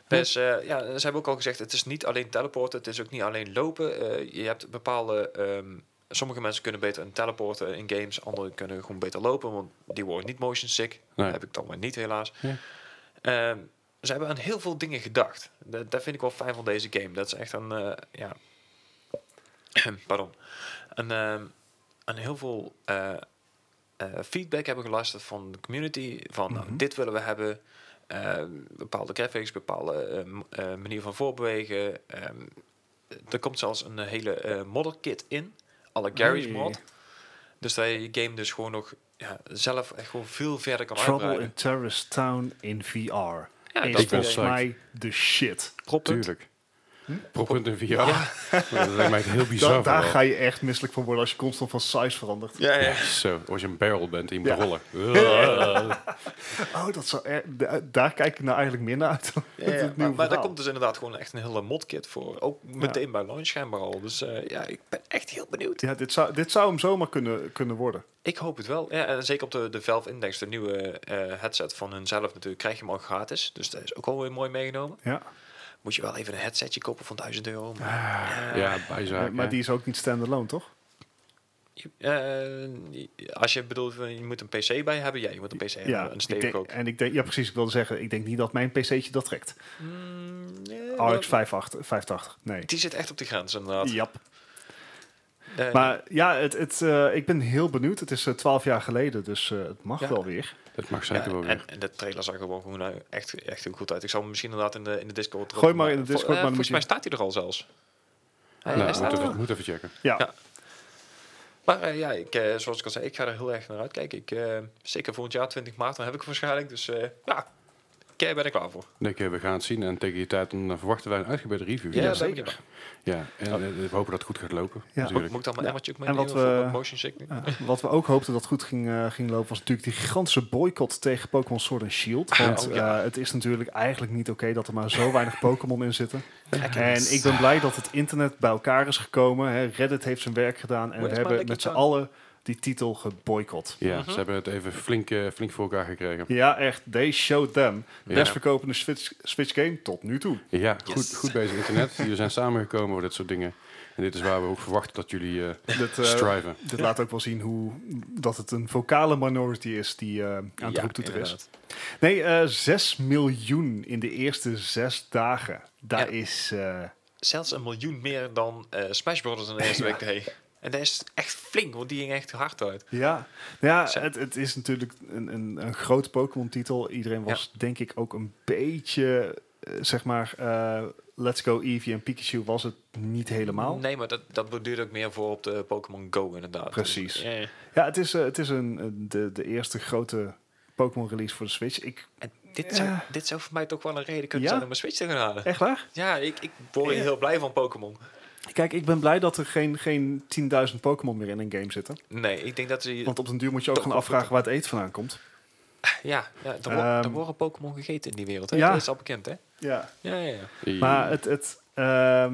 Dus eh, ja, ze hebben ook al gezegd, het is niet alleen teleporten, het is ook niet alleen lopen. Eh, je hebt bepaalde... ehm, sommige mensen kunnen beter een teleporten in games, anderen kunnen gewoon beter lopen, want die worden niet motion sick. Nee. Heb ik dan maar niet, helaas. Ja. Ehm, ze hebben aan heel veel dingen gedacht. Dat, dat vind ik wel fijn van deze game. Dat is echt een... eh, ja. Pardon. Een, ehm, aan heel veel eh, eh, feedback hebben geluisterd van de community. Van nou, Mhm. dit willen we hebben. Ehm, bepaalde graphics, bepaalde ehm, eh, manier van voorbewegen. Ehm, er komt zelfs een hele eh modder kit in. Alle Gary's Hey. mod. Dus dat je je game dus gewoon nog ja, zelf echt gewoon veel verder kan Trouble uitbreiden. in Terrorist Town in VR. Ja, is dat ben volgens psyched. mij de shit. Proppunt. Tuurlijk. Proppunt in VR. Dat lijkt mij heel bizar. Da- Hm? daar vooral. ga je echt misselijk van worden als je constant van size verandert. Ja, ja. Zo, als je een barrel bent en je moet Ja. rollen. Oh, dat zou er- da- daar kijk ik nou eigenlijk minder uit. dan Ja, het ja, nieuwe maar, maar daar verhaal. komt dus inderdaad gewoon echt een hele modkit voor. Ook meteen bij launch schijnbaar al. Dus eh, ja, ik ben echt heel benieuwd. ja, dit, zou, dit zou hem zomaar kunnen, kunnen worden. Ik hoop het wel. Ja, en zeker op de, de Valve Index, de nieuwe eh, headset van hunzelf natuurlijk, krijg je hem al gratis. Dus dat is ook alweer mooi meegenomen. Ja. Moet je wel even een headsetje kopen van 1000 euro. Maar, ja, bijzaak. Ja, Eh, maar hè. die is ook niet standalone, toch? eh, als je bedoelt, van, je moet een PC bij hebben. Ja, je moet een PC hebben. Een ik denk- stevig ook. en ik denk, ja, precies. Ik wilde zeggen, ik denk niet dat mijn PC'tje dat trekt. Oh, Mm, nee, RX dat- 58, 580. Nee. Die zit echt op de grens inderdaad. Jap. Eh, Maar ja, het, het, eh, ik ben heel benieuwd. Het is eh, twaalf jaar geleden, dus eh, het mag Ja. wel weer. Dat mag ja, zeker wel weer. en, en de trailer zag er wel gewoon eh, echt, echt heel goed uit. Ik zal hem misschien inderdaad in de, in de Discord... Gooi maar erop- in de Vol- Discord, eh, maar dan volgens mij moet staat hij er al zelfs. nou, Hij- hij moet staat er al. even, moet even checken. Ja, Ja. Maar eh, ja, ik, eh, zoals ik al zei, ik ga er heel erg naar uitkijken. Ik, eh, zeker volgend jaar, 20 maart, dan heb ik hem waarschijnlijk. Dus eh, ja, ik eh, ben er klaar voor. Denk je, we gaan het zien en tegen die tijd dan verwachten wij een uitgebreide review. Ja, ja. zeker. zeker. en eh, we hopen dat het goed gaat lopen. Ja. natuurlijk. Moet ik dan mijn Ja. emmertje ook En meenemen wat eh, voor we- wat motion sickness? Ja, wat we ook hoopten dat goed ging, eh, ging lopen, was natuurlijk die gigantische boycott tegen Pokémon Sword en Shield. Want oh ja. eh, het is natuurlijk eigenlijk niet oké dat er maar zo weinig Pokémon in zitten. Lekker. En ik ben blij dat het internet bij elkaar is gekomen. Hè. Reddit heeft zijn werk gedaan en Where's we my hebben lucky met z'n charm? allen die titel geboycott. Ja, Mhm. ze hebben het even flink, eh, flink voor elkaar gekregen. Ja, echt. They showed them. Ja. Best verkopende Switch, Switch game tot nu toe. Ja, Yes. goed, goed bezig internet. Jullie zijn samengekomen voor dit soort dingen. En dit is waar we ook verwachten dat jullie eh, Dat, eh, striven. dit laat ook wel zien hoe, dat het een vocale minority is die eh, aan het roeptoeter is. inderdaad. Nee, eh 6 miljoen in de eerste zes dagen. Daar Ja. is... eh, Zelfs een miljoen meer dan eh, Smash Brothers in de eerste week deed. En dat is echt flink, want die ging echt hard uit. Ja, nou Zo. ja het, het is natuurlijk een, een, een groot Pokémon-titel. Iedereen was, denk ik, ook een beetje eh, zeg maar, eh, Let's Go Eevee en Pikachu was het niet helemaal. Nee, maar dat, dat beduurt ook meer voor op de Pokémon Go inderdaad. Precies. Dus, eh, Ja, het is, eh, het is een, een- de, de eerste grote Pokémon release voor de Switch. Ik, en dit, zou, dit zou voor mij toch wel een reden kunnen Ja? zijn om mijn Switch te gaan halen. echt waar? Ja, ik, ik word hier Ja. heel blij van Pokémon. Kijk, ik ben blij dat er geen, geen 10.000 Pokémon meer in een game zitten. Nee, ik denk dat ze... Want op den duur moet je ook gaan afvragen waar het eten vandaan komt. Ja, ja er, wo- Ehm. er worden Pokémon gegeten in die wereld. Hè? Ja. Dat is al bekend, hè? Ja. Ja, ja, ja. Maar eh, het... het ehm,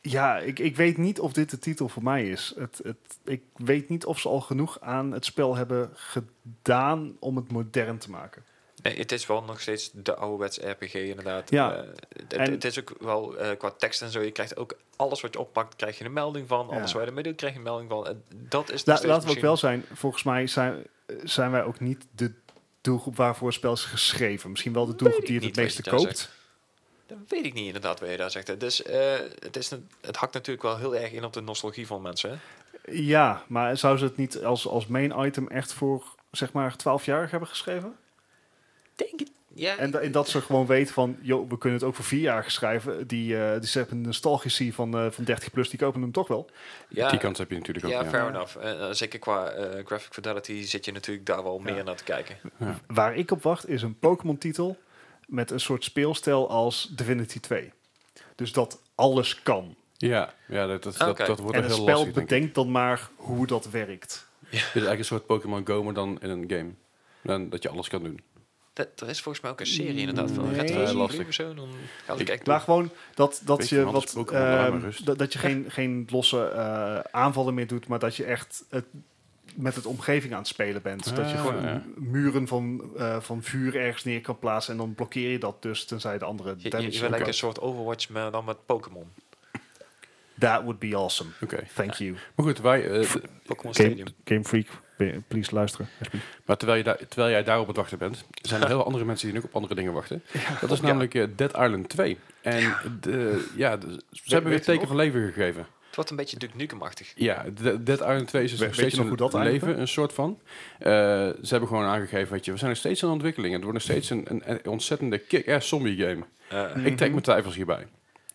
ja, ik, ik weet niet of dit de titel voor mij is. Het, het, ik weet niet of ze al genoeg aan het spel hebben gedaan om het modern te maken. Nee, het is wel nog steeds de ouderwetse RPG inderdaad. Ja. Eh, het, En- het is ook wel eh, qua tekst en zo. Je krijgt ook alles wat je oppakt, krijg je een melding van. Alles Ja. waar je de middel krijg je een melding van. En dat is nog La, steeds laten we ook misschien- wel zijn, volgens mij zijn, eh, zijn wij ook niet de doelgroep waarvoor het spel is geschreven. Misschien wel de doelgroep ik die het het niet wat meeste je daar koopt. Dat weet ik niet inderdaad wat je daar zegt. hè. Dus eh, het, is een- het hakt natuurlijk wel heel erg in op de nostalgie van mensen. hè. Ja, maar zou ze het niet als, als main item echt voor zeg maar 12-jarig hebben geschreven? Denk het. Ja, En, da- en dat ze gewoon weten van, joh, we kunnen het ook voor 4 jaar schrijven. Die, eh die hebben een nostalgici van, eh, van 30 plus, die kopen hem toch wel. ja, Die kans heb je natuurlijk ook. ja, ja. fair enough. Eh, eh, zeker qua eh, graphic fidelity zit je natuurlijk daar wel meer naar te kijken. Waar ik op wacht is een Pokémon titel met een soort speelstijl als Divinity 2. Dus dat alles kan. Ja, ja dat, dat, dat- Oké. dat wordt en wel het heel spel lastig. denk ik. bedenkt dan maar hoe dat werkt. Het is eigenlijk een soort Pokémon Go, maar dan in een game. Dan dat je alles kan doen. Dat, er is volgens mij ook een serie inderdaad van Nee. Red Eh, Faction Mm, lastig. Blue of zo. Dan gaan we Ik- kijken. Maar gewoon dat, dat Beetje je van alles wat, Pokémon, laat ehm, maar rust. dat, dat je geen, geen losse eh, aanvallen meer doet, maar dat je echt het, met het omgeving aan het spelen bent. dat je Ah, gewoon ja. muren van, eh, van vuur ergens neer kan plaatsen en dan blokkeer je dat dus, tenzij de andere Je, je, damage je ook bent lijkt kan. een soort Overwatch, maar dan met Pokémon. That would be awesome. Oké. Thank you. Maar goed, wij, eh, Game, Pokémon Stadium. Game Freak, be- please luisteren. maar terwijl, je daar terwijl jij daar op het wachten bent, zijn er heel veel andere mensen die nu ook op andere dingen wachten. Dat is namelijk eh, Dead Island 2. En de- ja, de- ze hebben weer weet je teken nog? van leven gegeven. Het wordt een beetje Duke Nukem-achtig. Ja, de- Dead Island 2 is dus We- nog weet je steeds nog een hoe dat eindigde? leven, een soort van. Eh, ze hebben gewoon aangegeven, weet je, we zijn nog steeds in ontwikkeling. Het wordt nog steeds een, een, een ontzettende kick-ass zombie game. Eh, Ik trek mijn twijfels hierbij.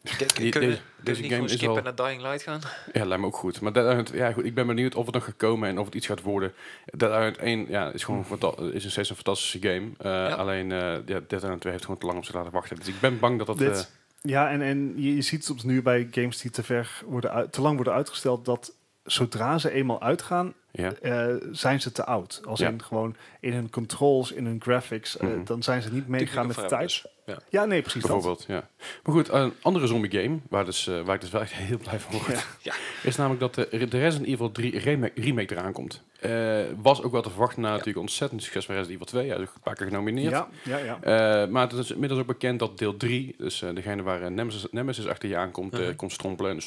kun- kun- die- deze- Kunnen we kunnen we deze niet game gewoon is skippen wel- naar Dying Light gaan? Ja, lijkt me ook goed. Maar Dead Island, ja, goed, ik ben benieuwd of het nog gaat komen en of het iets gaat worden. Dead Island 1 ja, is gewoon een fanta- is nog steeds een fantastische game. Eh, Alleen eh ja, Dead Island 2 heeft gewoon te lang om ze te laten wachten. Dus ik ben bang dat dat... Dit- eh, Ja, en, en je, je ziet soms nu bij games die te, ver worden uit- te lang worden uitgesteld, dat zodra ze eenmaal uitgaan, ja. eh, zijn ze te oud. Als Ja. in gewoon in hun controls, in hun graphics, eh, Mhm. dan zijn ze niet Duke meegegaan met de Nukem tijd. Forever dus. Ja. Ja, nee, precies dat. Bijvoorbeeld, ja. Maar goed, een andere zombie game, waar, dus, eh, waar ik dus wel echt heel blij van word, Ja. is namelijk dat de, de Resident Evil 3 remake, remake eraan komt. Eh, was ook wel te verwachten na natuurlijk ontzettend succes van Resident Evil 2. Hij is ook een paar keer genomineerd. Ja, ja, ja. Eh, maar het is inmiddels ook bekend dat deel 3, dus eh, degene waar eh, Nemesis, Nemesis achter je aankomt, eh, Mhm. komt strompelen en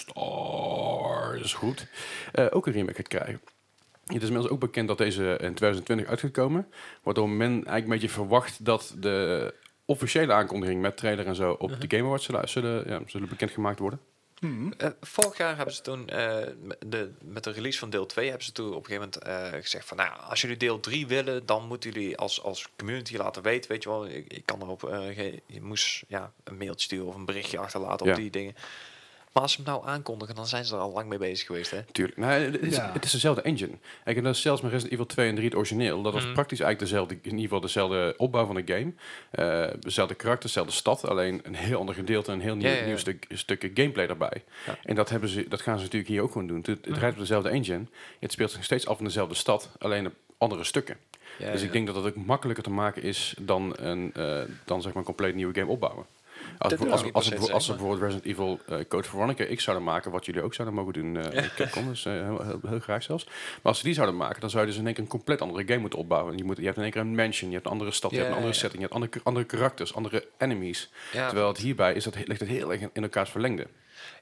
stars goed, eh, ook een remake gaat krijgen. Het is inmiddels ook bekend dat deze in 2020 uit gaat komen, waardoor men eigenlijk een beetje verwacht dat de officiële aankondiging met trailer en zo op Mhm. de Game Awards zullen, zullen, ja, zullen bekendgemaakt worden. Hmm. Eh, vorig jaar hebben ze toen, eh, met de, met de release van deel 2, hebben ze toen op een gegeven moment eh, gezegd van, nou, als jullie deel 3 willen, dan moeten jullie als, als community laten weten, weet je wel, ik, ik kan erop, eh, ge- je moest ja, een mailtje sturen of een berichtje achterlaten Ja. op die dingen. Maar als ze hem nou aankondigen, dan zijn ze er al lang mee bezig geweest, hè? Tuurlijk. Nou, het, is, Ja. het is dezelfde engine. Kijk, En dat is zelfs met Resident Evil 2 en 3 het origineel. Dat was Mhm. praktisch eigenlijk dezelfde, in ieder geval dezelfde opbouw van de game. Eh, dezelfde karakter, dezelfde stad. Alleen een heel ander gedeelte en een heel nieuw, Ja, ja, ja. nieuw stuk, stukje gameplay daarbij. Ja. En dat, hebben ze, dat gaan ze natuurlijk hier ook gewoon doen. Het, het Mhm. rijdt op dezelfde engine. Het speelt zich nog steeds af in dezelfde stad. Alleen op andere stukken. dus ik denk dat dat ook makkelijker te maken is dan een, eh, dan zeg maar een compleet nieuwe game opbouwen. Als, Dat we- wil als, ik niet als, per we- se als we zeggen, bijvoorbeeld Resident Evil eh, Code Veronica ik zouden maken, wat jullie ook zouden mogen doen, eh Capcom, dus, eh, heel, heel, heel graag zelfs. Maar als ze die zouden maken, dan zou je dus in één keer een compleet andere game moeten opbouwen. Je, moet, je hebt in één keer een mansion, je hebt een andere stad, je Ja, hebt een andere ja, ja. setting, je hebt andere, andere karakters, andere enemies. Ja, Terwijl het hierbij is dat, he- ligt het heel erg in, in elkaars verlengde.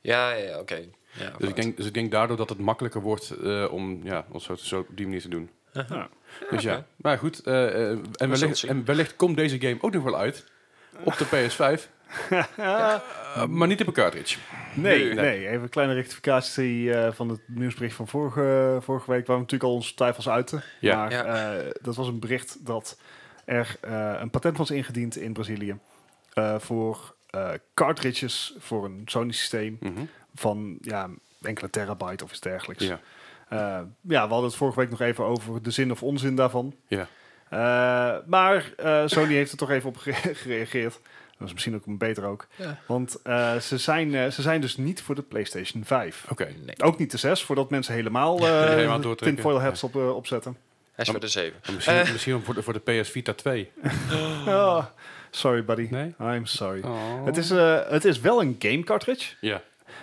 ja, ja, ja, oké. Ja, Dus vooruit. ik, denk, dus ik denk daardoor dat het makkelijker wordt eh, om ja, om zo, zo op die manier te doen. Ja. Dus ja, Uh-huh. oké. maar goed. eh, eh, en, het wellicht, zien. en wellicht komt deze game ook nog wel uit op de PS5. Eh, maar niet op een cartridge. Nee, Nee. nee, even een kleine rectificatie eh, van het nieuwsbericht van vorige, vorige week, waar we natuurlijk al onze twijfels uiten. Ja. Maar Ja. eh, dat was een bericht dat er eh, een patent was ingediend in Brazilië. eh, voor eh, cartridges voor een Sony systeem Mhm. van ja, enkele terabyte of iets dergelijks. Ja. Eh, ja, we hadden het vorige week nog even over de zin of onzin daarvan. Ja. Eh, maar eh, Sony heeft er toch even op gere- gereageerd. Dat is misschien ook een beter ook. Ja. Want eh, ze, zijn, eh, ze zijn dus niet voor de PlayStation 5. Oké. Nee. Ook niet de 6, voordat mensen helemaal, eh helemaal doortrekken. tinfoil hats op, eh, opzetten. Hij is weer de 7. En Misschien, Eh. misschien voor, de, voor de PS Vita 2. Ah, sorry buddy, Nee? Oh. I'm sorry. Het, is, eh, het is wel een game cartridge, Ja,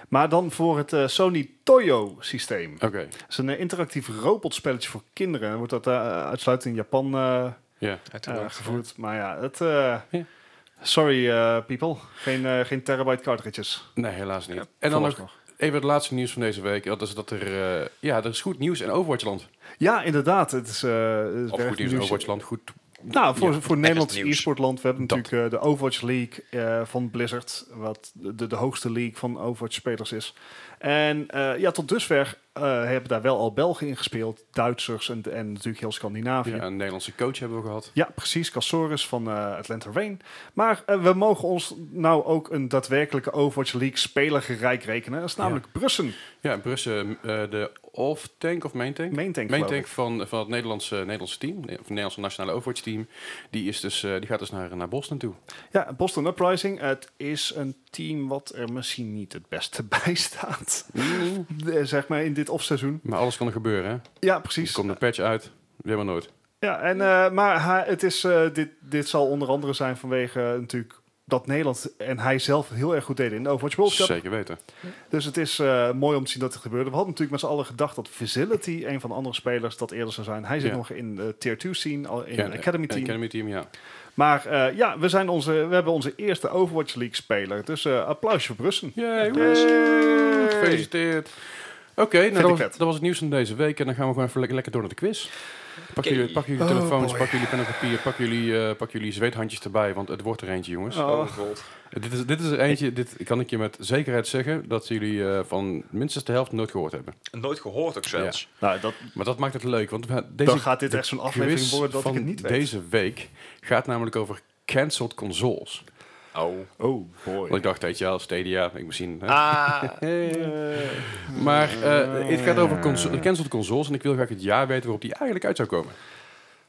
maar dan voor het eh, Sony Toyo systeem. oké. Het is een eh, interactief robotspelletje voor kinderen. Dan wordt dat eh, uitsluitend in Japan eh, eh, Ja. Uiteraard. gevoerd. Maar ja, het... eh, Ja. Sorry eh, people, geen, eh, geen terabyte cartridges. Nee, helaas niet. en dan nog Vooralsnog. even het laatste nieuws van deze week. Dat is dat er, eh, ja, er is goed nieuws in Overwatchland. Ja, inderdaad. Het is, eh, het is Of erg goed nieuws in nieuws. Overwatchland. Goed. Nou, voor, voor Nederlands nieuws. e-sportland. We hebben Dat. natuurlijk eh, de Overwatch League eh, van Blizzard. Wat de, de hoogste league van Overwatch-spelers is. En eh, ja, tot dusver eh, hebben daar wel al Belgen in gespeeld. Duitsers en, en natuurlijk heel Scandinavië. Ja, Ja. een Nederlandse coach hebben we gehad. precies. Cassoris van eh, Atlanta Rain. Maar eh, we mogen ons nou ook een daadwerkelijke Overwatch League-speler gerijk rekenen. Dat is namelijk Brussen. Ja, in Brussel eh, de off-tank of main tank? Main tank, Main geloof tank van, van het Nederlandse, Nederlandse team, nee, of het Nederlandse nationale Overwatch team, die, is dus, eh, die gaat dus naar, naar Boston toe. ik. Ja, Boston Uprising. Het is een team wat er misschien niet het beste bij staat. Eh, Zeg maar in dit offseizoen. Maar alles kan er gebeuren, hè? Ja, Er precies. komt een patch uit, helemaal nooit. Ja, en, eh, maar hij, het is, eh, dit, dit zal onder andere zijn vanwege eh, natuurlijk dat Nederland en hij zelf heel erg goed deden in de Overwatch World Cup. Zeker weten. Dus het is eh, mooi om te zien dat het gebeurde. We hadden natuurlijk met z'n allen gedacht dat Facility, een van de andere spelers, dat eerder zou zijn. Hij zit Ja. nog in de Tier 2 scene, al in Ja, de Academy een team. Academy team, ja. Maar eh, ja, we, zijn onze, we hebben onze eerste Overwatch League speler. Dus eh applaus voor Brussen. Yay, woe! Yay! Gefeliciteerd. Oké, ik nou, dat, was- vet. dat was het nieuws van deze week. En dan gaan we gewoon even lekker, lekker door naar de quiz. Pak Oké. jullie, pak jullie Oh, telefoons, boy. pak jullie pen en papier, pak jullie, eh, pak jullie zweethandjes erbij. Want het wordt er eentje, jongens. Oh. Oh, god. Dit, is, dit is er eentje, dit kan ik je met zekerheid zeggen, dat jullie eh, van minstens de helft nooit gehoord hebben. Nooit gehoord ook zelfs. Nou, dat, Maar dat maakt het leuk, want we- deze dan gaat dit echt zo'n aflevering quiz worden dat ik van het niet weet. deze week gaat namelijk over cancelled consoles. Oh. Oh boy. Want ik dacht, weet je wel, Stadia, ik misschien... hè. Ah, Hey. Eh, Maar eh, het gaat over cons cancelled consoles en ik wil graag het jaar weten waarop die eigenlijk uit zou komen.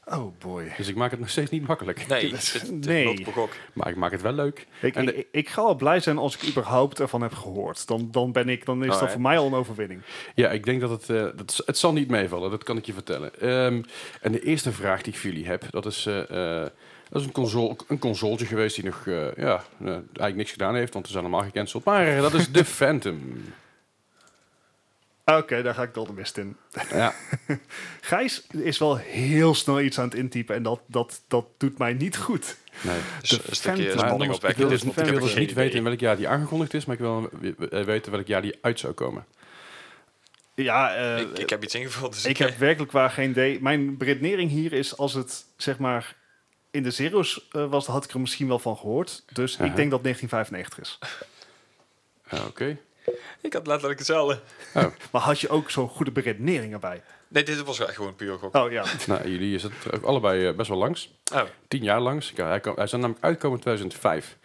oh boy. Dus ik maak het nog steeds niet makkelijk, nee. Dit, dit Nee. loopt op een gok. maar ik maak het wel leuk. Ik, En de- ik, ik ga al blij zijn als ik überhaupt ervan heb gehoord. Dan, dan, ben ik, dan is dat Alright. voor mij al een overwinning. Ja, ik denk dat het... eh, dat, z- het zal niet meevallen, dat kan ik je vertellen. Ehm, en de eerste vraag die ik voor jullie heb, dat is... eh, eh, dat is een, console, een consoletje geweest die nog eh, ja, eh, eigenlijk niks gedaan heeft, want het is allemaal gecanceld. Maar eh, dat is The Phantom. Oké, daar ga ik dan de mist in. Ja, Gijs is wel heel snel iets aan het intypen en dat, dat, dat doet mij niet goed. nee. Dus een Phantom. stukje Maar Maar spanning ik ik wil opwekken. wil Dit dus dus niet, want ik verder wil heb dus geen niet idee. weten in welk jaar die aangekondigd is, maar ik wil wel we- we- weten welk jaar die uit zou komen. Ja, eh, Ik, ik heb iets ingevuld, dus ik heb werkelijk waar geen idee. Mijn beredenering hier is als het zeg maar in de zeros eh, was, dan had ik er misschien wel van gehoord. Dus Aha. ik denk dat 1995 is. Ah, Oké. ik had letterlijk hetzelfde. Maar had je ook zo'n goede beredenering erbij? Nee, dit was echt gewoon puur gok. Oh ja. Nou, jullie zitten er allebei eh, best wel langs. Oh. Tien jaar langs. Ja, hij, kwam- hij zou namelijk uitkomen in 2005.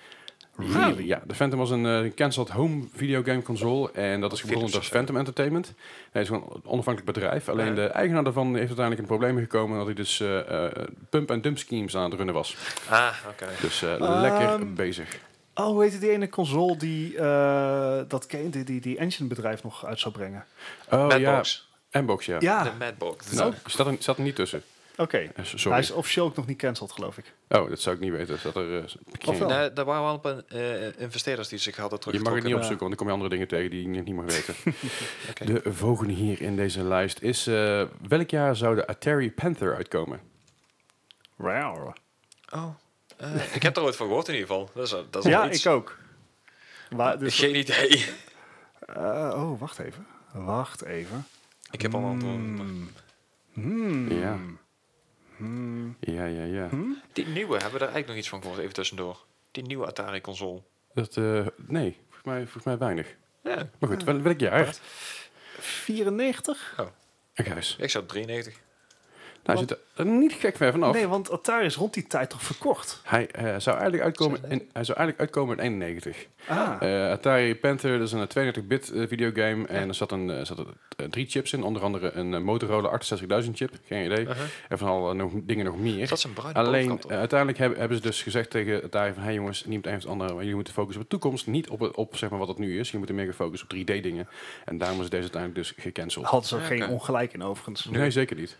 Really? Ja, de Phantom was een eh, cancelled home videogame console. En dat is begonnen door Philips of zo. Phantom Entertainment. Hij is gewoon een onafhankelijk bedrijf. Alleen de eigenaar daarvan heeft uiteindelijk in problemen gekomen... dat hij dus eh, eh, pump- en dump schemes aan het runnen was. Ah, oké. Dus eh, Ehm, lekker bezig. Oh, hoe heette die ene console die eh, dat ken- die, die, die engine bedrijf nog uit zou brengen? Oh ja, Madbox. Mbox, ja. Ja, Ah. De Madbox. Nou, zat er, zat er niet tussen. oké. Eh, Hij sorry. is officieel ook nog niet cancelled, geloof ik. Oh, dat zou ik niet weten. Zat er, eh, geen- wel? Nee, daar waren wel een paar eh, investeerders die zich hadden Je mag het teruggetrokken. niet Ja. opzoeken, want dan kom je andere dingen tegen die je niet mag weten. Oké. De volgende hier in deze lijst is... eh, welk jaar zou de Atari Panther uitkomen? Rauw. Oh. eh, ik heb er ooit van gehoord in ieder geval. Dat is, al- dat is al Ja, iets. ik ook. Maar dus, Geen idee. eh, oh, wacht even. Wacht even. ik heb al antwoorden. maar- Hmm. Ja. Ja, ja, ja. Die nieuwe, hebben we daar eigenlijk nog iets van gehoord even tussendoor? Die nieuwe Atari-console. Dat, eh, nee, volgens mij, volgens mij weinig. Ja. Maar Ah. goed, wel, welk jaar? 94? Oh. Een Gijs. Ik zat op 93. hij Want- zit er niet gek ver vanaf. Nee, want Atari is rond die tijd toch verkocht? Hij, eh, zou eigenlijk uitkomen in, hij zou eigenlijk uitkomen in 91. Ah, Eh, Atari Panther, dat is een 32-bit eh, videogame. En er zaten eh, zaten, eh, drie chips in. Onder andere een eh, Motorola 68000 chip. Geen idee. Uh-huh. En van al eh, nog, dingen nog meer. Dat is een bruine Alleen bovenkant, hoor. eh, uiteindelijk hebben, hebben ze dus gezegd tegen Atari van... hey jongens, niet het een of het ander. maar Jullie moeten focussen op de toekomst. Niet op, het- op zeg maar, wat het nu is. Je moet meer gaan focussen op 3D dingen. En daarom is deze uiteindelijk dus gecanceld. hadden ze ook Ja, geen oké. ongelijk in overigens. Nee, zeker niet.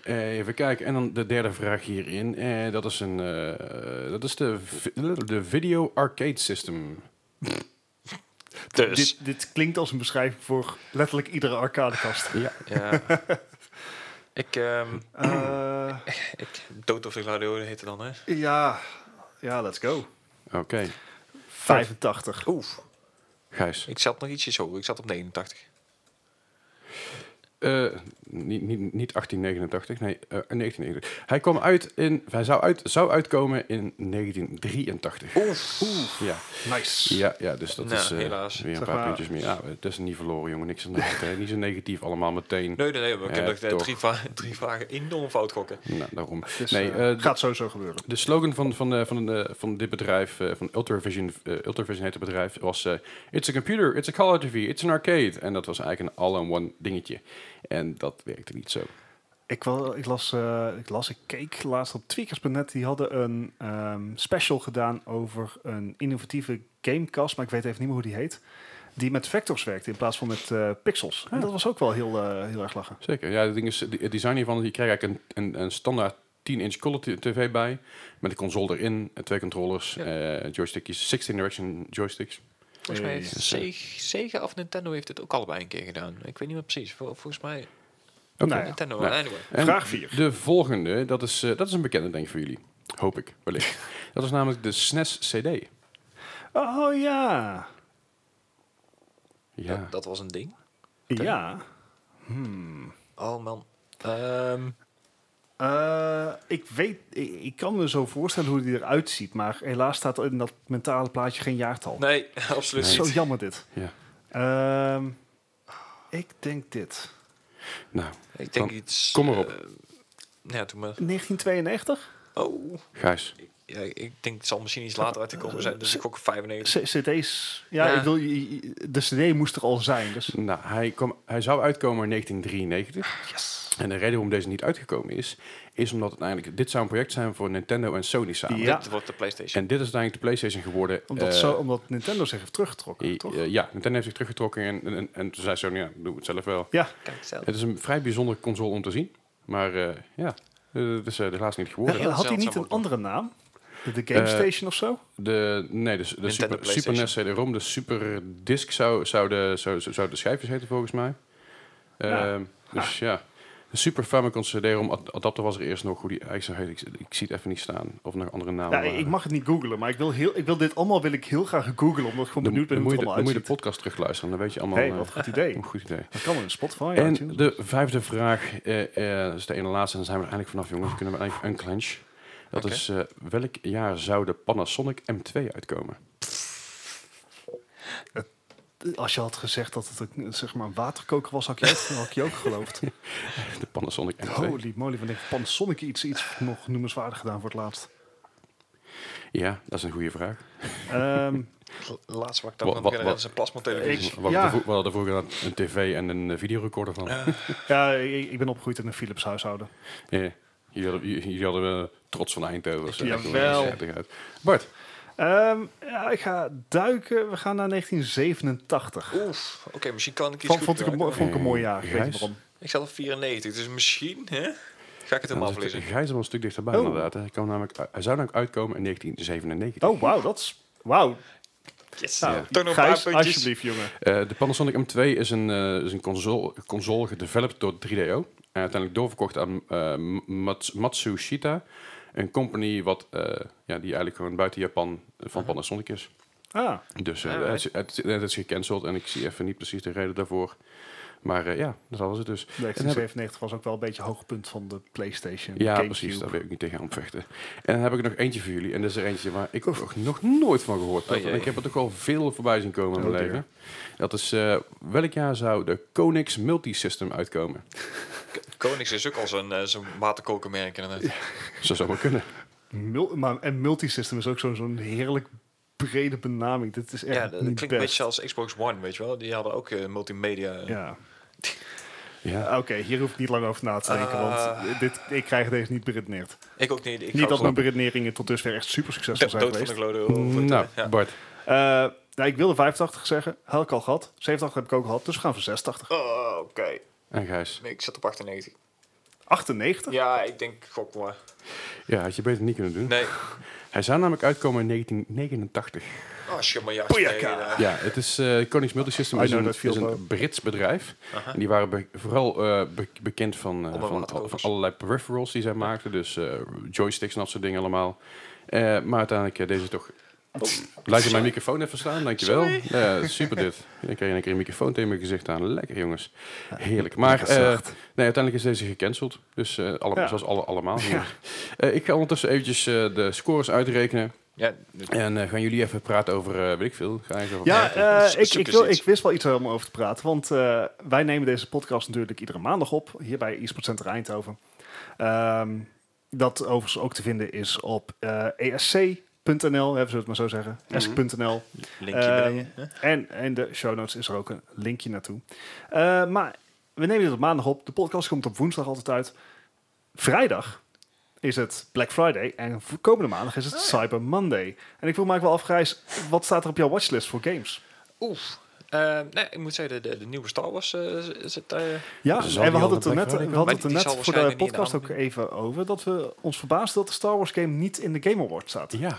Eh, even kijken. En dan de derde vraag hierin. Eh, dat is, een, eh, dat is de, vi- de Video Arcade System. Dus. eh, Dit, dit klinkt als een beschrijving voor letterlijk iedere arcadekast. Ja. Ja. ik, ehm Eh, ik, Dood of de Gladiolen heette dan, hè? ja. ja, let's go. Oké. 85. Oef. Gijs. Ik zat nog ietsjes hoger. Ik zat op 89. Eh, niet, niet, niet 1889, nee, eh, 1989. Hij kwam uit in, hij zou, uit, zou uitkomen in 1983. Oef. Ja, Nice. ja, ja dus dat Nou, is eh, helaas. weer een Zeg paar maar- puntjes meer. Ja, eh, het is niet verloren, jongen. Niks aan de hand, hè. Niet zo negatief allemaal meteen. Nee, nee, nee. Maar ik heb Ja, nog, eh, toch. drie, va- drie vragen enorm fout gokken. Nou, daarom. Dus, nee, eh, eh, de- gaat sowieso gebeuren. De slogan van, van, eh, van, eh, van dit bedrijf, eh, van Ultravision, eh, Ultravision heet het bedrijf, was eh, It's a computer, it's a color TV, it's an arcade. En dat was eigenlijk een all-in-one dingetje. En dat werkte niet zo. Ik, wel, ik, las, eh, ik las, ik keek laatst op tweakers.net. Die hadden een ehm, special gedaan over een innovatieve gamecast. Maar ik weet even niet meer hoe die heet. Die met vectors werkte in plaats van met eh, pixels. Ah. En dat was ook wel heel, eh, heel erg lachen. Zeker. Ja, het ding is, het design hiervan, je krijgt eigenlijk een, een, een standaard 10-inch color t- tv bij, met een console erin, eh, twee controllers, Ja. eh, joystickjes, 16 direction joysticks. Volgens mij heeft Hey. Sega- Sega of Nintendo heeft het ook allebei een keer gedaan. Ik weet niet meer precies. Vol- volgens mij Oké. Nou ja. Nintendo. Nou. Anyway. En Vraag 4. De volgende, dat is, eh, dat is een bekende denk ik voor jullie. Hoop ik, wellicht. dat is namelijk de E SNES CD. Oh ja. Ja. Dat, dat was een ding. Ja. Hmm. Oh man. Ehm, Eh, ik weet, ik, ik kan me zo voorstellen hoe die eruit ziet. Maar helaas staat in dat mentale plaatje geen jaartal. nee, absoluut Zo niet. jammer dit. ja. Ehm, ik denk dit. Nou, Ik denk Dan iets. kom maar op. eh, ja, toen maar. 1992? Oh. Gijs. Ja, ik denk het zal misschien iets later uitgekomen zijn. Dus ik gok op 95. C- CD's. Ja, Ja. Ik wil, je- je- de CD moest er al zijn. Dus. Nou, hij, kwam, hij zou uitkomen in 1993. Yes. En de reden waarom deze niet uitgekomen is, is omdat uiteindelijk dit zou een project zijn voor Nintendo en Sony samen. Ja. Dit wordt de PlayStation. En dit is uiteindelijk de PlayStation geworden. Omdat, eh, zo, omdat Nintendo zich heeft teruggetrokken, i- toch? eh, ja, Nintendo heeft zich teruggetrokken en, en, en, en toen zei Sony, ja, doe het zelf wel. ja, Kijk zelf. Het is een vrij bijzondere console om te zien. Maar eh, ja, eh, het is eh, helaas niet geworden. heel had hij niet zeldzaam een ook andere naam? De de Game Eh, Station of zo? De, nee, de, de Nintendo Super, Super NES CD ROM, de Super Disc zou, zou, de, zou, zou de schijfjes heten volgens mij. Ja. Ah. Ehm, Dus ja, de Super Famicom CD ROM ad- adapter was er eerst nog. Hoe die eigenlijk zou heten, ik, ik zie het even niet staan. Of nog andere namen. Ja, waren. Nou, ik mag het niet googlen, maar ik wil, heel, ik wil dit allemaal wil ik heel graag googlen. Omdat ik gewoon dan, benieuwd dan ben hoe moet je het de, allemaal dan moet je de uitziet. podcast terugluisteren. Dan weet je allemaal hey, eh, wat een goed idee. een goed idee. Dat kan in Spotify. En iTunes. de vijfde vraag eh, eh, dat is de ene laatste. En dan zijn we er eindelijk vanaf, jongens. We kunnen we eigenlijk unclench. Dat Oké. is, eh, welk jaar zou de Panasonic M2 uitkomen? Als je had gezegd dat het een, zeg maar, een waterkoker was, had ik je ook, had ik je ook geloofd. De Panasonic M2. Holy moly, van heeft Panasonic iets, iets nog noemenswaardig gedaan voor het laatst? Ja, dat is een goede vraag. Ehm, Laatst wat Wat- ik dan wat- nog wat- is een plasmatelevisie. Ik- We hadden, ja. er vro- we hadden vroeger een- een tv en een eh, videorecorder van. Ja. ja, ik, ik ben opgegroeid in een Philips huishouden. Jullie hadden, jullie- jullie hadden eh, trots van Eindhoven. Dat zag er Jawel. schattig uit. Bart, Ehm, ja, ik ga duiken. We gaan naar 1987. Oef. Oké, misschien kan ik iets Vond, goed vond, ik, een, maken. mo- vond ik een mooi jaar. Ik weet Gijs? niet waarom. Ik zat op 94, dus misschien hè, ga ik het helemaal nou, dan zit- aflezen. Gijs is wel een stuk dichterbij Oh. inderdaad. Hij, kwam namelijk, uit- hij zou namelijk uitkomen in 1997. Oh, wauw, dat is... Wauw. Yes. Nou, Ja. Toch nog een paar Gijs, puntjes. alsjeblieft, jongen. Eh, de Panasonic M2 is een, eh, is een console, console gedeveloped door 3DO. En Eh, uiteindelijk doorverkocht aan eh, Mats- Matsushita. Een company wat, eh, ja, die eigenlijk gewoon buiten Japan van Panasonic is. Ah, Dus eh, Alright. het, is- het, is- het is gecanceld en ik zie even niet precies de reden daarvoor. Maar eh, ja, dat was het dus. 1997 was ook wel een beetje hoogtepunt van de PlayStation. Ja, GameCube. precies. Daar wil ik niet tegen aanvechten. En dan heb ik er nog eentje voor jullie. En dat is er eentje waar ik ook nog nooit van gehoord heb. Oh, jee. en ik heb het ook al veel voorbij zien komen in Oh, mijn dear. leven. Dat is, eh, welk jaar zou de Konix Multisystem uitkomen? Konings is ook al zo'n eh, zo'n waterkokermerk inderdaad. Zo zou wel kunnen. Mul- maar, en multisystem is ook zo'n zo'n heerlijk brede benaming. Dit is echt Ja, dat niet klinkt een best. beetje als Xbox One, weet je wel. Die hadden ook eh, multimedia. Ja. Ah, Ja. Ah, Oké, hier hoef ik niet lang over na te denken, want dit, ik krijg deze niet beredeneerd. Ik ook niet. Ik Niet had dat mijn gewoon beredeneringen tot dusver echt super succesvol dood zijn dood van geweest. de glode. over- Nou, ja. Bart. Eh, nou, ik wilde 85 zeggen, had ik al gehad. 87 heb ik ook gehad, dus we gaan voor 86. Oh, oké. En Gijs. Nee, ik zat op 98. 98? Ja, ik denk gok maar. Ja, had je beter niet kunnen doen. Nee. Hij zou namelijk uitkomen in 1989. Oh, schim maar jas. Boeiaka. Nee, eh. Ja, het is eh Konings Multisystem I is know een, that feel is een well. Brits bedrijf. En die waren be- vooral eh, be- bekend van, eh, Onder van, waterkokers. van allerlei peripherals die zij maakten. Dus eh, joysticks en dat soort dingen allemaal. Eh, maar uiteindelijk eh, deze toch... Oh. Laat je mijn microfoon even staan, dankjewel. Eh super dit. Dan krijg je een keer een microfoon tegen mijn gezicht aan. Lekker jongens. Heerlijk. Maar lekker eh, zacht. nee, uiteindelijk is deze gecanceld. Dus eh alle, Ja. zoals alle, allemaal. jongens. Eh, ik ga ondertussen eventjes eh, de scores uitrekenen. Ja, En eh, gaan jullie even praten over, eh, weet ik veel. Ga ik over Ja, praten? eh, zoek ik, eens ik, wil, iets. ik wist wel iets om over te praten. Want eh, wij nemen deze podcast natuurlijk iedere maandag op. Hier bij eSport Center Eindhoven. Ehm, dat overigens ook te vinden is op eh, esc.nl. Even zullen we het maar zo zeggen. esc.nl. linkje Ehm, beneden. hè? En in de show notes is er ook een linkje naartoe. Eh, maar we nemen dit op maandag op. De podcast komt op woensdag altijd uit. Vrijdag is het Black Friday. En v- komende maandag is het Cyber Monday. En ik wil me eigenlijk wel afgrijs. Wat staat er op jouw watchlist voor games? Oef. Eh, nee, ik moet zeggen, de, de, de nieuwe Star Wars eh, is het... eh, Zal Ja, en we die al hadden de het er Black Friday net, we hadden het er komen? Maar die- die net zal voor de waarschijnlijk niet in de podcast ook even over... dat we ons verbaasden dat de Star Wars game niet in de Game Award staat. Ja, Ja.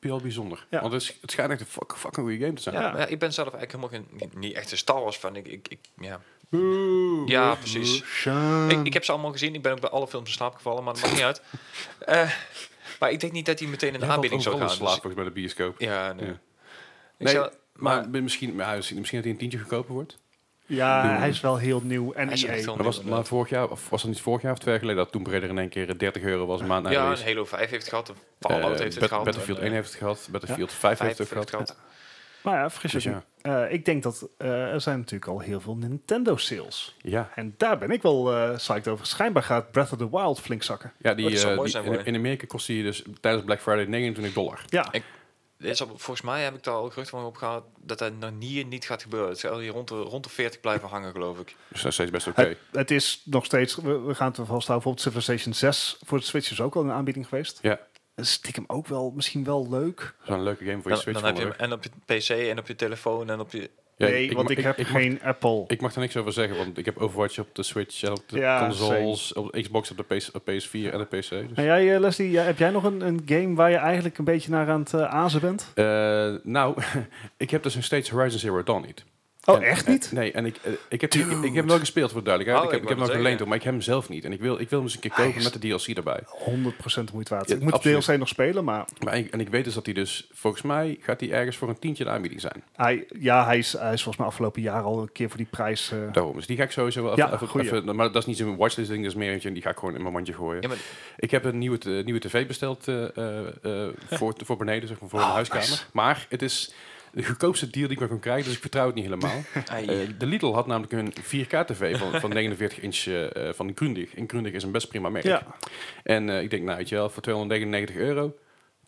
wel bijzonder. Ja. Want het, is- het schijnt echt een fuck, fucking goede game te zijn. ja, maar ja, ik ben zelf eigenlijk helemaal geen, niet echt een Star Wars fan. Ik, ik, ik, ja. Ja, precies. Mm. Ik, ik heb ze allemaal gezien. Ik ben ook bij alle films in slaap gevallen, maar dat maakt niet uit. Eh, maar ik denk niet dat hij meteen in de Jij valt aanbieding zou overal gaan. in slaap dus- volgens bij de bioscoop. ja, nee. Ja. Ik Nee, zou- maar, misschien, maar hij is- misschien dat hij een tientje goedkoper wordt. Ja, hij is wel heel nieuw. En E Hij is echt EA. heel Maar was, het nieuw, maar vorig jaar, of was dat niet vorig jaar of twee jaar geleden dat Tomb Raider in één keer eh, 30 euro was een maand na Ja, een release? Halo 5 heeft het gehad. Een Eh, Fallout heeft het Bat- gehad. Battlefield en, 1 eh, heeft het gehad, Battlefield 5 heeft het 5 ook heeft gehad. het gehad. Maar Nou ja, vergis je Dus niet. Eh, ik denk dat eh, er zijn natuurlijk al heel veel Nintendo sales. Ja, En daar ben ik wel eh psyched over. Schijnbaar gaat Breath of the Wild flink zakken. ja Oh, die, dat zou eh, mooi die- zijn, in, hoor. in Amerika kost die dus tijdens Black Friday 29 dollar. Ja, Ik- Dit is al- volgens mij heb ik daar al gerucht van op gehad dat dat nog hier niet gaat gebeuren. Het zal hier rond de, rond de 40 blijven hangen, geloof ik. Dus dat is steeds best oké. het, het is nog steeds... We, we gaan het er vasthouden. Bijvoorbeeld Civilization 6 voor de Switch is ook al een aanbieding geweest. Eh, Ja, Stiekem ook wel misschien wel leuk. zo'n leuke game voor je Dan, Switch. dan heb je hem volgende en op je PC en op je telefoon en op je. week. Ja, nee, want ma- ik, heb ik mag- geen Apple. Ik mag er niks over zeggen, want ik heb Overwatch op de Switch, en op de Ja, consoles, op de Xbox, op de PS, op PS4 en de PC. Dus. En jij, eh, Leslie, jij- heb jij nog een, een game waar je eigenlijk een beetje naar aan het eh, azen bent? Eh, nou, ik heb dus nog steeds Horizon Zero Dawn niet. Oh, En- echt en- niet? nee, en ik, eh, ik, heb, ik, ik heb hem wel gespeeld voor de duidelijkheid. Oh, ik heb, ik ik heb hem wou net ook geleend, zeggen. hoor, maar ik heb hem zelf niet. En ik wil, ik wil hem eens een keer Hij kopen is- met de DLC erbij. 100% moeite waard. Ja, ik moet absoluut. de DLC nog spelen, maar Maar ik, en ik weet dus dat hij dus, volgens mij gaat hij ergens voor een tientje in de aanbieding zijn. hij, ja, hij, is, hij is volgens mij afgelopen jaar al een keer voor die prijs. eh, Daarom, dus die ga ik sowieso wel even, Ja, even, goeie. even- Maar dat is niet zo'n watchlist ding, dat is meer eentje. en Die ga ik gewoon in mijn mandje gooien. Ja, maar Ik heb een nieuwe, t- nieuwe tv besteld eh, eh, eh, voor, voor beneden, zeg maar, Ah, voor de huiskamer. Maar het is de goedkoopste deal die ik maar kon krijgen, dus ik vertrouw het niet helemaal. Ai. Eh, de Lidl had namelijk een 4K-tv van, van 49 inch eh, van Grundig. En Grundig is een best prima merk. Ja. En eh, ik denk, nou weet je wel, voor 299 euro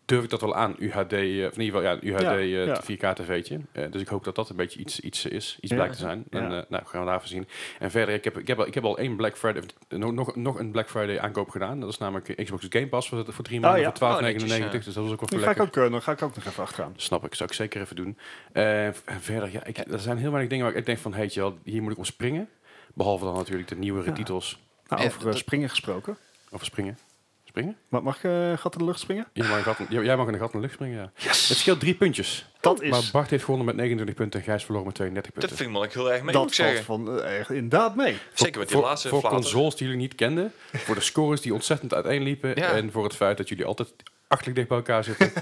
durf ik dat wel aan. UHD, eh, of in ieder geval ja, een UHD Ja, eh, ja. 4K-tv'tje. Eh, dus ik hoop dat dat een beetje iets, iets eh, is, iets Ja. blijkt te zijn. En, Ja. eh, nou, gaan we daarvoor zien. En verder, ik heb, ik heb, al, ik heb al één Black Friday, eh, nog, nog, nog een Black Friday aankoop gedaan. Dat is namelijk eh, Xbox Game Pass voor, voor drie maanden ja. voor 12,99. Oh, netjes, ja. Dus dat was ook wel voor die ga ik lekker. ook, eh, nog- ga ik ook nog even achteraan. Snap ik, zou ik zeker even doen. Eh, en verder, ja, ik, er zijn heel weinig dingen waar ik denk van, heet je wel, hier moet ik om springen. Behalve dan natuurlijk de nieuwere Ja. titels. Nou, Ja, over eh, dat- springen gesproken. Of springen. Springen? Wat mag ik eh, gat in de lucht springen? Jij mag, een gat in, jij- jij mag in een gat in de lucht springen, ja. Het scheelt drie puntjes. Dat Maar is. Bart heeft gewonnen met 29 punten en Gijs verloren met 32 dat punten. vind ik me wel heel erg mee, moet dat ik valt zeggen. van, eh, echt inderdaad mee. Zeker met die voor, laatste Voor flater. consoles die jullie niet kenden. Voor de scores die ontzettend uiteenliepen. Ja. En voor het feit dat jullie altijd achterlijk dicht bij elkaar zitten.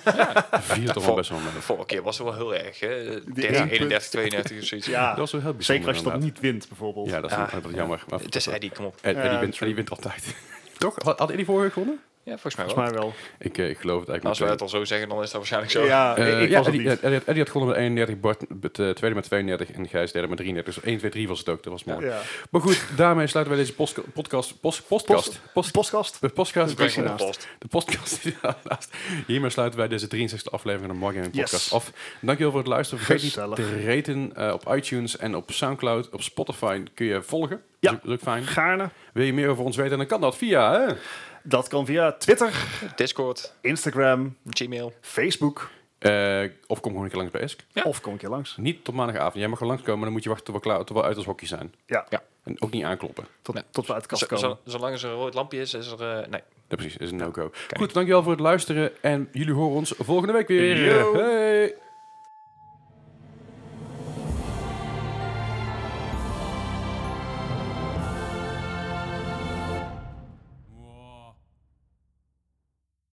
Viel toch wel best wel mee. De vorige keer was het wel heel erg, hè? 30, één punt. 31, 32 of zoiets. Dus Ja, Dat was wel heel bijzonder. zeker als je dat inderdaad. niet wint, bijvoorbeeld. Ja, dat is Ah. wel- wel jammer. Maar Het is Eddie, kom op. Ed- Eddie Ja, wint- Eddie wint altijd. toch? Had had Eddie vorige gewonnen? Ja, volgens mij wel. Volgens mij wel. Ik, eh, ik geloof het eigenlijk als wij meteen. het al zo zeggen, dan is dat waarschijnlijk zo. Ja, Eh, ik ja, was het Eddie, niet. Eddie, Eddie had gewonnen met 31, Bart met, eh, tweede met 32 en Gijs derde met 33. Dus 1, 2, 3 was het ook. Dat was mooi. Ja. Maar goed, daarmee sluiten wij deze postka- podcast... Post, podcast? Post, Postkast? de podcast, Dat is Brengen we naast. op post. de podcast daarnaast. Hiermee sluiten wij deze 63e aflevering van de Mark Gaming Yes. Podcast af. Dankjewel voor het luisteren. Vergeet Gezellig. niet te raten eh, op iTunes en op Soundcloud. Op Spotify kun je volgen. Dat Ja. is ook- dat is ook fijn. Gaarne. Wil je meer over ons weten, dan kan dat via... Hè? Dat kan via Twitter, Discord, Instagram, Gmail. Facebook. Eh, of kom gewoon een keer langs bij Esk. Ja. Of kom een keer langs. Niet tot maandagavond. Jij mag gewoon langskomen, maar dan moet je wachten tot we, klaar, tot we uit ons hokje zijn. Ja. Ja. En ook niet aankloppen. Tot, Nee. tot we uit de kast Zo- komen. zo- zolang er een rood lampje is, is er... eh, nee. Ja, precies. is een no-go. Goed, dankjewel voor het luisteren. En jullie horen ons volgende week weer. Yo. Hey.